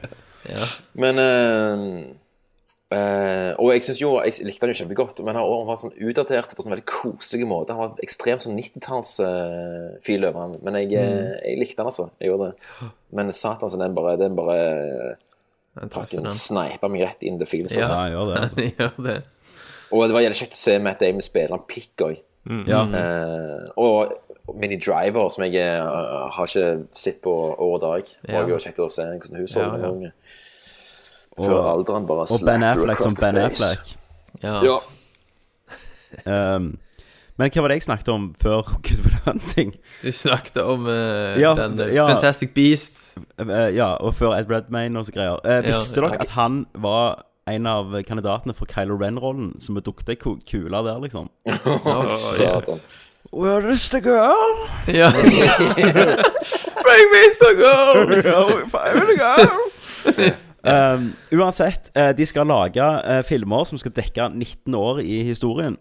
S5: Men eh, Eh, og jeg synes jo, jeg likte han jo kjempegodt, men han var sånn utdatert på sånn veldig koselig måte. Han var ekstremt sånn 90-tallsfil over han. Men jeg, eh,
S12: Mm.
S5: jeg likte han, altså. Jeg gjorde det. Men satan, så den bare, den bare
S12: treffer
S5: Fucking
S12: den.
S5: sneipa meg rett inn the feels.
S12: Ja,
S5: altså.
S12: han gjør det, altså. gjør det.
S5: Og det var jævlig kjekt å se Matt Damon spille en pikk òg.
S12: Mm. Ja.
S5: Eh, og Mini Driver, som jeg eh, har ikke sett på år og dag. Det var
S1: Ja.
S5: jo kjekt å se hvordan hun så
S1: Ja, ja.
S5: ut. Før alderen bare
S1: Og Ben
S5: slapped her
S1: Affleck som
S5: across
S1: Ben
S5: the face.
S1: Affleck.
S5: Ja.
S1: Ehm, men hva var det jeg snakket om før Good Will Hunting?
S12: Du snakket om eh,
S1: Ja,
S12: den eh,
S1: ja.
S12: Fantastic Beast.
S1: Eh, ja, og før Ed Redmayne og så greier. Eh,
S12: Ja,
S1: visste
S12: ok.
S1: dere at han var en av kandidatene for Kylo Ren-rollen, som er dukte kula der, liksom?
S12: Å, satan.
S1: Where is the girl?
S12: Ja.
S1: Bring me the girl! Oh, Find the girl! Um, uansett, eh, de skal lage eh, filmer som skal dekke 19 år i historien.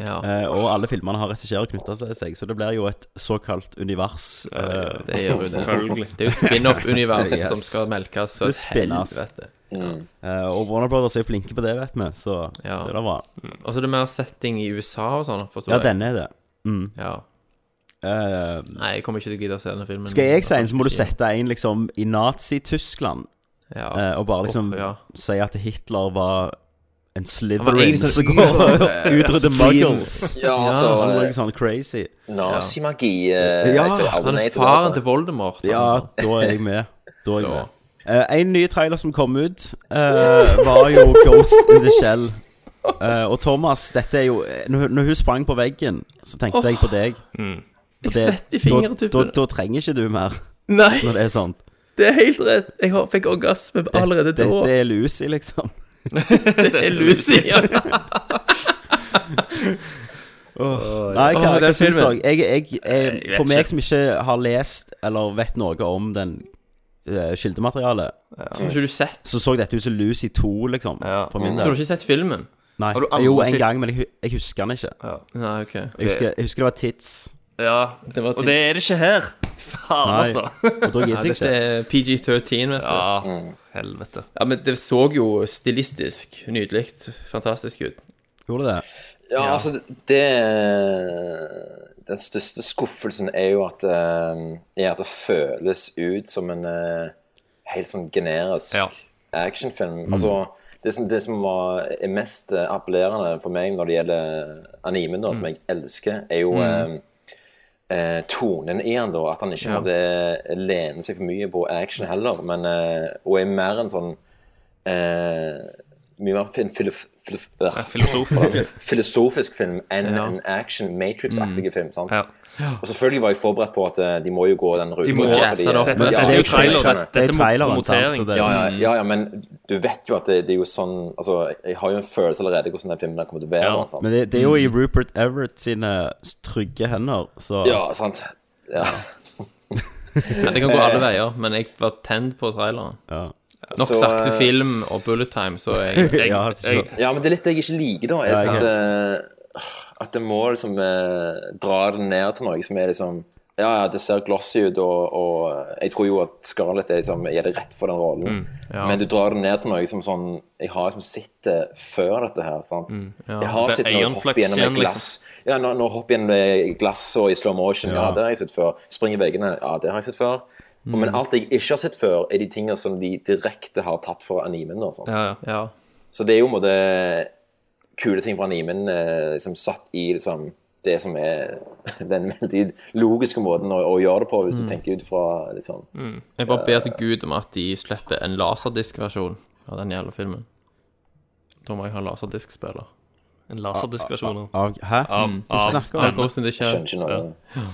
S1: Eh, og alle filmene har regissører knytta seg, så det blir jo et såkalt univers. eh,
S12: Det gjør jo det. Det er jo et spin-off-univers som skal melkes, så
S1: Det spinnes.
S12: helvete.
S1: Eh, og Warner Brothers er jo flinke på det, vet vi, så det er da bra.
S12: Og så er det mer setting i USA og sånn, forstår
S1: Ja,
S12: jeg.
S1: den er det. Mm. Eh,
S12: Ja. Nei, jeg kommer ikke til å gidde å se denne filmen.
S1: Skal jeg si en, så må du sette en liksom i Nazi-Tyskland.
S12: Ja.
S1: eh, og bare liksom
S12: Uff, ja.
S1: si at Hitler var en
S12: Han var
S1: Slytherin
S12: egentlig
S1: som
S12: sånn
S1: går og
S12: evil, eh,
S1: utrydder
S12: supreme.
S1: muggles.
S5: Ja, altså,
S1: Han var
S5: eh,
S1: liksom crazy.
S5: Nazimagi. eh,
S1: Ja,
S12: Han er
S5: altså.
S12: faren til Voldemort. han,
S1: Ja,
S12: sånn.
S1: da er jeg med. Da er jeg med. Eh, en ny trailer som kom ut, eh, var jo Ghost in the Shell. Eh, og Thomas, dette er jo Når, når hun sprang på veggen, så tenkte jeg på deg.
S9: Mm.
S1: For
S12: Jeg
S1: det-
S12: svetter i fingertuppene.
S1: Da, da, da trenger ikke du mer.
S12: Nei.
S1: Når det er sånn. sånt.
S12: Det er helt rett. Jeg har- fikk orgasme allerede
S1: Dette
S12: da.
S1: er Lucy, liksom.
S12: Det er Lucy, ja.
S1: Åh, Nei, hva,
S12: Åh,
S1: hva
S12: den
S1: syns dere?
S12: filmen.
S1: Jeg, jeg, jeg,
S12: Jeg vet
S1: for meg
S12: ikke.
S1: som ikke har lest eller vet noe om den eh, kildematerialet,
S12: Som ikke du sett.
S1: så så dette ut som Lucy 2, liksom. For min
S12: Så du har
S1: del.
S12: ikke sett filmen?
S1: Nei.
S12: Har du aldri
S1: Jo, en
S12: sett-
S1: gang, men jeg, hu- jeg husker den ikke.
S12: Nei, ok.
S1: jeg, husker, jeg husker det var Tits.
S9: Ja,
S12: Det var
S9: og det er det ikke her. Faen,
S1: Nei.
S9: altså.
S1: Og da gidder jeg
S12: Dette er PG-13, vet du.
S9: Ja, helvete.
S12: Ja, men det så jo stilistisk nydelig, fantastisk ut.
S1: Gjorde det?
S5: Ja, altså, det Den største skuffelsen er jo at, eh, er at det føles ut som en eh, helt sånn generisk actionfilm.
S9: Mm.
S5: Altså, det som, det som var, er mest eh, appellerende for meg når det gjelder anime, da, som jeg elsker, er jo
S9: Mm.
S5: eh, eh, tonen i han da, At han ikke
S9: Ja.
S5: måtte lene seg for mye på action heller, men, eh, og er mer en sånn eh, mye mer en filof, filof, øh,
S9: filosofisk.
S5: filosofisk film enn
S9: Ja. Mm.
S5: en action Matrix-aktig film. sant?
S9: Ja.
S5: Og selvfølgelig var jeg forberedt på at eh, de må jo gå den ruten.
S9: De må
S5: der,
S9: jazze
S5: fordi-
S9: det opp. Dette- dette er jo trailer,
S5: trailerne.
S9: dette- dette er traileren, sant, så det-
S5: ja, ja, ja, ja, men du vet jo at det, det er jo sånn altså, Jeg har jo en følelse allerede hvordan den filmen der kommer til å være. sant?
S1: Men det, det er jo
S12: Mm.
S1: i Rupert Everett sine trygge hender, så
S5: Ja, sant. Ja.
S12: Ja, det kan gå alle veier, men jeg var tent på traileren. Nok
S5: Så,
S12: sakte
S5: eh,
S12: film og bullet time, så jeg,
S5: ja, men det er litt det jeg ikke liker, da. Er
S12: Ja,
S5: sånn
S12: jeg-
S5: at, eh, at det må liksom eh, dra det ned til noe som er liksom Ja, ja, det ser glossy ut, og, og jeg tror jo at Scarlett er liksom, gjør det rett for den rollen.
S12: Mm, ja.
S5: Men du drar det ned til noe som sånn Jeg har liksom sett det før dette her. sant?
S12: Mm, ja.
S5: Jeg har
S12: Det er
S5: sett når
S12: Iron
S5: du
S12: Flux
S5: hopper gjennom
S12: igjen, liksom.
S5: et glass. Ja, når, når hopper gjennom et glass og i slow motion. Ja,
S12: Ja.
S5: det har jeg sett før. Springer veggene. Ja, det har jeg sett før.
S12: Mm.
S5: Men alt jeg ikke har sett før, er de tingene som de direkte har tatt fra animen. sånn. og sånt.
S12: ja.
S5: Så det er jo en måte kule ting fra animen eh, liksom, satt i liksom, det som er den veldig logiske måten å, å gjøre det på, hvis
S12: Mm.
S5: du tenker ut fra liksom,
S12: Jeg bare
S9: Eh.
S12: ber til Gud om at de slipper en laserdiskversjon av den jævla filmen. Da må jeg ha laserdiskspiller.
S9: En laserdiskversjon av-
S1: Av- hæ?
S9: Av,
S12: Mm.
S9: av,
S12: Hva snakker du om?
S9: den.
S12: Ghost in the Shell. Skjønner ikke noe.
S5: sånn.
S9: Ja.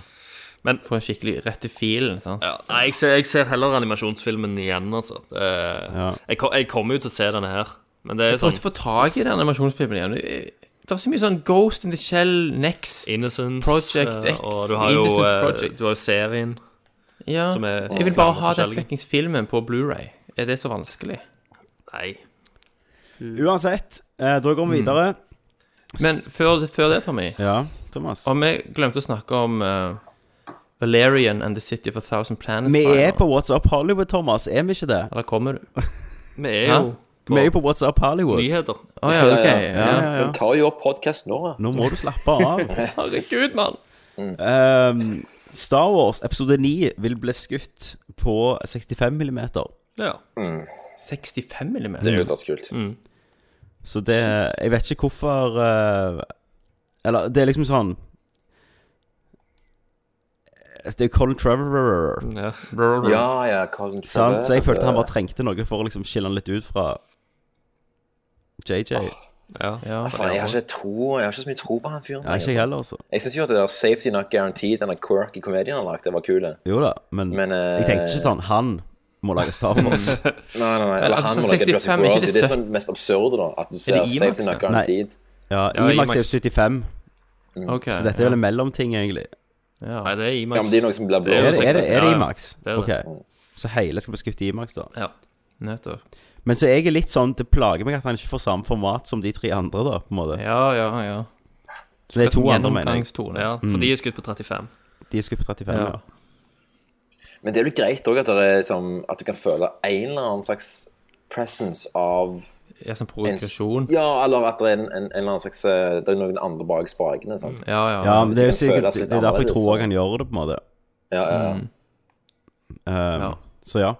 S9: Men
S12: Få en skikkelig rett i filen, sant?
S9: Ja, nei, jeg, ser, jeg ser heller animasjonsfilmen igjen, altså. Eh, jeg, ko- jeg kommer jo til å se denne her, men det er
S12: Jeg
S9: sånn
S12: prøvde å få tak i den animasjonsfilmen igjen. Det er så mye sånn Ghost in the Shell, Next,
S9: Innocence,
S12: Project
S9: eh,
S12: X,
S9: og du har jo,
S12: Innocence
S9: eh,
S12: Project.
S9: Du har jo serien
S12: Ja,
S9: som er
S12: jeg vil bare
S9: flere
S12: ha den
S9: forskjellige.
S12: fuckings filmen på Blu-ray. Er det så vanskelig?
S9: Nei.
S1: Uansett, eh, da
S12: Mm.
S1: går vi videre.
S12: Men før, før det, Tommy
S1: Ja, Thomas.
S12: Og vi glemte å snakke om eh, Valerian and the City of a Thousand Planets.
S1: Vi
S12: Brian.
S1: er på What's Up Hollywood, Thomas. Er vi ikke det?
S12: Eller kommer du?
S9: Vi er
S12: Hæ?
S9: jo
S1: Vi er jo på What's Up Hollywood.
S9: Nyheter.
S12: Å ja, ok.
S1: Ja, ja, ja.
S5: Vi tar jo opp podkast nå, da.
S1: Nå må du slappe av.
S12: Herregud, mann.
S1: Ehm, Star Wars episode 9 vil bli skutt på 65 mm.
S9: Ja.
S5: Mm.
S12: 65 millimeter?
S5: Det er jo ganske kult.
S1: Så det Jeg vet ikke hvorfor eh, Eller det er liksom sånn Det er Colin Trevor,
S5: Ja, ja, Colin Trevor.
S1: sant? Så jeg følte han bare trengte noe for å liksom skille han litt ut fra JJ.
S12: Ja,
S5: Ah, Faen, eh, jeg har ikke tro Jeg har ikke så mye tro på han fyren.
S1: Nei, ikke jeg heller, altså.
S5: Jeg syns jo at det der Safety Not Guaranteed, denne quirky komedien han lagde, var kul.
S1: Jo da, men,
S5: Men, eh,
S1: jeg tenkte ikke sånn Han må lage Star Wars.
S5: Nei, nei, nei. Eller
S12: Altså,
S5: han
S12: ta
S5: må lage
S12: 65,
S5: Jurassic
S12: ikke det
S5: World. Det er det
S12: søtt.
S5: som er mest absurde, da. At du
S12: det
S5: ser
S12: IMAX,
S5: Safety Not
S12: da?
S5: Guaranteed.
S1: Ja,
S12: Ja,
S1: Imax er
S12: IMAX.
S1: 75,
S12: Ok.
S1: så dette er vel en mellomting, egentlig.
S12: ja.
S9: Nei, det er Imax.
S5: Ja, men det er noe som blir
S1: Er det,
S5: blåst.
S1: er det, er
S9: Ja,
S1: det
S9: ja.
S1: Imax?
S9: Det er
S1: Ok.
S9: det.
S1: Så hele skal bli skutt i Imax, da.
S9: Ja.
S12: Nettopp.
S1: Men så jeg er litt sånn Det plager meg at han ikke får samme format som de tre andre, da, på en måte.
S12: Ja, ja, ja.
S1: det er to andre, mener jeg. mm.
S12: Gjennomgangstone.
S9: ja, for de er skutt på 35.
S1: De er skutt på 35, ja.
S12: Ja.
S5: Men det er jo greit òg at, det er som- at du kan føle en eller annen slags presence av
S12: Ja, som provokasjon.
S5: Ja, eller at det er en, en, en eller annen slags eh, Det er noen andre bak spakene. sant?
S1: Mm.
S12: Ja, ja.
S1: Ja, men det er jo
S5: Hvis jeg føler
S1: sikkert
S5: oss litt
S1: Det er derfor jeg
S5: annerledes,
S1: tror
S5: så-
S1: også han gjør det, på en måte.
S5: Ja, ja,
S1: Mm.
S5: ja.
S1: Um, Så ja.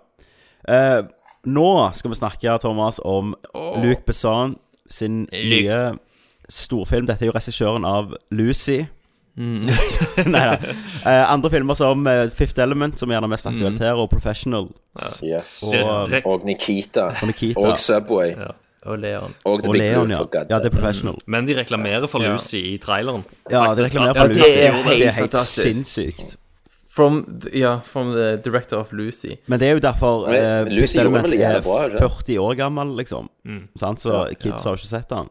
S1: Eh, nå skal vi snakke, Thomas, om Luc Besson sin nye storfilm. Dette er jo regissøren av Lucy.
S12: Mm.
S1: Nei da. andre filmer som eh, Fifth Element, som gjerne er mest
S12: Mm.
S1: aktuelt her, og Professional.
S5: Yes.
S1: Og- eh,
S5: Og, Nikita.
S1: Og Nikita.
S5: Og Subway.
S12: Og Leon.
S5: Og The
S1: Og
S5: Big
S1: Leon,
S5: Leon,
S1: ja.
S5: for God.
S1: Ja, det er Professional.
S9: Men de reklamerer for Lucy i traileren.
S1: Ja, det
S9: Faktisk,
S1: reklamerer
S9: ja.
S1: for
S12: det
S1: Lucy.
S12: er jo
S1: Det er
S12: helt
S1: helt
S12: fantastisk.
S1: sinnssykt.
S12: From, the- ja, from the director of Lucy.
S1: Men det er jo derfor
S5: Men
S1: eh,
S5: Lucy
S1: Fifth
S5: gjorde
S1: Element
S5: vel
S1: er
S5: jævlig bra, ikke?
S1: 40 år gammel, liksom.
S9: Mm.
S1: Sant? Så
S12: Ja,
S1: kids
S12: ja.
S1: har ikke sett den.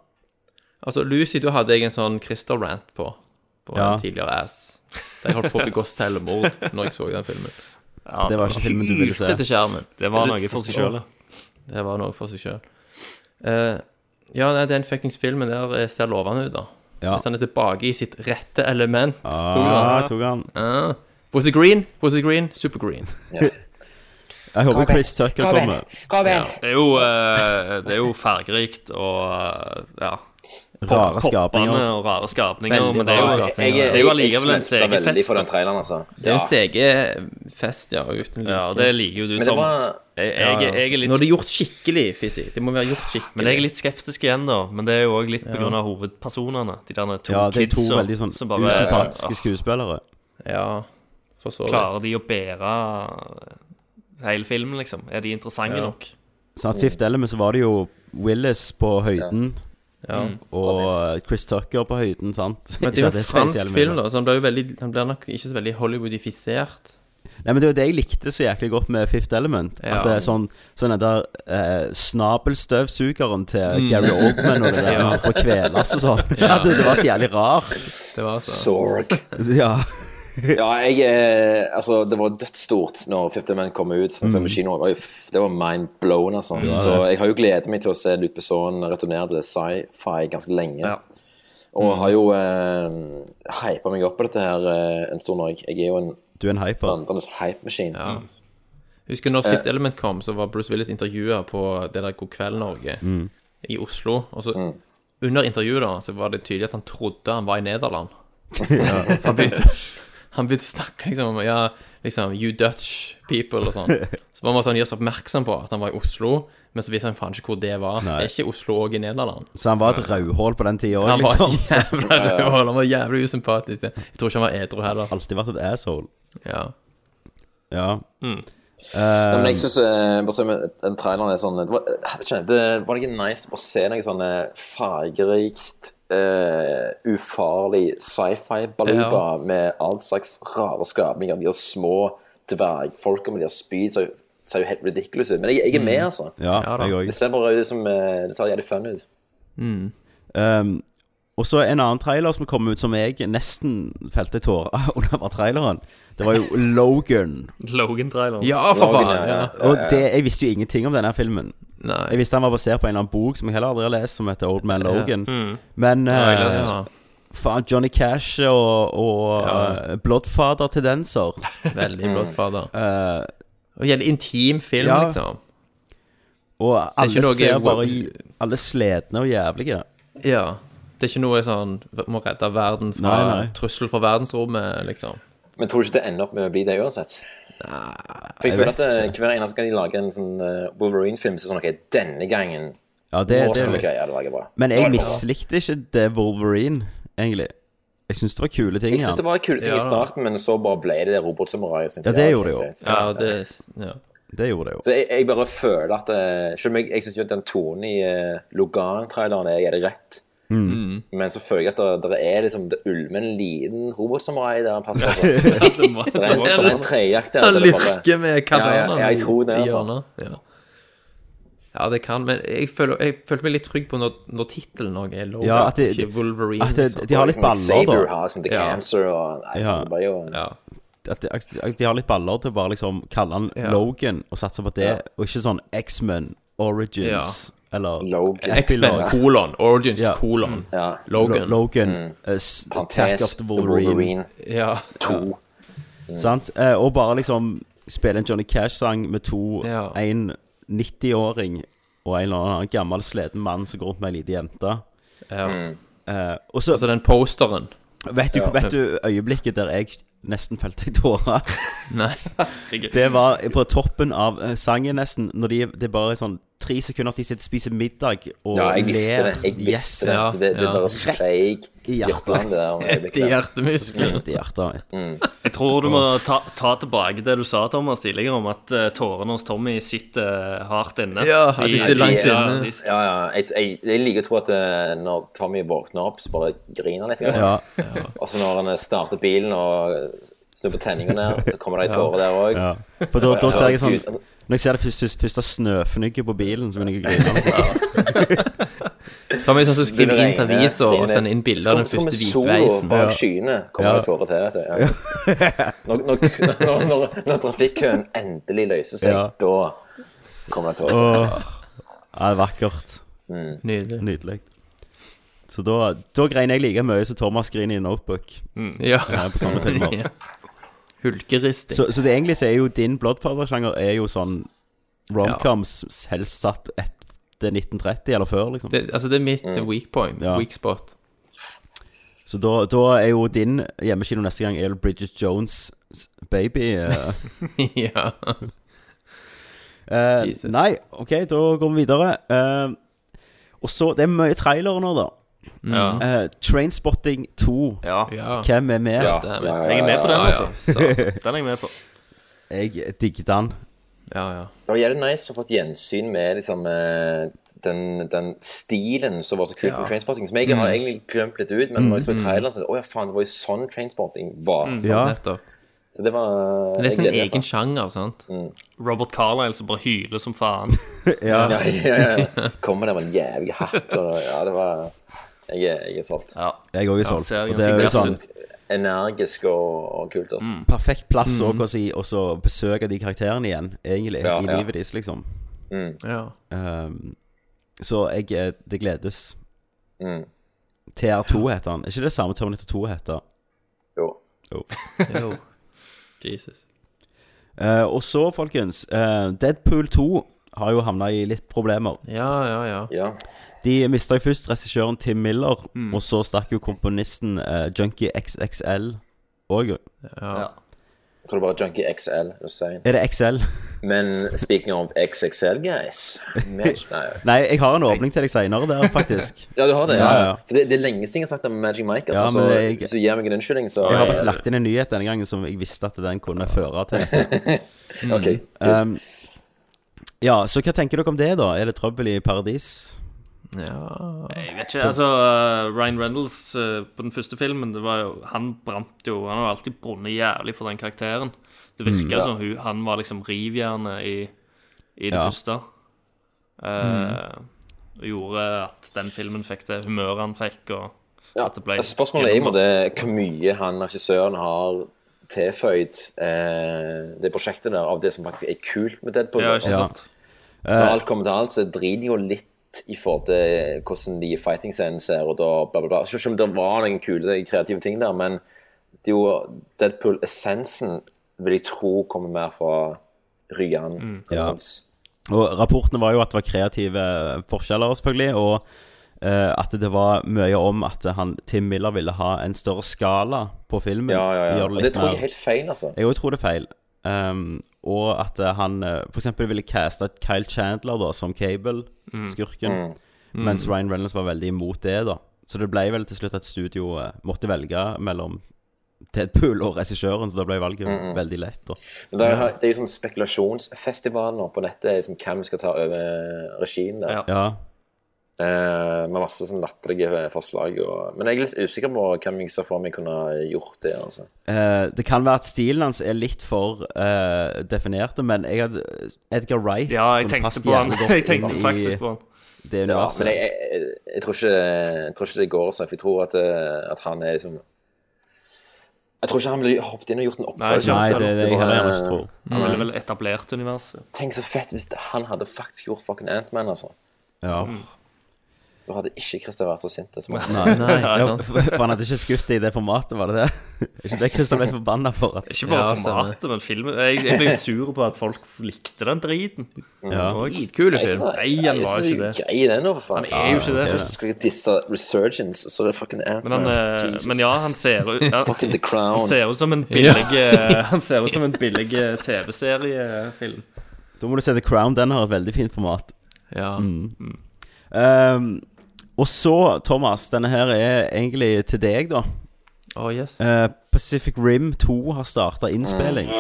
S12: Altså, Lucy, da hadde jeg en sånn Christer-rant på. På
S1: Ja.
S12: en tidligere ass. Der jeg holdt på å begå selvmord når jeg så den filmen.
S9: Ja,
S1: Det var ikke filmen du ville
S12: Hylte til
S1: se.
S12: skjermen.
S9: Det var
S12: Litt
S9: noe for seg selv, ja.
S12: Det var noe for seg sjøl. ja, nei, den fuckings filmen der eh, ser lovende ut, da.
S1: Ja. Ah.
S12: Hvis han er tilbake i sitt rette element. Tok
S1: Ja,
S12: han?
S1: jeg tok han.
S12: Ah. Was it green? Was it green? Super green.
S1: Jeg håper Chris Tucker kommer.
S9: Ja, det, er jo, eh, det er jo fargerikt og eh, ja.
S1: Rare
S9: Poppende
S1: skapninger.
S9: og rare skapninger.
S12: Veldig
S9: Men det er
S12: rare
S9: jo,
S12: skapninger.
S5: Jeg, jeg,
S9: det er jo allikevel en
S5: smelter veldig
S9: segerfest.
S5: for
S9: da.
S5: den traileren, altså.
S12: Det er
S5: Ja.
S12: jo en CG-fest, ja, uten like.
S9: Ja, det liker jo du,
S5: Men det var-
S9: Thomas. Jeg,
S12: Ja,
S9: jeg,
S12: ja.
S9: jeg er
S12: Når det
S9: litt
S12: er gjort skikkelig, Fizzy. Det må være gjort skikkelig.
S9: men jeg er litt skeptisk igjen, da. Men det er jo òg litt pga. av hovedpersonene. De der to
S1: Ja, det er to
S9: kidsa
S1: veldig sånn
S9: som bare
S1: usympatiske skuespillere.
S12: Ja, for så
S9: ah,
S12: vidt.
S9: Klarer de å bære eh, hele filmen, liksom? Er de interessante
S12: Ja.
S9: nok?
S1: Sant? Sånn Fifth Element så var det jo Willis på høyden.
S12: Ja.
S9: Mm.
S1: Og Chris Tucker på høyden, sant?
S12: Men det
S1: Ikke at
S12: er jo
S1: sier
S12: en
S1: så
S12: fransk
S1: jævlig mye.
S12: film, da, så han blir jo veldig, han blir nok ikke så veldig Hollywoodifisert.
S1: Nei, men Det var det jeg likte så jæklig godt med Fifth Element. At det er sånn, sånn den der eh, snabelstøvsugeren
S12: Mm.
S1: til Gary Oldman og det der med å kveles og sånn. At det, det var så jævlig rart.
S12: Det var altså- så.
S5: Sorg.
S1: Ja.
S5: Ja, jeg eh, Altså, det var dødsstort når Fifty Men kom ut. Sånn, som på kino, Det var jo f- det var mind blown, altså. Så jeg har jo gledet meg til å se Luc Besson returnere til sci-fi ganske lenge. Og har jo eh, hypa meg opp på dette her eh, en stund òg. Jeg er jo en
S1: Du er en hyper.
S5: vandrende hype-maskin.
S12: Husker når Fifth Element kom, så var Bruce Willis intervjua på det der God kveld Norge i Oslo. Og så under intervjuet da, så var det tydelig at han trodde han var i Nederland. han begynte han begynte å snakke liksom om ja, liksom, you Dutch people og sånn. Så bare måtte han gjøre seg oppmerksom på at han var i Oslo, men så visste han faen ikke hvor det var. Er ikke Oslo òg i Nederland?
S1: Så han var et rødhål på den tida òg,
S12: Han var,
S1: liksom.
S12: jævla, han var jævlig usympatisk. Jeg tror ikke han var edru heller.
S1: Alltid vært et asshole.
S12: Ja.
S1: Ja.
S5: Nei, men jeg
S1: Um,
S5: synes, eh, bare se med den traileren er sånn Det var, jeg vet ikke, det var det ikke nice å bare se noe sånn eh, fargerikt, eh, ufarlig sci-fi-baluba med all slags rare skapninger. De har små dvergfolka med de har spyd, så ser jo helt ridiculous ut. Men jeg, jeg er med, altså.
S1: Mm. Ja,
S12: Ja da.
S1: jeg òg.
S5: Det ser bare ut som eh, Det ser jævlig fun ut.
S1: Um, og så en annen trailer som kom ut som jeg nesten felte tårer under var traileren. Det var jo Logan.
S9: Logan-traileren.
S12: ja, for
S5: Logan,
S12: faen!
S5: ja,
S12: Ja.
S5: ja.
S1: Og det, jeg visste jo ingenting om denne filmen. Jeg
S12: Nei.
S1: visste han var basert på en eller annen bok som jeg heller aldri har lest, som heter Old Man Logan.
S5: Mm.
S1: Men
S9: jeg
S1: eh,
S9: leste.
S12: Ja,
S1: faen, Johnny Cash og, og eh, Bloodfather-tendenser.
S12: veldig blått fader. Og gjelder intim film,
S1: Eh, Ja.
S12: liksom.
S1: Og
S12: Det er
S1: alle
S12: ikke noe
S1: ser
S12: web-
S1: bare i- Alle sledne og jævlige.
S12: Ja. Det er ikke noe sånn må redde verden fra
S1: Nei, nei.
S12: trussel fra verdensrommet, liksom.
S5: Men tror du ikke det ender opp med å bli det uansett? For jeg
S12: jeg
S5: føler
S12: vet
S5: at eh, hver eneste gang de lager en sånn eh, Wolverine-film, så er det sånn OK, denne gangen
S1: Ja, det,
S5: Nå
S1: det,
S5: skal vi greie det laget bra.
S1: Men
S5: Nå
S1: jeg
S5: er det bra.
S1: mislikte ikke det Wolverine, egentlig. Jeg syns det var kule ting.
S5: Jeg
S1: i
S5: syns
S1: han.
S5: det var kule ting
S1: Ja.
S5: i starten, men så bare ble det det robotsamuraiet.
S1: Ja, det gjorde det jo.
S12: ja.
S1: Det gjorde det jo.
S5: Så jeg, jeg bare føler at eh, Selv om jeg, jeg syns jo at den tonen i eh, Logan-traileren er, er det rett,
S12: Mm.
S5: men så føler jeg at det, det er liksom det ulmer en liten robotsamurai der han passer på.
S12: det må-
S5: det er en, det er en treiakt der.
S12: Han
S5: så det bare-
S12: lirker med
S5: Ja,
S12: katanaen
S5: ja, jeg tror det,
S12: i
S5: altså.
S12: hjørnet. Ja. ja, det kan, men jeg, føler, jeg følte meg litt trygg på når, når tittelen òg er Logan,
S1: Ja, at de-
S12: ikke Wolverine.
S1: at de-
S12: liksom.
S1: de har litt baller, da. Saber
S5: har liksom The
S12: Ja.
S5: Cancer og Nei,
S1: Ja.
S5: faen, det var jo
S1: At de, at de har litt baller til å bare liksom kalle han
S5: Ja.
S1: Logan og satse på det,
S5: Ja.
S1: og ikke sånn X-Men Origins eller
S5: Logan.
S12: X-Men,
S1: Epilogue.
S12: kolon, Origins,
S1: Ja. Mm.
S12: kolon,
S5: Ja.
S12: Logan.
S1: Lo- Logan.
S12: Mm.
S1: eh, s-
S12: Parentes,
S1: Attack of the
S12: The
S1: Wolverine.
S12: Wolverine. Ja. To.
S1: Mm. Sant? Eh, Og bare liksom spille en Johnny Cash-sang med to
S12: Ja.
S1: En 90-åring og en eller annen gammel, sliten mann som går rundt med ei lita jente.
S12: Ja. Mm.
S1: Eh, og så
S12: Altså den posteren.
S1: Vet du,
S12: Ja.
S1: vet du øyeblikket der jeg nesten felte i tårer?
S12: Nei.
S1: Det var på toppen av eh, sangen, nesten. Når de, det er bare sånn tre sekunder at de sitter og spiser middag og
S5: Ja, jeg visste
S1: ler.
S5: det. Jeg visste det. Det- det- det bare skrek
S1: i
S5: hjertet, det der øyeblikket. Rett i hjertemuskelen.
S1: Rett i hjertet mitt.
S5: Mm.
S9: Jeg tror du må ta, ta tilbake det du sa, Thomas, tidligere, om at eh, tårene hos Tommy sitter eh, hardt inne.
S5: Ja,
S9: de-
S5: ja, ja. Jeg, jeg, jeg liker å tro at eh, når Tommy våkner opp, så bare griner han litt. grann.
S1: Ja.
S5: Og så når han eh, starter bilen og snur på tenningene, så kommer det ei
S1: Ja.
S5: tåre der òg.
S1: Ja. For da, da ser jeg sånn Når jeg ser det første, første snøfnugget på bilen, så begynner jeg å grine.
S12: Ta meg sånn som skriver inn
S1: eh,
S12: til aviser og sender inn bilder av den første hvitveisen.
S5: Bak skyene kommer
S12: Ja.
S5: det tårer til. Vet du. Ja. Når, når, når, når, når trafikkøen endelig løser seg,
S1: Ja.
S5: da kommer det tårer til.
S1: Åh. Ja, det er vakkert. Mm.
S12: Nydelig.
S1: Så da, da grein jeg like mye som Thomas griner i Notebook.
S12: Ja.
S1: Eh, På sånne filmer.
S12: Ja. Hulkeristing.
S1: Så, så det egentlig så er jo din Bloodfather-sjanger er jo sånn romcoms helst satt etter 1930 eller før, liksom.
S12: Det, altså, det er mitt weak point,
S1: Ja.
S12: weak spot.
S1: Så da, da er jo din hjemmekino neste gang er Bridget Jones' baby. eh.
S12: ja.
S1: Eh, nei, OK, da går vi videre. Eh, og så Det er mye trailere nå, da.
S12: Ja.
S1: Eh, Trainspotting 2.
S12: Ja.
S1: Hvem er med?
S12: Ja, damn it. Jeg er med på den, altså.
S9: Den er jeg med på.
S1: jeg digget den.
S12: Ja, ja.
S5: Det var jævlig nice å få et gjensyn med liksom, eh, den, den stilen som var så kult
S12: Ja.
S5: med Trainspotting, som jeg har
S12: Mm.
S5: egentlig glemt litt ut, men når jeg så i
S12: Mm.
S5: traileren, så Å ja, faen, det var jo sånn Trainspotting var.
S12: Mm, Ja. nettopp.
S5: Så det var
S12: Men det er sin
S5: jeg gleder meg
S12: egen
S5: sånn.
S12: sjanger, sant?
S1: Mm.
S9: Robert Carlyle som bare hyler som faen.
S5: Ja. sånn. Ja, ja, ja. Kommer der med en jævlig hatt og Ja, det var Jeg er, jeg er solgt.
S1: Jeg òg er solgt. Og det er jo sånn
S5: Energisk og, og kult, altså.
S12: Mm.
S1: perfekt plass
S5: Mhm.
S1: òg å si, og så besøke de karakterene igjen, egentlig,
S5: Ja,
S1: i
S5: ja.
S1: livet deres, liksom.
S5: Mm.
S12: Ja.
S1: Ehm, så jeg eh, Det gledes.
S5: Mm.
S1: TR2 heter han. Er ikke det samme Terminator 2 heter?
S5: Jo.
S1: jo.
S12: Jo. Jesus.
S1: Eh, og så, folkens, eh, Deadpool 2 har jo havna i litt problemer.
S12: Ja, ja, ja.
S1: De mista jo først regissøren Tim Miller,
S12: Mm.
S1: og så stakk jo komponisten eh, Junkie XXL òg.
S5: Ja. Jeg tror det var Junkie XL. just saying.
S1: Er det XL?
S5: Men speaking of XXL, guys Magic, nei.
S1: Nei, jeg har en åpning til deg seinere der, faktisk.
S5: Ja, du har det?
S1: Ja,
S5: Ja,
S1: ja.
S5: For det, det er lenge siden jeg har snakket om Magic Mike. Altså,
S1: Ja,
S5: så
S1: men jeg-
S5: hvis du gir meg en unnskyldning, så
S1: Jeg har faktisk lagt inn en nyhet denne gangen som jeg visste at den kunne føre til.
S5: Ok,
S1: Um, ja, så hva tenker dere om det, da? Er det trøbbel i paradis?
S12: Ja
S9: Jeg vet ikke, altså eh, Ryan Reynolds eh, på den første filmen det var jo, Han brant jo Han har jo alltid brunnet jævlig for den karakteren. Det virka
S1: Mm. Ja.
S9: som hun, han var liksom rivjernet i, i det
S1: Ja.
S9: første. Eh, og Gjorde at den filmen fikk det humøret han fikk, og
S5: Ja,
S9: at det ble
S5: altså, Spørsmålet er i en måte hvor mye han regissøren har tilføyd eh, det prosjektet der av det som faktisk er kult med Deadpool.
S9: Ja, ikke
S5: Altså,
S9: sant.
S5: Når
S9: Eh,
S5: alt kommer til alt, så driter de jo litt i forhold til hvordan de fighting-scenen ser ut og bla, bla, bla. Selv om det var noen kule kreative ting der, men det er jo
S9: Mm.
S5: Deadpool-essensen vil jeg tro kommer mer fra Ryan.
S1: Ja. Og rapportene var jo at det var kreative forskjeller, selvfølgelig. Og eh, at det var mye om at han, Tim Miller ville ha en større skala på filmen.
S5: Ja, ja, ja.
S1: Gjøre
S5: Og
S1: litt
S5: det tror jeg
S1: mer-
S5: er helt feil, altså.
S1: Jeg også tror det er feil. Ehm, og at eh, han eh, for eksempel ville caste Kyle Chandler da som
S5: Mm.
S1: Cable-skurken.
S5: Mm.
S1: Mens
S5: Mm.
S1: Ryan Reynolds var veldig imot det, da. Så det ble vel til slutt at studio eh, måtte velge mellom Deadpool og regissøren, så da ble valget
S5: Mm, mm.
S1: veldig lett. Da.
S5: Men det er, jo- det er jo sånn spekulasjonsfestivaler på nettet liksom, hvem skal ta over regien der.
S1: Ja.
S5: Eh, med masse sånn latterlige forslag. Og... Men jeg er litt usikker på hvem jeg ser for meg kunne gjort det. altså.
S1: Eh, det kan være at stilen hans er litt for eh, definerte, men jeg hadde Edgar Wright
S9: Ja, jeg
S1: kunne
S9: tenkte
S1: passet
S9: på han.
S1: jævlig godt
S9: Jeg tenkte
S1: inn i
S9: faktisk på han.
S1: Det
S5: Ja,
S1: universet.
S5: men jeg, jeg, jeg, tror ikke, jeg tror ikke det går sånn, for jeg tror at, eh, at han er liksom Jeg tror ikke han ville hoppet inn og gjort en oppfølger. selv. var-
S1: Mm.
S9: Han ville vel etablert universet.
S5: Tenk så fett hvis han hadde faktisk gjort fucking Ant-Man, altså.
S1: Ja.
S9: Mm.
S5: Da hadde ikke Christer vært så sint. altså. Som han.
S1: Nei, ja, for han hadde ikke skutt det i det formatet, var det det? ikke det Christer ble så forbanna for? At...
S9: Ikke bare formatet, men filmen. Jeg, jeg ble sur på at folk likte den driten.
S1: Ja.
S9: Tror jeg.
S1: Dritkule
S5: Jeg synes
S1: film.
S5: det-
S9: Nei, han var
S5: jeg synes
S9: ikke det.
S5: er Grei den, da, for faen.
S9: Han er jo ikke det.
S5: Først skal jeg disse Resurgence, så er det fucking
S9: Men, han,
S5: Ant-Man.
S9: eh,
S5: Jesus.
S9: men ja, han ser ut han-
S5: Fucking The Crown.
S9: Han ser ut som en billig eh, Han ser ut som en billig eh, TV-seriefilm.
S1: Da må du se The Crown. Den har et veldig fint format.
S9: Ja.
S1: Mm. Ehm, og så, Thomas, denne her er egentlig til deg, da.
S12: Oh, yes.
S1: Eh, Pacific Rim 2 har starta innspilling.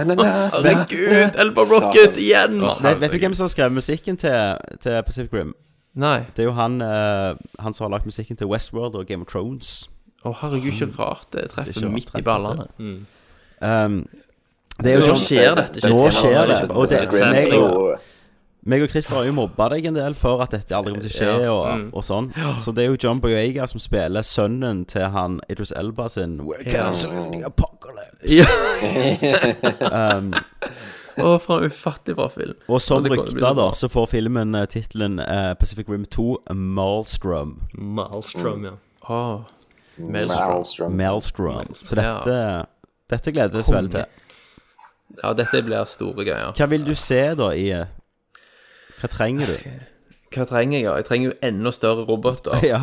S12: Herregud, Elba Rocket igjen!
S1: Vet, vet du hvem som har skrevet musikken til, til Pacific Rim?
S12: Nei.
S1: Det er jo han, eh, han som har lagt musikken til Westworld og Game of Thrones.
S12: Å, herregud, ikke rart det treffer
S1: ikke rart
S12: midt i
S1: treffer
S12: ballene.
S1: det. Um, det er jo
S12: Nå
S1: John-
S12: skjer dette ikke.
S1: Nå
S12: Det
S1: skjer
S12: er
S1: det.
S12: ikke
S1: Og det
S12: bare Grand
S1: meg
S12: Prix.
S1: og, meg og Christer har jo mobba deg en del for at dette aldri kommer til å skje,
S12: Ja.
S1: og,
S12: Mm.
S1: og sånn.
S12: Ja.
S1: Så det er jo John Boyega som spiller sønnen til han Idris Elba sin We're
S17: 어.
S12: Ja.
S1: canceling the apocalypse.
S12: Ja.
S1: um,
S12: Å, faen, ufattelig bra film.
S1: og som
S12: det sånn. kommer til å bli så
S1: rykter, da, så får filmen eh, tittelen eh, Pacific Rim 2 Malstrom.
S9: Malstrom,
S12: Mm.
S9: ja.
S12: Åh,
S5: Maelstrom.
S1: Maelstrom. Så
S12: Ja.
S1: dette, dette gleder vi oss veldig til.
S12: Ja, dette blir store greier.
S1: Hva vil du se da i eh, Hva trenger du?
S12: Hva trenger jeg? da? Jeg trenger jo enda større roboter.
S1: Ja.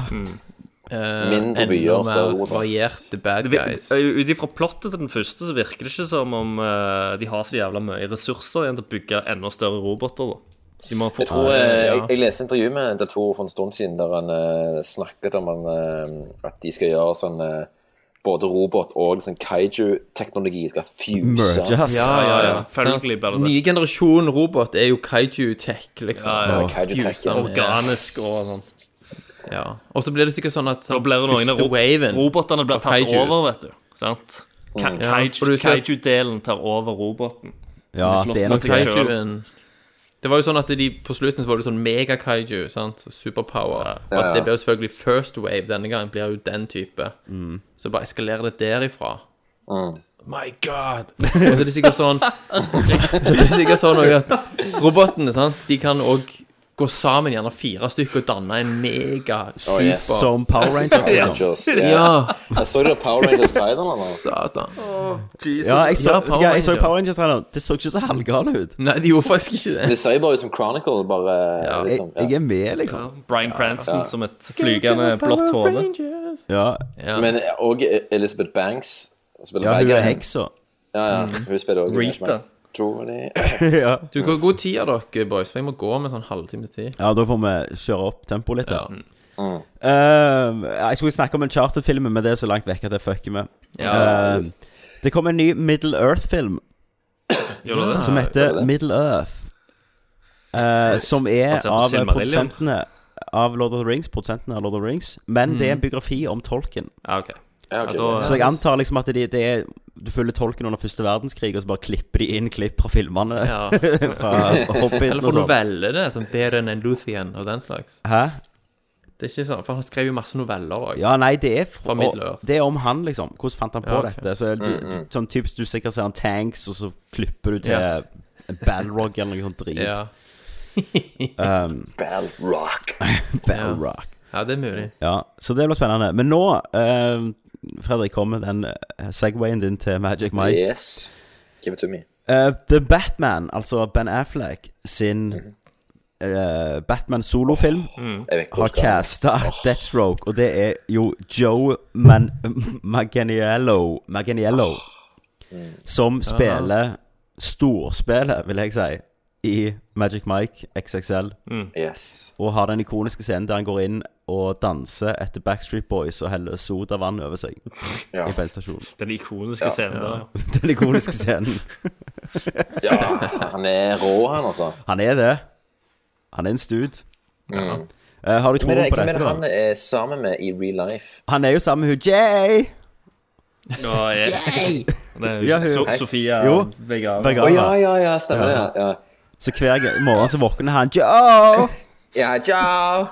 S12: Eh,
S5: Mindre byer,
S12: enda
S5: større
S12: mer
S5: roboter.
S12: varierte bad guys.
S9: eh, Ut ifra plottet til den første så virker det ikke som om eh, de har så jævla mye ressurser igjen til å bygge enda større roboter. da. Så de må få
S5: Jeg tror eh, jeg, jeg leste intervju med Del Toro for en stund siden der han eh, snakket om han, eh, at de skal gjøre sånn eh, både robot og sånn kaiju-teknologi skal fuse.
S12: Ja, ja, ja.
S9: Selvfølgelig blir det det.
S12: Ny generasjon robot er jo kaiju-tech, liksom.
S9: Ja, ja,
S12: Og
S9: kaiju-tech,
S12: fuser
S9: ja.
S12: med-
S9: Organisk og sånn.
S12: Ja. Og så blir det sikkert sånn at
S9: Da blir det noen av ro robotene blir tatt over, vet du. Sant? Ka
S12: Mm. Ja, for du
S9: kaiju-
S12: ser-
S9: Kaiju-delen tar over roboten.
S1: Ja,
S9: Så de slåss
S12: det er
S9: mot
S12: nok
S9: seg selv.
S12: kaijuen Det var jo sånn at de på slutten så var det sånn mega-kaiju, sant? Superpower. Og
S5: Ja, ja.
S12: at det ble jo selvfølgelig first wave denne gangen, blir jo den type. Så bare eskalerer det derifra.
S5: Mm.
S12: Mm. My god! Og så er det sikkert sånn Det er sikkert sånn også at robotene, sant, de kan òg gå sammen, gjerne fire stykker, og danne en mega
S5: Oh, yes.
S12: super
S1: Som Power Rangers, liksom.
S12: Ja.
S5: Rangers, yes.
S12: Ja.
S5: Jeg så det på Power Rangers altså. Tidal, eller?
S12: Satan.
S1: Ja, jeg så,
S12: Ja,
S1: vet du hva, jeg så
S12: Power
S1: Power Rangers-traileren. Det så ikke så halvgale ut.
S12: Nei, de gjorde faktisk ikke
S5: Det ser jo bare ut som Chronicle, bare liksom.
S1: Jeg er med, liksom.
S9: Bryan Cranston
S5: Ja.
S9: som et flygende blått hode.
S1: Ja.
S5: Men eh, og Elizabeth Banks spiller
S1: Ja, hun
S5: begge.
S1: er heksa.
S5: Ja, ja. Hun spiller også
S12: Rita.
S5: Tror det.
S1: ja.
S12: Du, hvor god tid har dere, boys? For jeg må gå med sånn halvtime tid.
S1: ja, da får vi kjøre opp tempoet litt. her
S12: Mm.
S1: Eh, jeg skulle snakke om en charterfilm, men det er så langt vekk at jeg fucker med.
S12: Ja.
S1: Eh, det kom en ny Middle Earth-film
S9: Gjør
S12: Ah,
S9: det det?
S1: som
S9: Gjør det
S1: heter
S9: det?
S1: Middle Earth. Eh, som er
S9: Basert
S12: Altså,
S9: på
S1: av
S9: Silmarillion.
S1: produsentene av Lord of the Rings, produsentene av Lord of the Rings, men det er
S12: Mm.
S1: en
S9: Mhm.
S1: biografi om Tolkien.
S9: Ja, ok.
S5: Ja, ok.
S9: da-
S1: Så jeg antar liksom at de, det er du følger tolken under første verdenskrig, og så bare klipper de inn klipp fra filmene.
S12: Ja.
S1: fra Hobbiten
S12: Eller
S1: og
S12: for
S1: sånn.
S12: noveller, det. Som bedre enn Luthien og den slags.
S1: Hæ?
S12: Det er ikke sånn, for han skrev jo masse noveller òg.
S1: Ja, nei, det er fra,
S12: Fra Middle-earth.
S1: Det er om han, liksom. Hvordan fant han på
S12: Ja, ok.
S1: dette? Så er det,
S12: Mm, mm.
S1: Sånn typisk du sikkert ser en tanks, og så klipper du til
S12: Ja.
S1: Balrog eller noe sånt drit.
S12: Ja.
S1: um,
S5: Balrog.
S1: Balrog.
S12: Ja, det er mulig.
S1: Ja, så det blir spennende. Men nå eh, Fredrik, kom med den eh, segwayen din til Magic Mike.
S5: Yes. Give it to me.
S1: Eh, The Batman, altså Ben Affleck sin eh, Batman solofilm,
S5: Mm. Jeg vet ikke hvor
S1: har
S5: skal.
S1: casta Deathstroke, og det er jo Joe Man Manganiello, Manganiello som spiller storspillet, vil jeg si, i Magic Mike XXL.
S5: Mm. Yes.
S1: Og har den ikoniske scenen der han går inn og danser etter Backstreet Boys og heller sodavann over seg i bensinstasjonen.
S9: Den ikoniske
S5: Ja.
S9: scenen der, ja.
S1: Den ikoniske scenen.
S5: Ja, han er rå, han, altså.
S1: Han er det. Han er en stud.
S5: Mm.
S1: Eh, har du
S5: Hvem er
S1: troen
S5: det,
S1: på
S5: hvem er
S1: dette?
S5: det han
S1: da?
S5: er sammen med i real life?
S1: Han er jo sammen med hun Jay.
S9: Nå er
S5: Yay!
S9: Det er
S1: Ja, hun-
S9: so Sofia
S1: Jo,
S9: Vegard.
S1: Vegana.
S5: Å, ja, ja, ja, stemmer det, ja.
S1: Så hver g- morgen så våkner han Joe!
S5: Ja, ciao!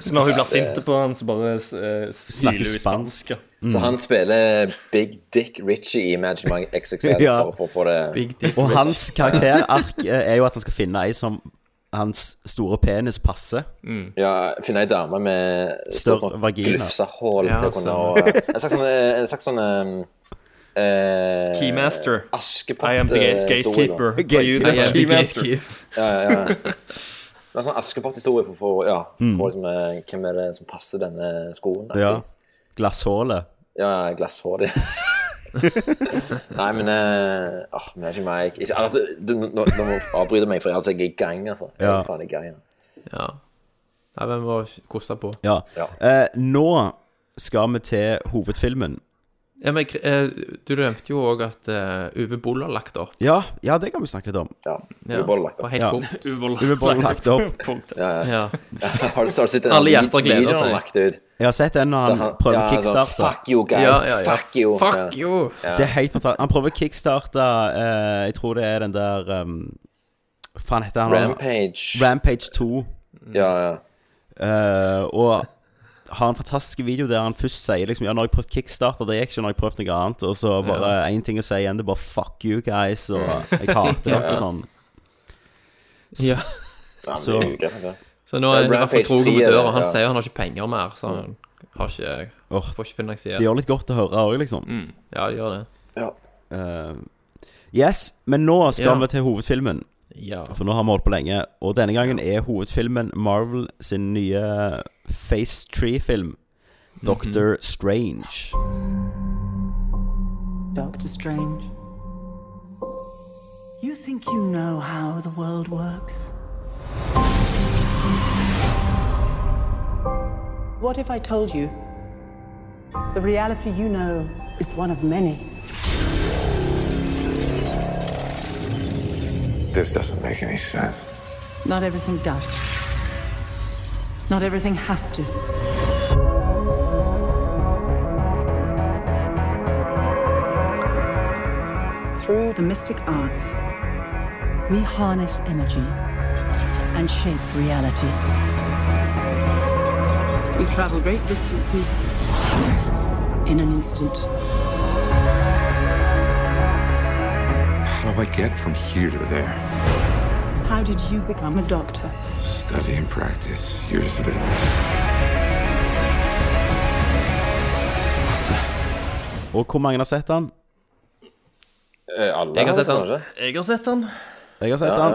S9: Så når hun blir sint på han, så bare uh,
S1: Snakker
S9: siler hun
S1: spansk.
S9: spansk. ja.
S5: Så han spiller Big Dick Ritchie i Magic Mike XXL
S1: Ja.
S5: bare for å få det
S1: Og hans karakterark eh, er jo at han skal finne ei som hans store penis passer.
S5: Ja, finne ei dame med
S1: Større
S5: stort nok
S1: vagina.
S5: glufsehull
S1: Ja,
S5: til å kunne
S1: stemmer.
S5: og, En slags sånn, eh, en slags sånn um, eh,
S9: Keymaster.
S5: Askepott.
S9: I am the
S5: eh,
S9: gatekeeper.
S5: historie, da.
S9: Are you the I am the keymaster? gatekeeper.
S5: Ja, ja, ja. Det er sånn Askepott-historie for, for, ja, for liksom, eh, hvem er det som passer denne skoen.
S1: Ja. Glasshålet.
S5: Ja, glasshår, det. Nei, men eh, åh, Magic Mike Ikke- altså, du, nå, nå må du avbryte meg, for ellers er jeg i gang. Altså. Jeg er
S1: Ja.
S5: faen i gang, ja.
S12: Ja. Nei, vi må koste på.
S1: Ja. Eh, nå skal vi til hovedfilmen.
S12: Ja, men eh, du nevnte jo òg at eh, Uwe Boll har lagt opp.
S1: Ja, ja, det kan vi snakke litt om.
S5: Ja.
S12: Ja, Uvold lagt opp. var helt
S1: Ja.
S12: punkt. Uvold
S1: Uvold
S12: lagt
S1: lagt
S12: opp.
S1: opp.
S9: Punkt.
S5: Ja,
S12: ja.
S5: Har du, har du sett den
S12: Alle
S5: vid-
S12: hjerter gleder
S5: videoen han
S12: seg.
S5: lagt ut?
S1: Jeg har sett den når
S5: Da
S1: han
S5: han-
S1: prøver
S5: ja,
S1: å
S5: da,
S1: kickstarte.
S5: fuck you, guys.
S12: Ja, ja, ja.
S5: Fuck you.
S12: Fuck
S5: Ja.
S12: you.
S5: Ja.
S1: Det er helt fantastisk. Han prøver å kickstarte eh, Jeg tror det er den der um, hva Faen, heter han
S5: Rampage.
S1: Rampage 2.
S5: Ja, ja.
S1: Eh, og har en fantastisk video der han først sier liksom Ja, når jeg prøvde kickstarter, det gikk ikke når jeg prøvde noe annet. Og så bare én ting å si igjen, det er bare fuck you guys, og
S5: Mm.
S1: jeg hater
S12: Ja.
S1: dere og sånn.
S12: Ja.
S5: Ja,
S1: Så-
S5: men det er altså. jo greit, det.
S12: Så nå er det i hvert fall
S5: Rampage
S12: Trogo
S5: 3
S12: på
S5: er det,
S12: døra. Han
S5: ja.
S12: sier han har ikke penger mer, så han har ikke, får ikke finansiert.
S1: Det gjør litt godt å høre òg, liksom.
S12: Ja, det gjør det.
S1: Eh, yes, men nå skal
S12: Ja.
S1: vi til hovedfilmen.
S12: Ja.
S1: For nå har vi holdt på lenge. Og denne gangen er hovedfilmen Marvel sin nye Phase 3-film.
S12: Mhm.
S1: Doctor Strange.
S11: Doctor Strange.
S4: You think you know how the world works?
S19: What if I told you the reality you know is one of many?
S20: This doesn't make any sense.
S19: Not everything does. Not everything has to. Through the mystic arts, we harness energy and shape reality. We travel great distances in an instant.
S20: How do I get from here to there?
S19: How did you become a doctor?
S20: Study and practice, years of it.
S1: Og hvor mange har sett den?
S5: Eh, Alle
S9: Jeg har sett
S5: kanskje?
S9: den. Jeg har sett den.
S1: Jeg har sett
S5: Ja,
S1: den.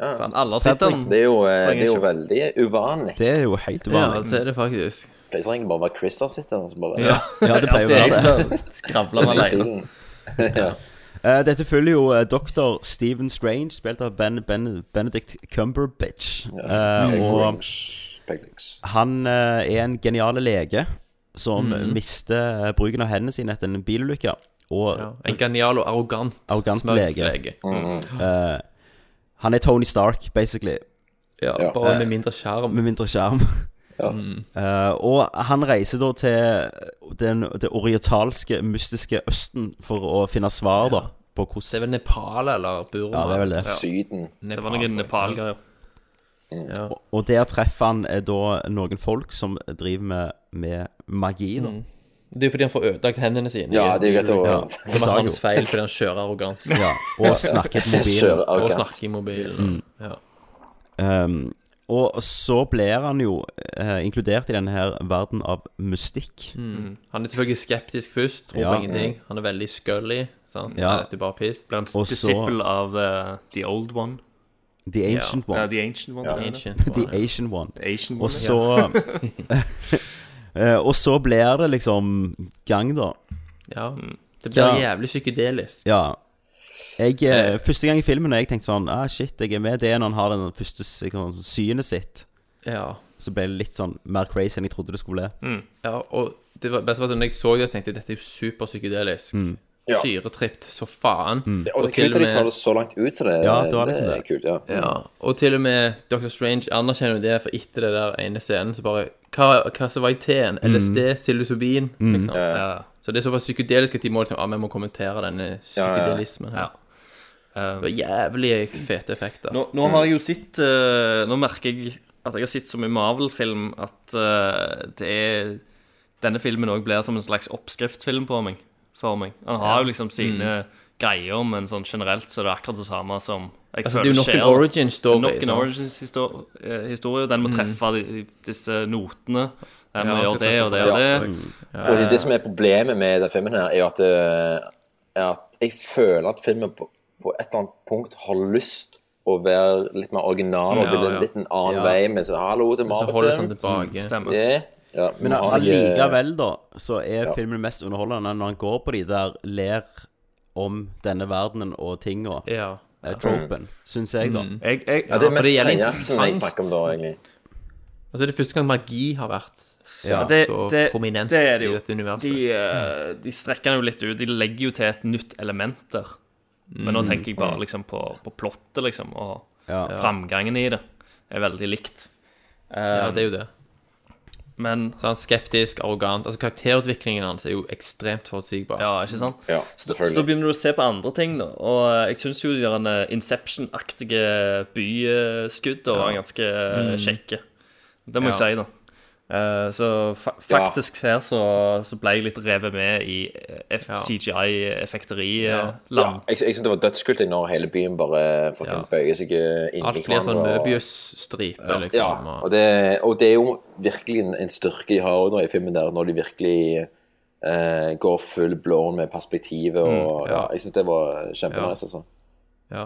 S5: ja. Ja.
S9: Faen, alle har sett den.
S5: Det er jo, eh, det er jo
S9: Trenger
S5: veldig uvanlig.
S1: Det er jo helt
S12: Ja,
S1: uvanlig.
S12: det er det faktisk.
S5: Det er så egentlig bare hva Chris har sett. Altså, bare,
S12: Ja. Ja, det pleier å være det. Skravler man
S5: alene. ja.
S1: Eh, dette følger jo eh, doktor Stephen Strange, spilt av ben, ben, Benedict Cumberbatch. Eh,
S5: Peg
S1: og
S5: Links. Peg Links.
S1: han eh, er en genial lege som
S12: Mhm.
S1: mister eh, bruken av hendene sine etter en bilulykke. Og
S12: Ja. En genial og arrogant,
S1: arrogant
S12: smørt
S1: lege.
S5: Mm.
S1: Eh, han er Tony Stark, basically.
S12: Ja, bare
S1: Eh,
S12: med mindre skjerm.
S1: Med mindre skjerm.
S12: Mm.
S1: Eh, og han reiser da til den, det orientalske, mystiske Østen for å finne svar da på
S12: Det er
S1: hvordan
S12: vel Nepal eller Burma?
S1: Ja, det er vel det.
S5: Syden.
S9: Det var noen Nepal-greier.
S12: Ja.
S1: Og- Og der treffer han eh, da noen folk som driver med, med magi, da.
S12: Mm. Det er jo fordi han får ødelagt hendene sine.
S5: Ja, det er jo greit å-
S12: Ja.
S1: Det
S12: Det
S1: sa
S12: var
S1: jeg
S12: hans
S1: jo.
S12: feil fordi han kjører arrogant.
S1: Ja, og snakker på mobilen.
S12: Kjører
S1: Og
S12: Og
S1: snakker
S12: snakker i mobilen.
S1: Mm.
S12: Ja.
S1: Um, Og så blir han jo eh, inkludert i denne her verden av mystikk.
S12: Mm. Han er selvfølgelig skeptisk først, tror
S1: Ja.
S12: på ingenting. Han er veldig scully. Sant?
S1: Ja.
S12: Dette er bare piss.
S9: Blir han
S1: Og så- disippel
S9: av eh, The Old One.
S1: The Ancient
S9: Ja.
S1: One.
S9: Ja, The Ancient One, Ja. det er det.
S1: The
S9: Ja.
S1: Ancient One.
S9: The Ancient One,
S1: og så Eh, Og så blir det liksom gang, da.
S12: Ja.
S9: Mm.
S12: Det blir
S1: Ja.
S12: jævlig psykedelisk.
S1: Ja. Jeg, eh, første gang i filmen jeg tenkte sånn ah, Shit, jeg er med det er når han har den første s- sånn, synet sitt.
S12: Ja.
S1: Så ble det litt sånn mer crazy enn jeg trodde det skulle bli.
S12: Mm. ja og det var best var at når jeg så det, tenkte jeg dette er jo superpsykedelisk.
S1: Mm.
S5: Ja.
S12: Syretript så faen.
S1: Mm.
S5: Og det er kult at de tar det så langt ut, så det,
S12: Ja, det var liksom
S5: er
S12: det.
S5: kult. Ja.
S12: Ja, og til og med Dr. Strange anerkjenner jo det, for etter det der ene scenen så bare Hva, hva som var i teen?
S9: Mm.
S12: LSD, psilocybin,
S1: Mm.
S12: liksom. Så det er såpass psykedelisk at de må liksom Ja, vi må kommentere denne psykedelismen her.
S9: Eh,
S12: Det var jævlig fete effekter.
S9: Nå, nå har jeg jo sett eh, Nå merker jeg at jeg har sett så mye Marvel-film at eh, det er Denne filmen òg blir som en slags oppskriftfilm på meg, for meg. Han har
S12: Ja. Mm.
S9: jo liksom sine greier, men sånn generelt så er det akkurat det samme som jeg
S12: Altså, det er jo nok en
S9: skjer.
S12: origin story, liksom.
S9: Nok en
S12: sant?
S9: origin-historie. Den må
S12: Mm. altså,
S9: treffe de, de, disse notene. Den
S5: Ja,
S9: må
S5: han
S9: gjøre
S5: skal
S9: det og det og
S5: treffe-
S9: det.
S5: Ja. Og det, er det som er problemet med den filmen her, er jo at, eh, er at jeg føler at filmen på, på et eller annet punkt har lyst å være litt mer original og
S12: Ja,
S5: ville
S12: ja.
S5: litt en annen
S12: Ja.
S5: vei. Men så hallo, det er
S12: Men så
S5: Marvel-film.
S12: holder det sånn tilbake.
S5: Mm,
S12: Stemmer.
S5: Ja, ja,
S1: Men
S5: Marvel-
S1: allikevel, da, så er
S5: Ja.
S1: filmen mest underholdende når han går på de der ler om denne verdenen og tinga.
S12: Ja.
S1: Eh, tropen, syns jeg, da.
S12: Mm.
S9: Jeg, jeg,
S5: Ja, det er
S12: for det
S5: mest
S12: gjelder
S5: tredje jeg
S12: interessant.
S5: snakker om da, egentlig.
S12: Altså, det er første gang magi har vært så,
S9: Ja, det,
S12: så
S9: det,
S12: prominent
S9: det er det jo.
S12: i dette universet.
S9: De, eh, de strekker den jo litt ut. De legger jo til et nytt element der. Men nå
S12: Mm.
S9: tenker jeg bare liksom på, på plottet, liksom, og
S1: Ja.
S9: framgangen i det er veldig likt. Eh,
S12: Ja, det er jo det.
S9: Men
S12: Så han er skeptisk, arrogant Altså, karakterutviklingen hans er jo ekstremt forutsigbar.
S9: Ja, ikke sant?
S5: Ja,
S9: Så, så da begynner du å se på andre ting, da. Og eh, jeg syns jo de der, eh, Inception-aktige byskudda var
S12: Ja.
S9: ganske eh,
S12: Mm.
S9: kjekke. Det må jeg
S12: Ja.
S9: si, da. Eh, så fa
S12: Ja.
S9: faktisk her så, så ble jeg litt revet med i eh,
S5: Ja.
S9: CGI-effekteriland.
S5: Ja, jeg, jeg synes det var dødskult jeg, når hele byen bare fucking bøyer seg eh, inn i
S12: Alt blir sånn
S5: hverandre og-
S12: Møbius-stripe,
S5: Ja,
S12: liksom.
S5: ja. Og, det, og det er jo virkelig en, en styrke de har også da, i filmen der, når de virkelig eh, går full blown med perspektivet
S9: Mm,
S5: og ja.
S9: ja.
S5: Jeg syns det var kjempenice, altså.
S12: Ja.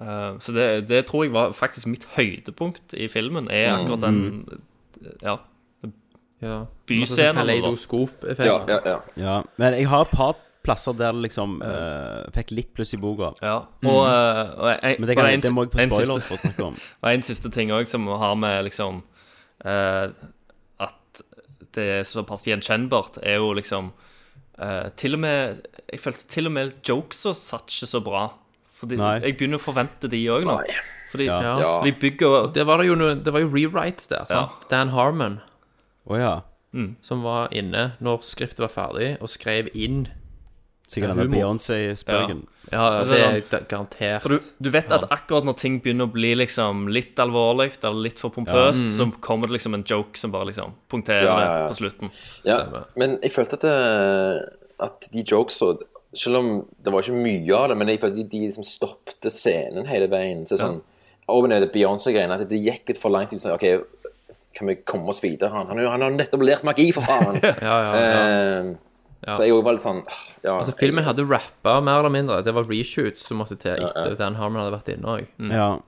S9: Eh, så det, det tror jeg var faktisk mitt høydepunkt i filmen, er
S12: Mm.
S9: akkurat den Ja.
S12: Ja.
S9: Byscenen.
S12: Altså, sånn
S9: eller-
S12: kaleidoskop-effekt. Ja, ja,
S1: Ja, Men jeg har et par plasser der det liksom eh, fikk litt pluss i boka.
S9: Ja,
S1: Mm.
S9: og, eh, og jeg,
S1: Men det,
S9: og
S1: kan,
S9: en-
S1: det må jeg på
S9: en
S1: spoilers
S9: siste-
S1: få snakke om.
S9: Og en siste ting òg, som har med liksom eh, At det er såpass gjenkjennbart, er jo liksom eh, Til og med Jeg følte til og med jokesa satt ikke så bra. Fordi
S12: Nei.
S9: Jeg begynner å forvente de òg nå. Fordi,
S12: Ja.
S9: for de bygger
S12: Og Det var det jo, noe- det var jo rewrites der, sant? Dan Harmon
S1: Å ja.
S12: som var inne når skriptet var ferdig, og skrev inn
S1: Sikkert denne
S12: humor.
S1: Beyoncé-spøken.
S12: Ja, ja,
S9: Altså,
S12: det er
S9: sånn-
S12: garantert.
S9: For du, du vet at akkurat når ting begynner å bli liksom litt alvorlig eller litt for
S5: Ja.
S9: pompøst,
S5: Mm.
S9: så kommer det liksom en joke som bare liksom punkterer
S5: Ja, ja, ja.
S9: på slutten.
S5: Ja, men jeg følte at, eh, at de jokesa Selv om det var ikke mye av det, men jeg følte de, de liksom stoppte scenen hele veien. Så sånn, over nede Beyoncé-greiene, at det gikk litt for langt. Sånn, ok, kan vi komme oss videre? Han, han, han har nettopp lært magi, for faen!
S12: ja, ja.
S5: Eh,
S12: Ja.
S5: Så jeg var litt sånn ja,
S12: Altså, filmen hadde rappa mer eller mindre. Det var reshoots som måtte til etter Dan Harmon hadde vært inne òg.
S1: Ja.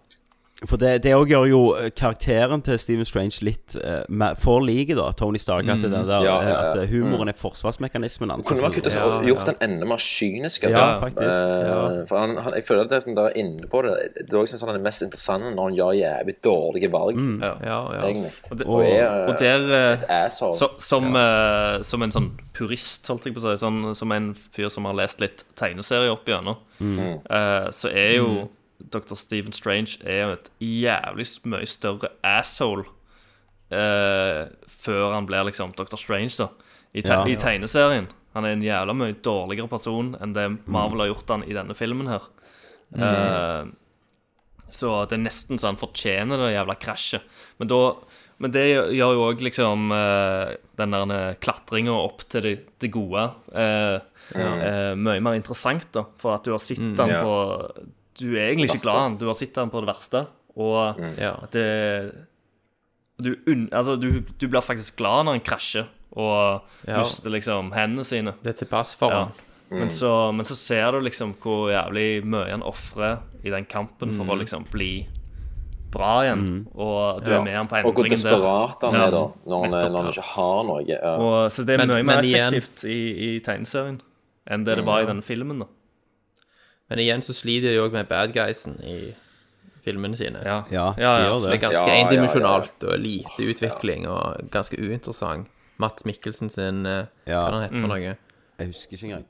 S1: For det, det også gjør jo eh, karakteren til Stephen Strange litt eh, mer- for lik da, Tony Stark. At, det
S5: Mm.
S1: der,
S5: Ja,
S1: eh,
S5: ja, ja.
S1: at eh, humoren
S5: Mm.
S1: er forsvarsmekanismen hans.
S5: Kunne man
S1: altså.
S5: kuttet seg og gjort den enda mer kynisk? altså.
S1: Ja, faktisk.
S5: Eh,
S1: Ja.
S5: For han, han, jeg føler at det som der inne på det Det er også sånn han er mest interessant når han gjør jævlig dårlige valg.
S12: Mm.
S5: Egentlig.
S9: Og, det,
S5: Og
S9: og,
S5: er,
S9: og der eh,
S5: asshole.
S9: så, som, eh, som en sånn purist, holdt jeg på å si, sånn, som en fyr som har lest litt tegneserier opp igjennom,
S5: Mm.
S9: eh, så er jo
S12: Mm.
S9: Dr. Stephen Strange er jo et jævlig mye større asshole eh, før han blir liksom Dr. Strange, da. I, te
S1: Ja.
S9: I tegneserien. Han er en jævla mye dårligere person enn det Marvel har gjort han i denne filmen her.
S12: Mm.
S9: Eh, så det er nesten så han fortjener det jævla krasjet. Men, da, men det gjør jo òg liksom eh, den der klatringa opp til det, det gode eh,
S12: Ja.
S9: eh, mye mer interessant, da. For at du har sett
S12: Mm.
S9: han
S12: Ja.
S9: på Du er egentlig ikke
S12: Verste.
S9: glad i han, du har sett han på det verste. Og
S5: Mm.
S12: Ja.
S9: at det du, unn- altså, du, du blir faktisk glad når han krasjer og
S12: Ja.
S9: mister liksom hendene sine.
S12: Det er til pass for han. Mm.
S9: Men, så, men så ser du liksom hvor jævlig mye han ofrer i den kampen for
S12: Mm.
S9: å liksom bli bra igjen. Og at du
S5: Ja.
S9: er med han på
S5: Og hvor
S9: endringen der.
S5: desperat han
S9: Ja.
S5: er da, når han,
S9: Nettopp.
S5: når han ikke har noe. Ja.
S9: Og, så det er
S12: Men-
S9: mye mer
S12: men igjen-
S9: effektivt i, i tegneserien enn det det
S5: Mm.
S9: var i denne filmen. da
S12: Men igjen så sliter de òg med bad guysen i filmene sine.
S1: Ja,
S9: Ja, de ja. gjør det.
S12: Så det
S9: Ja,
S12: er ganske
S9: ja, ja.
S12: endimensjonalt og lite utvikling og ganske uinteressant. Mats Mikkelsen sin eh, Hva er det han heter
S1: Mm.
S12: for noe?
S1: Jeg husker ikke engang.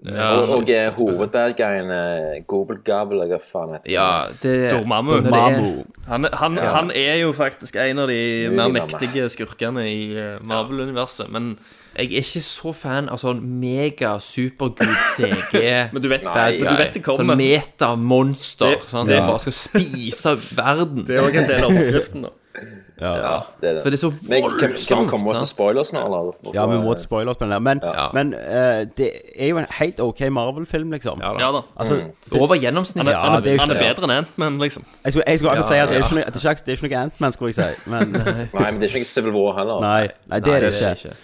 S5: og og eh, hovedbadguyen eh, Gobble Gobble, eller hva faen heter
S12: Ja, det-
S9: Dormammu.
S12: det- det- Dormammu.
S9: Han, han,
S5: Ja.
S9: han er jo faktisk en av de
S12: Mye
S9: mer
S12: gammel.
S9: mektige skurkene i eh, Marvel-universet, men
S12: Jeg er ikke så fan av sånn mega supergud CG
S9: Men du vet-
S12: bad
S9: men du
S12: guy.
S9: vet det kommer.
S12: Sånn metamonster
S9: Det-
S12: sånn,
S9: det-
S12: som bare skal spise verden.
S9: det er òg en del av oppskriften, da.
S1: Ja.
S5: det er det.
S12: For det er så
S5: Men kan- Kan vi
S12: voldsomt.
S5: komme oss til spoilers nå, eller? Hvorfor-
S1: Ja, vi må til spoilers på den der. Men, men eh, det er jo en helt OK Marvel-film, liksom. Ja
S9: da. Ja da.
S1: Altså,
S9: Mm. Over gjennomsnittet. Han er- han er-
S1: det jo
S9: han er
S1: ikke-
S9: bedre enn Ant-Man, liksom.
S1: Jeg skulle, jeg skulle akkurat
S9: Ja,
S1: si at det er
S9: ja.
S1: ikke noe- det er ikke, det er ikke noe Ant-Man, skulle jeg si. Men,
S5: Nei, men det er ikke Civil War heller.
S1: nei, nei, det er det ikke.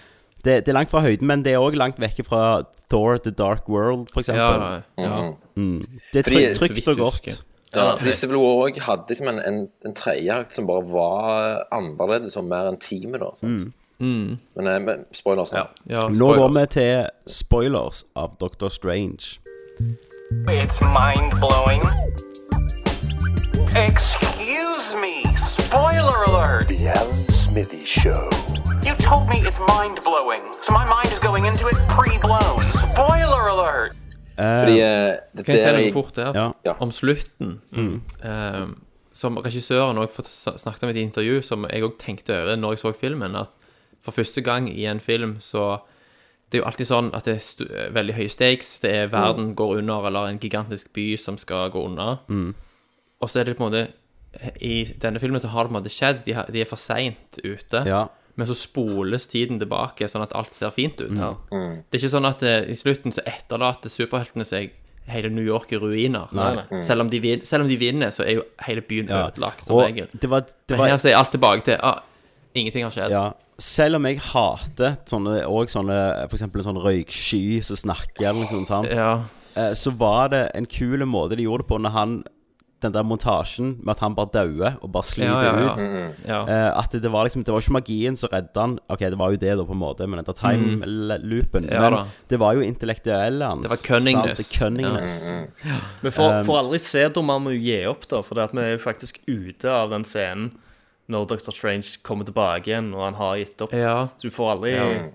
S1: Det, det er langt fra høyden, men det er òg langt vekke fra Thor The Dark World, for
S5: Ja,
S1: eksempel.
S5: nei, ja.
S1: Mm. Det er
S5: Fordi-
S1: trygt, trygt og godt.
S5: Ja, fordi Civil War også hadde liksom en, en, en tredjeakt som bare var annerledes, som mer enn teamet, da. sant?
S1: Mm. Mm.
S5: Men, eh, men spoilers nå.
S1: Nå går vi til spoilers av Doctor Strange.
S21: It's mind blowing. Excuse me, spoiler alert!
S22: The Alan Smithy Show.
S21: You told me it's mind blowing, so my mind is going into it pre blown. Spoiler alert!
S5: Fordi, eh, det
S12: Kan jeg si
S5: der
S12: noe
S5: jeg-
S12: fort der? Om slutten.
S1: Mm.
S12: Eh, som regissøren også fått s- snakket om i et intervju, som jeg òg tenkte over når jeg så filmen, at for første gang i en film så Det er jo alltid sånn at det er stu, veldig høye stakes. Det er verden går under, eller en gigantisk by som skal gå unna.
S1: Mm.
S12: Og så er det på en måte eh, I denne filmen så har det på en måte skjedd. De, har, de er for seint ute.
S1: Ja.
S12: Men så spoles tiden tilbake, sånn at alt ser fint ut.
S1: Ja. Mm.
S12: Det er ikke sånn at eh, i slutten så etterlater superheltene seg hele New York i ruiner.
S1: Nei, nei. Mm.
S12: Selv, om de vin, selv om de vinner, så er jo hele byen
S1: Ja.
S12: ødelagt, som
S1: Og
S12: regel.
S1: det var- det var-
S12: Men her så er alt tilbake til ah, ingenting har skjedd.
S1: Ja. Selv om jeg hater sånne, og sånne, for eksempel en sånn røyksky som snakker, liksom, sant?
S12: Ja.
S1: Eh, så var det en kul måte de gjorde det på når han den der montasjen med at han bare dauer og bare sliter
S12: Ja, ja, ja.
S1: ut.
S12: Mm, ja.
S1: Eh, at det, det var liksom Det var ikke magien som redda han. Ok, det var jo det, da, på en måte, med den der
S12: Mm.
S1: time-loopen.
S12: Ja, da.
S1: men det var jo intellektuelle hans.
S12: Det var
S1: sant?
S12: cunningness.
S1: Det cunningness.
S12: Ja. Mm, mm.
S9: Vi får,
S1: Um,
S9: får aldri se Dormammu gi opp, da, for det at vi er jo faktisk ute av den scenen når Dr. Strange kommer tilbake igjen og han har gitt opp.
S12: Ja.
S9: Så du får aldri Ja.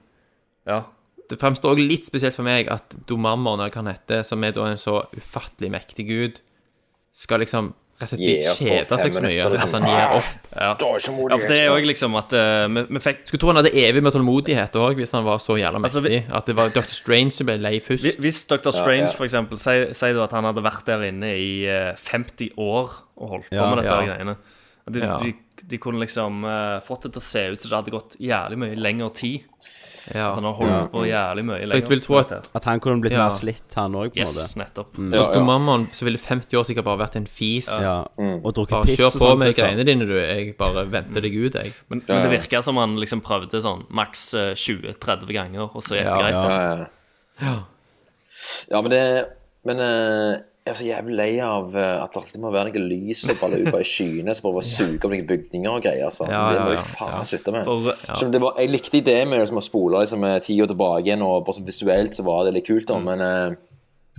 S12: Ja. Det fremstår også litt spesielt for meg at Domammer, eller hva han heter, som er da en så ufattelig mektig gud, skal liksom rett og slett
S9: Gi opp på
S12: kjede
S9: fem
S12: seg så mye
S9: minutter,
S12: at
S9: liksom.
S12: han gir opp.
S9: Ja.
S5: Da er ikke modig,
S9: ja, for det er jo
S5: ikke?
S9: liksom at eh, vi, vi fikk
S12: Skulle tro han hadde evig med tålmodighet òg, hvis han var så jævla mektig. At det var Dr. Strange som ble lei først.
S9: Hvis Dr. Strange for eksempel sier sier du at han hadde vært der inne i eh, 50 år og holdt på
S12: Ja.
S9: med dette
S12: Ja.
S9: greiene. At De,
S12: Ja.
S9: de, de kunne liksom eh, fått det til å se ut som det hadde gått jævlig mye lengre tid.
S12: Ja.
S9: At han har holdt
S12: Ja.
S9: på jævlig mye lenger.
S12: For jeg vil tro at
S1: At han kunne blitt
S12: Ja.
S1: mer slitt, han òg, på en
S9: Yes,
S1: måte.
S9: nettopp.
S1: Mm.
S12: For Domammer så ville 50 år sikkert bare vært en fis.
S1: Ja. Mm. Og drukket
S12: bare
S1: piss
S12: kjør
S1: og
S12: på
S1: sånt,
S12: med
S1: liksom.
S12: greiene dine, du. Jeg bare venter deg ut, jeg.
S9: Men, men det virker som han liksom prøvde sånn maks eh, 20-30 ganger, og så gikk det
S12: Ja.
S9: greit.
S5: Ja, ja. Ja, men det Men eh, jeg er så jævlig lei av eh, at det alltid må være noe lys som baller ut bare i skyene, som bare suger opp noen bygninger og greier. Altså.
S12: Ja,
S5: det
S12: ja,
S5: må
S12: ja,
S5: jeg faen
S12: ja.
S5: slutte med.
S12: For- ja.
S5: Som det var, jeg likte ideen med liksom, å spole liksom, eh, ti år tilbake igjen, og bare sånn visuelt så var det litt kult, da,
S12: Mm.
S5: men eh,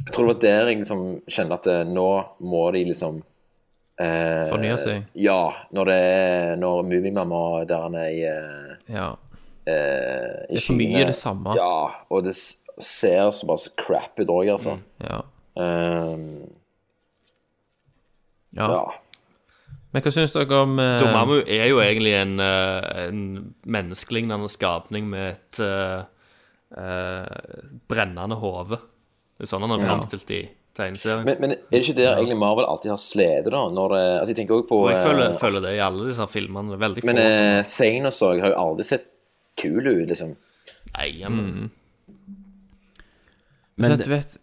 S5: jeg tror det var der jeg liksom kjente at eh, nå må de liksom eh,
S12: Fornye seg.
S5: Ja, når det er Når Mummimamma der han er i eh,
S12: Ja.
S5: eh, i
S12: Det er for mye
S5: skyene.
S12: det samme.
S5: Ja, og det s- ser så bare så crap ut òg, altså.
S12: Ja.
S5: Ehm,
S12: ja. Men hva syns dere om eh,
S9: Dormammu er jo egentlig en, eh, en menneskelignende skapning med et eh, eh, brennende hode. Det er sånn han er
S5: Ja.
S9: framstilt i tegneserien.
S5: men, men er det ikke der egentlig Marvel alltid har slede, da? Når det, altså, jeg tenker også på
S9: og jeg føler,
S5: eh,
S9: føler det i alle disse filmene. det er Veldig
S5: Men
S9: få som
S5: eh, Thanos òg har jo aldri sett kul ut, liksom.
S9: Nei, men
S12: Mm.
S1: Men
S12: Men du vet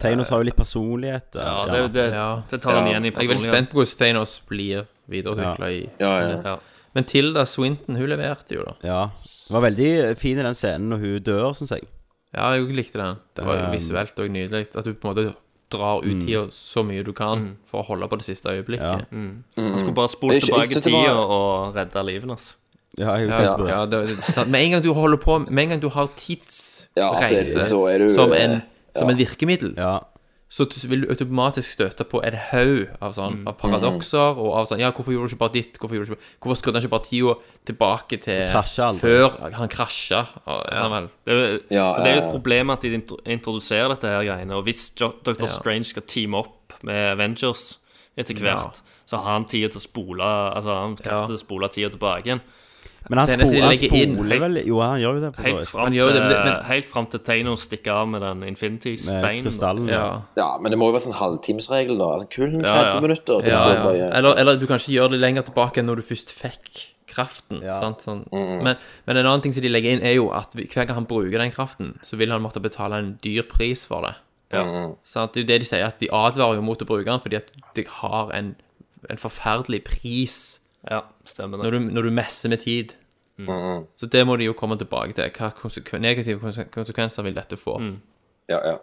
S1: Thanos har jo litt personlighet. eh,
S9: Ja, det, det, det tar han igjen i
S12: Jeg er veldig
S9: personligheten.
S12: spent på hvordan Thanos blir videreutvikla i
S5: Ja, ja, ja.
S12: Men Tilda Swinton, hun leverte jo, da.
S1: Ja. Det var veldig fin i den scenen når hun dør, syns jeg.
S12: Ja, jeg likte den. Det var jo
S1: Um,
S12: visuelt òg nydelig. At du på en måte drar ut
S1: Mm.
S12: tida så mye du kan for å holde på det siste
S9: Ja.
S12: øyeblikket.
S9: Mm. Han skulle bare spolt tilbake tida og redda livet hans.
S1: Ja, jeg
S12: Ja,
S1: tenkte på det.
S12: ja, det, det- med en gang du holder på Med en gang du har
S5: Ja, så er det-
S12: tidsreise
S5: så er du-
S12: som, en, som
S5: ja.
S12: en virkemiddel, så t- vil du automatisk støte på en haug av, sånn,
S5: Mm.
S12: av paradokser og av sånn Ja, hvorfor gjorde du ikke bare ditt? Hvorfor, gjorde du ikke, hvorfor skrudde han ikke bare tida tilbake til
S1: Krasja aldri.
S12: før han krasja? Og, sånn vel.
S9: Det, er jo-
S12: Ja,
S9: for det er jo et
S12: ja, ja.
S9: problem at de intro- introduserer dette her greiene. Og hvis Jo- Dr.
S12: Ja.
S9: Strange skal teame opp med Avengers etter
S12: Ja.
S9: hvert, så har han tid til å spole Altså han kraft til å spole tida tilbake igjen.
S1: Men han,
S9: Det er nesten
S1: spol,
S9: de
S1: han
S9: legger inn
S1: spoler vel Jo, han gjør jo det. på
S9: Helt
S1: så vis.
S9: fram, til, helt fram til Tano stikker av med den Infinity-steinen.
S12: ja.
S5: ja, men det må jo være sånn halvtimesregel, da. Altså, kun 30 minutter.
S12: Ja,
S5: Hvis du
S12: ja.
S5: bare-
S12: Eller, eller du kan ikke gjøre det lenger tilbake enn når du først fikk kraften. Sant? Sånn. Men, men en annen ting som de legger inn, er jo at vi- hver gang han bruker den kraften, så vil han måtte betale en dyr pris for det. Sant? Det er jo det de sier, at de advarer jo mot å bruke den fordi at de har en, en forferdelig pris
S9: Ja, stemmer det.
S12: når, du, når du messer med tid. Mm, Så det må de jo komme tilbake til. Hva konsekven, negative konse- konsekvenser vil dette få?
S5: Ja, ja.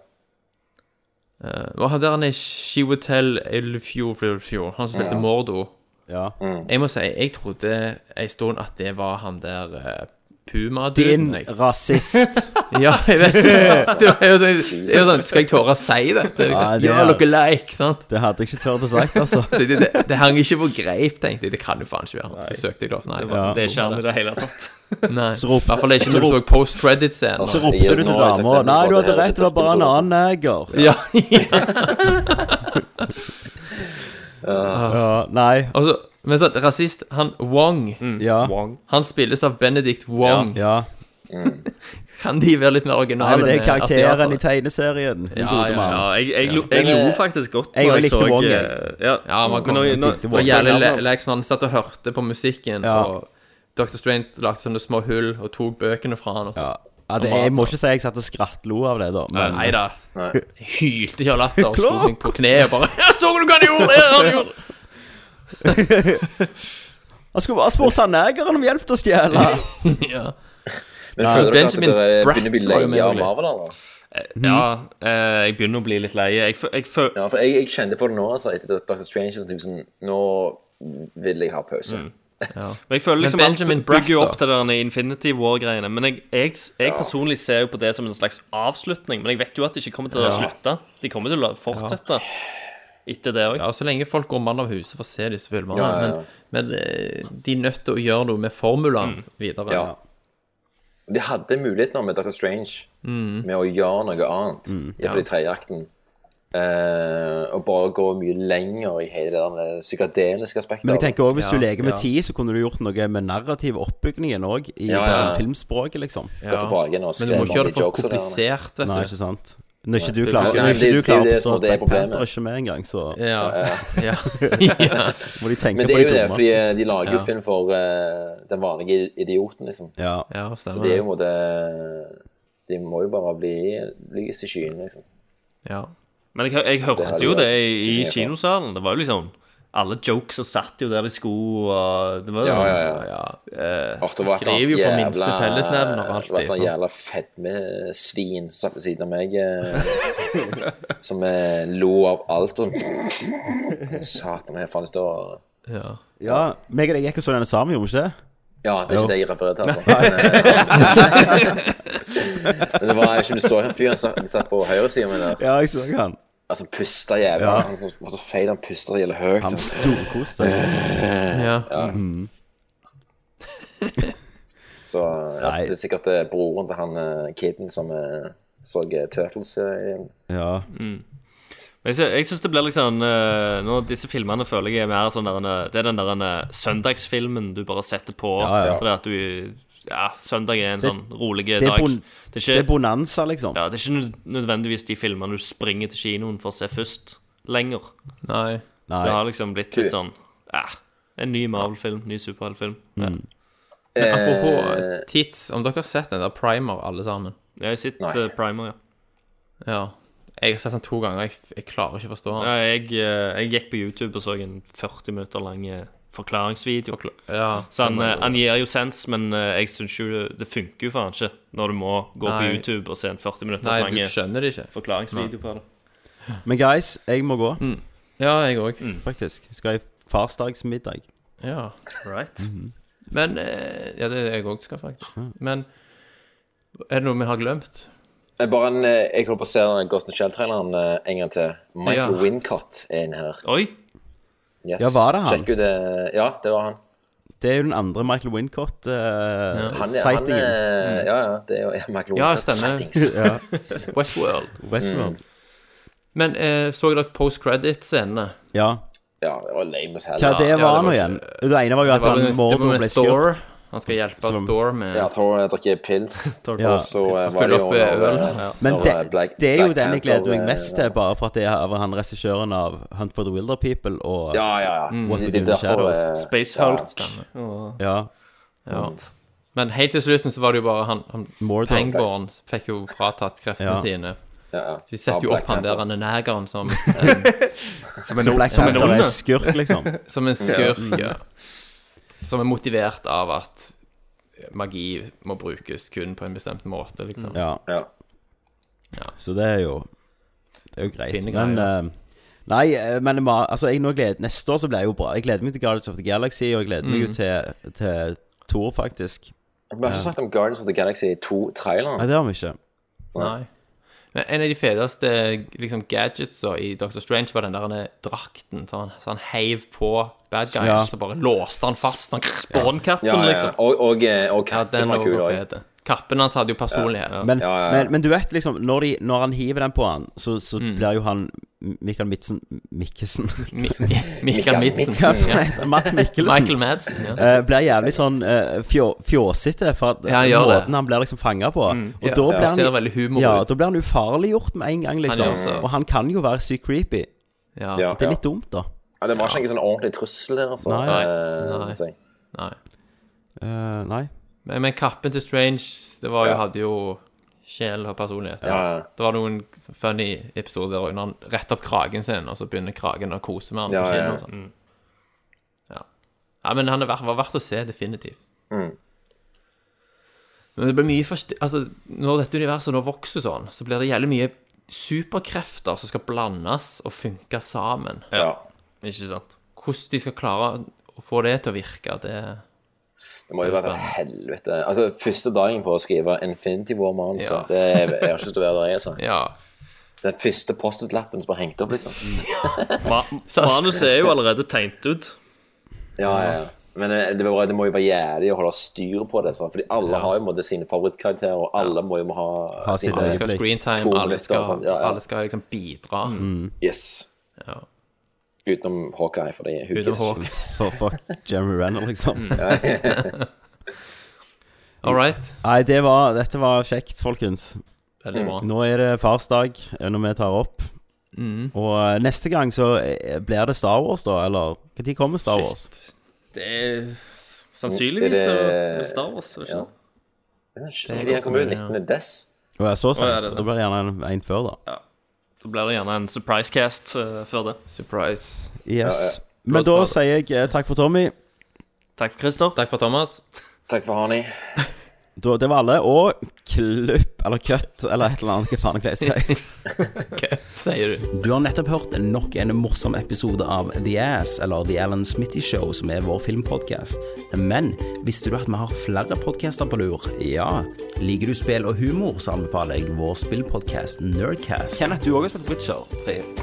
S12: Eh, Hva hadde han i Shiwotel Elfjordfjord? Han som spilte
S5: Ja.
S12: Mordo.
S1: Ja.
S12: Jeg må si, jeg trodde en stund at det var han der eh,
S1: Din
S12: Puma-duden. jeg.
S1: rasist.
S12: ja, jeg vet ikke. Det var jo sånn, det var sånn Skal jeg tåre å si dette?
S1: Ja,
S12: Ja,
S1: det er-
S12: dere like, sant?
S1: Det hadde jeg ikke turt å sagt, altså.
S12: det, det, det, det hang ikke på greip, tenkte jeg. Det kan jo faen ikke være han. Så søkte jeg det opp. Nei,
S9: Det var- det er ikke han i det hele tatt.
S12: Nei.
S1: Så rop-
S12: I hvert fall ikke
S1: så
S12: når du så
S1: rop-
S12: post-credit-scenen.
S1: Så ropte du til dama Nei, du hadde rett, det var bare en
S5: sånn
S1: annen neger.
S12: Ja.
S1: ja. Nei.
S12: Altså, men sånn, rasist Han Wong,
S1: Ja.
S12: han spilles av Benedict Wong.
S1: Ja.
S12: Kan de være litt mer
S1: Nei,
S12: originale?
S1: men det er
S12: enn
S1: karakteren
S12: asiater?
S1: i tegneserien. den
S12: Ja,
S1: gode
S12: ja,
S1: mannen.
S9: Ja, jeg, jeg, lo-
S1: Ja. eh,
S9: jeg lo faktisk godt
S1: Jeg
S9: når
S1: likte
S9: så,
S1: Wong,
S9: eh,
S1: jeg.
S9: Ja,
S12: Ja, man
S9: men
S12: kom,
S9: når,
S12: det
S9: når,
S12: var jævlig le- leks når han satt og hørte på musikken,
S1: Ja.
S12: og Dr. Strange lagde sånne små hull og tok bøkene fra han og sånn.
S1: Ja, det, jeg må ikke si jeg satt og skrattlo av det, da. men-
S12: Nei da. Jeg hylte ikke av latter og slo meg på kneet bare «Jeg så du hva han gjorde! Jeg hørte han gjorde!»
S1: Han skulle bare spurt han negeren om hjelp til å stjele.
S12: Ja.
S5: Men
S12: Ja, altså,
S5: føler dere at
S12: Benjamin
S5: dere begynner å bli
S12: Bratt var jo med
S5: leie av
S12: litt.
S5: Marvel, eller?
S9: Ja, eh, jeg begynner å bli litt lei. Jeg, fø- jeg, fø-
S5: Ja, for jeg, jeg kjente på det nå, altså, etter Dr. Strange. Sånn, typ sånn, nå vil jeg ha pause.
S12: Mm.
S9: Men jeg føler liksom
S12: Men
S9: alt
S12: Benjamin
S9: bygger jo
S12: Bratt,
S9: opp til den Infinity War-greiene. Men jeg, jeg, jeg personlig ser jo på det som en slags avslutning. Men jeg vet jo at de ikke kommer til å
S12: Ja.
S9: slutte. De kommer til å la- fortsette etter det òg.
S12: Ja, så lenge folk går mann av huset for å se disse filmene.
S5: Ja, ja, ja.
S12: Men, men eh, de er nødt til å gjøre noe med formulaen videre.
S5: Ja. De hadde mulighet nå med Dr. Strange
S12: Mm.
S5: med å gjøre noe annet,
S1: Mm.
S5: iallfall i tredje akten. Eh, og bare gå mye lenger i hele det der psykadeliske aspektet.
S1: Men jeg tenker også, hvis du
S5: Ja,
S1: leker med
S5: ja.
S1: tid, så kunne du gjort noe med narrativ oppbyggingen òg, i
S5: Ja,
S1: på
S5: ja.
S1: sånn filmspråket, liksom.
S5: Gå tilbake igjen og
S12: Men du må
S5: skrive
S12: ikke gjøre det
S5: mange
S12: for
S5: jokes og det der.
S12: komplisert, vet du.
S1: Nei, ikke sant. Når ikke du
S12: Nei,
S1: klarer,
S12: det-
S1: når ikke
S5: det-
S1: du
S5: det-
S1: klarer å
S5: det
S1: forstå
S5: som
S1: at
S5: det er
S1: Black Panther
S5: problemet.
S1: er ikke med engang, så
S12: Ja. ja.
S1: må de tenke
S5: Men
S1: på
S5: det er
S1: de
S5: jo det, fordi
S1: dummeste.
S5: de lager jo
S12: Ja.
S5: film for eh, den vanlige idioten, liksom.
S1: Ja.
S12: ja,
S5: Så
S12: stemmer.
S5: det er jo en måte De må jo bare bli lys i skyen, liksom.
S12: ja.
S9: Men jeg, jeg
S5: Det
S9: hørte
S5: hadde
S9: jo
S5: vært
S9: det i, i
S5: kjempefint.
S9: kinosalen. Det var jo liksom Alle jokes og satt jo der de skulle, og det var
S5: Ja, ja, ja.
S12: ja.
S9: Eh,
S5: Åh, det var et
S12: skriver jo for
S5: jævla-
S12: minste fellesnevner alltid,
S5: Det var et sånt
S12: sant?
S5: jævla fedmesvin som satt ved siden av meg, eh, som eh, lo av alt. Og Satan, her faen, det står
S12: ja.
S1: ja, meg og deg gikk jo sånn denne sammen, gjorde vi ikke det?
S5: Ja, det er
S1: Jo.
S5: ikke det jeg refererer til, altså. Men det var ikke du så han fyren som satt på høyresida mi der.
S1: Ja, jeg så han.
S5: Altså, pusta jævla
S1: Ja.
S5: Han var så feil, han pusta så jævla høyt.
S1: Han storkoste seg.
S12: Ja.
S1: Mhm.
S5: Så ja,
S1: Nei.
S5: det er sikkert eh, broren til han eh, kiden som eh, så eh, Turtles eh, igjen.
S1: Ja.
S9: Men Jeg, sy- jeg syns det blir liksom eh, nå, Disse filmene føler jeg er mer sånn der en, eh, Det er den der en, eh, søndagsfilmen du bare setter på.
S1: Ja, ja.
S9: Fordi at du Ja, søndag er en
S1: Det-
S9: sånn rolig
S1: det er
S9: dag.
S1: bon- det er bonanza, liksom.
S9: Ja, det er ikke nød- nødvendigvis de filmene du springer til kinoen for å se først, lenger.
S12: Nei.
S1: Nei.
S9: Det har liksom blitt litt sånn eh, En ny Marvel-film, ny superheltfilm. Ja.
S12: Mm. Men
S5: eh,
S12: apropos eh, tids, om dere har sett den der Primer, alle sammen?
S9: Ja, Jeg sitter
S12: Nei.
S9: eh, primer, ja.
S12: Ja. Jeg har sett den to ganger, jeg, f- jeg klarer ikke å forstå den.
S9: ja jeg, eh, jeg gikk på YouTube og så en 40 minutter lang eh, forklaringsvideo.
S12: Ja, Sånn,
S9: så han,
S12: det må
S9: eh,
S12: jo-
S9: han gir jo sens, men eh, jeg syns jo det- det funker jo faen ikke når du må gå på
S12: Nei.
S9: YouTube og se en 40 minutters
S12: Nei, du
S9: lang
S12: skjønner det ikke.
S9: forklaringsvideo på det.
S1: Men guys, jeg må gå.
S12: Ja, jeg òg.
S1: Faktisk. Skal jeg farsdagsmiddag?
S12: Ja. Men eh, Ja, det er det jeg òg skal, faktisk.
S1: Mm.
S12: Men er det noe vi har glemt?
S5: Eh, Bare en, eh, jeg holder på å se den Ghost in the Shell-traileren eh, en gang til. Michael
S12: Ja.
S5: Wincott er inne her.
S9: Oi!
S5: Yes.
S1: Ja, var det han?
S5: Sjekk ut det. Ja, det var han.
S1: Det er jo den andre Michael eh,
S5: Han, er- han,
S1: Wincott-sightingen.
S5: er- ja, ja, det er jo ja, Michael
S12: Mm. Ja,
S5: Wincott.
S12: stemmer.
S5: sightings.
S12: Westworld.
S1: Westworld.
S12: Men eh, så dere post-credit-scenene?
S1: ja.
S5: Mm. Ja, det var lame as hell.
S1: Hva det var nå igjen? Det ene var jo at han Mordo ble skutt.
S12: Han skal hjelpe
S1: Som-
S12: Thor med
S5: Ja, Thor eh, drikker pils.
S1: Ja.
S5: Og så eh, var
S12: Fyller
S5: det
S12: opp,
S5: jo
S12: eh, øl.
S5: når, eh,
S12: Ja.
S1: Men
S5: når,
S1: det,
S5: eh, Black-
S1: det er jo
S5: Black
S1: den jeg
S5: Panther,
S1: gleder meg
S5: eh,
S1: mest til, bare for at det er han regissøren av Hunt for the Wilder People og
S5: Ja, ja, ja.
S12: Mm.
S1: What We
S5: Det
S1: Do
S5: er
S1: in the
S5: derfor,
S1: Shadows.
S5: eh,
S9: Space
S5: ja,
S9: Hulk.
S5: stemmer.
S9: og-
S1: Ja.
S12: Ja. Men helt til slutten så var det jo bare han, han
S1: Mordor.
S12: Pangborn fikk jo fratatt kreftene
S1: Ja.
S12: sine.
S5: Ja, ja.
S12: Så de setter jo
S5: Ja,
S12: opp han
S5: Black
S12: der
S5: Panther.
S12: han er negeren som
S1: Som en- Så Black Panther er skurk, liksom.
S12: Som en
S1: Ja.
S12: skurk, ja. Som er motivert av at magi må brukes kun på en bestemt måte, liksom.
S1: Ja. Så det er jo Det er jo greit.
S12: Fine
S1: Men
S12: greier.
S1: eh, Nei, eh, men det var- altså, jeg nå gleder, neste år så blir det jo bra. Jeg gleder meg til Guardians of the Galaxy, og jeg gleder meg jo
S5: Mm.
S1: til, til Thor, faktisk.
S5: Vi har ikke
S1: Ja.
S5: snakket om Guardians of the Galaxy 2-traileren.
S1: Nei, det har vi ikke.
S12: Nei. Men en av de feteste liksom, gadgetsa i Dr. Strange var den der han er drakten. Så han, så han heiv på bad guys
S5: Ja.
S12: og bare låste han fast. Sånn spawnkatten,
S5: Ja, ja, ja.
S12: liksom.
S5: Og, og, eh, og katten
S12: den
S5: var
S12: var
S5: kul
S12: også
S5: også.
S12: fet. Kappen hans hadde jo personlighet.
S1: Men, men, men du vet liksom når, de, når han hiver den på han Så, så
S12: Mm.
S1: blir jo han Mikael Midtsen Mikkelsen
S12: Mikael Midtsen, ja.
S1: Hva heter- Mats Mikkelsen
S12: Michael Madsen, ja.
S1: Eh, Blir jævlig sånn eh, fjå, Fjåsete For at
S12: Ja, han gjør det.
S1: måten han blir liksom fanget på Og
S12: Ja,
S1: da
S12: ja.
S1: blir han
S12: Ser veldig humor
S1: Ja,
S12: ut.
S1: da blir han ufarliggjort med en gang liksom
S12: Han gjør det.
S1: Og han kan jo være sykt creepy
S12: Ja.
S5: Ja.
S1: Det er litt dumt da
S5: Ja, det var ikke noen sånn ordentlig trussel der, altså.
S1: Nei.
S5: eh,
S12: Nei.
S5: synes jeg.
S12: Nei.
S1: Eh, Nei
S12: Men, men kappen til Strange det var jo,
S5: Ja.
S12: hadde jo sjel og personlighet.
S5: Ja.
S12: Det var noen funny episoder der når han retter opp kragen sin, og så begynner kragen å kose med han
S5: Ja,
S12: på
S5: ja.
S12: kinnet. og sånn. Ja. ja, men han er verdt, var verdt å se, definitivt.
S5: Mm.
S12: Men det blir mye forst- altså, Når dette universet nå vokser sånn, så blir det jævlig mye superkrefter som skal blandes og funke sammen.
S9: Ja. Ikke sant?
S12: Hvordan de skal klare å få det til å virke, det
S5: Det må jo være et helvete. Altså, første dagen på å skrive Infinity War med han, så
S12: Ja.
S5: det er, jeg har ikke lyst til å være der, altså.
S12: Ja.
S5: Den første post-it-lappen som bare hengte opp, liksom.
S9: Ma manuset er jo allerede tegnet ut.
S5: Ja, ja, ja. Men eh, det, var, det må jo være jævlig å holde styr på det, sant? fordi alle har jo på en måte sine favorittkarakterer, og alle må jo ha,
S1: Ha sitt
S12: Alle skal ha
S1: øyeblikk.
S12: screentime,
S5: To
S12: alle
S5: minutter
S12: skal,
S5: og sånt, ja, ja.
S12: alle skal liksom bidra.
S9: Mm.
S5: Yes.
S12: Ja.
S5: Utenom Hawkeye, for det er
S12: Utenom Hawkeye.
S1: For fuck Jeremy Renner liksom
S9: Mm.
S12: All right.
S1: Nei, det var, dette var kjekt, folkens.
S12: Veldig bra.
S1: Nå er det farsdag eh, når vi tar opp.
S12: Mm.
S1: Og eh, neste gang så eh, blir det Star Wars, da? Eller når kommer Star Wars?
S9: Det er s- sannsynligvis
S5: Er
S9: er
S5: det-
S9: det... Star Wars, er det ikke
S5: Ja.
S9: det?
S5: Jeg synes ikke de kom ut 19. des.
S1: Å ja, så
S9: Å, ja,
S1: sent.
S9: det er det.
S1: Da blir det gjerne en, en før, da.
S9: Da blir det gjerne en surprise cast eh, før det.
S12: Surprise.
S1: Yes. Men da sier jeg eh, takk for Tommy.
S9: Takk for Christer.
S12: Takk for Thomas.
S5: Takk for Hani.
S1: Da, det var alle. Og klipp, eller kutt, eller et eller annet. Hva faen jeg pleier å si.
S12: Kødd, sier du.
S1: Du har nettopp hørt nok en morsom episode av The Ass, eller The Alan Smitty Show, som er vår filmpodcast. Men visste du at vi har flere podcaster på lur? Ja. Liker du spill og humor, så anbefaler jeg vår spillpodcast Nerdcast. Kenneth, du òg har spilt Witcher 3.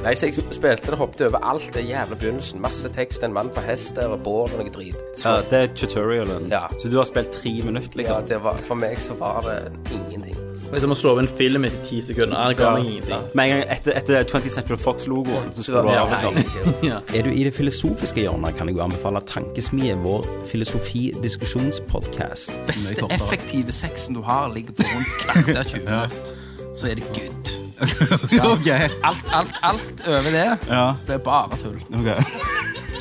S8: Nei, så jeg spilte det, hoppet over alt det jævla begynnelsen. Masse tekst, en mann på hest der, og bål og noe drit.
S10: Ja, det er tutorialen.
S8: Ja.
S10: Så du har spilt tre minutter,
S8: Ja,
S10: liksom?
S8: det var, for meg så var det ingenting.
S10: Det er som å slå inn film etter ti sekunder. Nei, det ga meg ingenting. Med en gang etter, etter 20 Central Fox-logoen, så skulle du ha reklame. Ja.
S1: Er du i det filosofiske hjørnet, kan jeg jo anbefale Tankesmie, vår filosofidiskusjonspodkast. Mye
S8: Beste
S1: kortere.
S8: effektive sexen du har, ligger på rundt kvarter 20 minutter. Så er det good.
S10: Ok.
S8: Alt, alt, alt over det
S1: Ja.
S8: ble bare tull.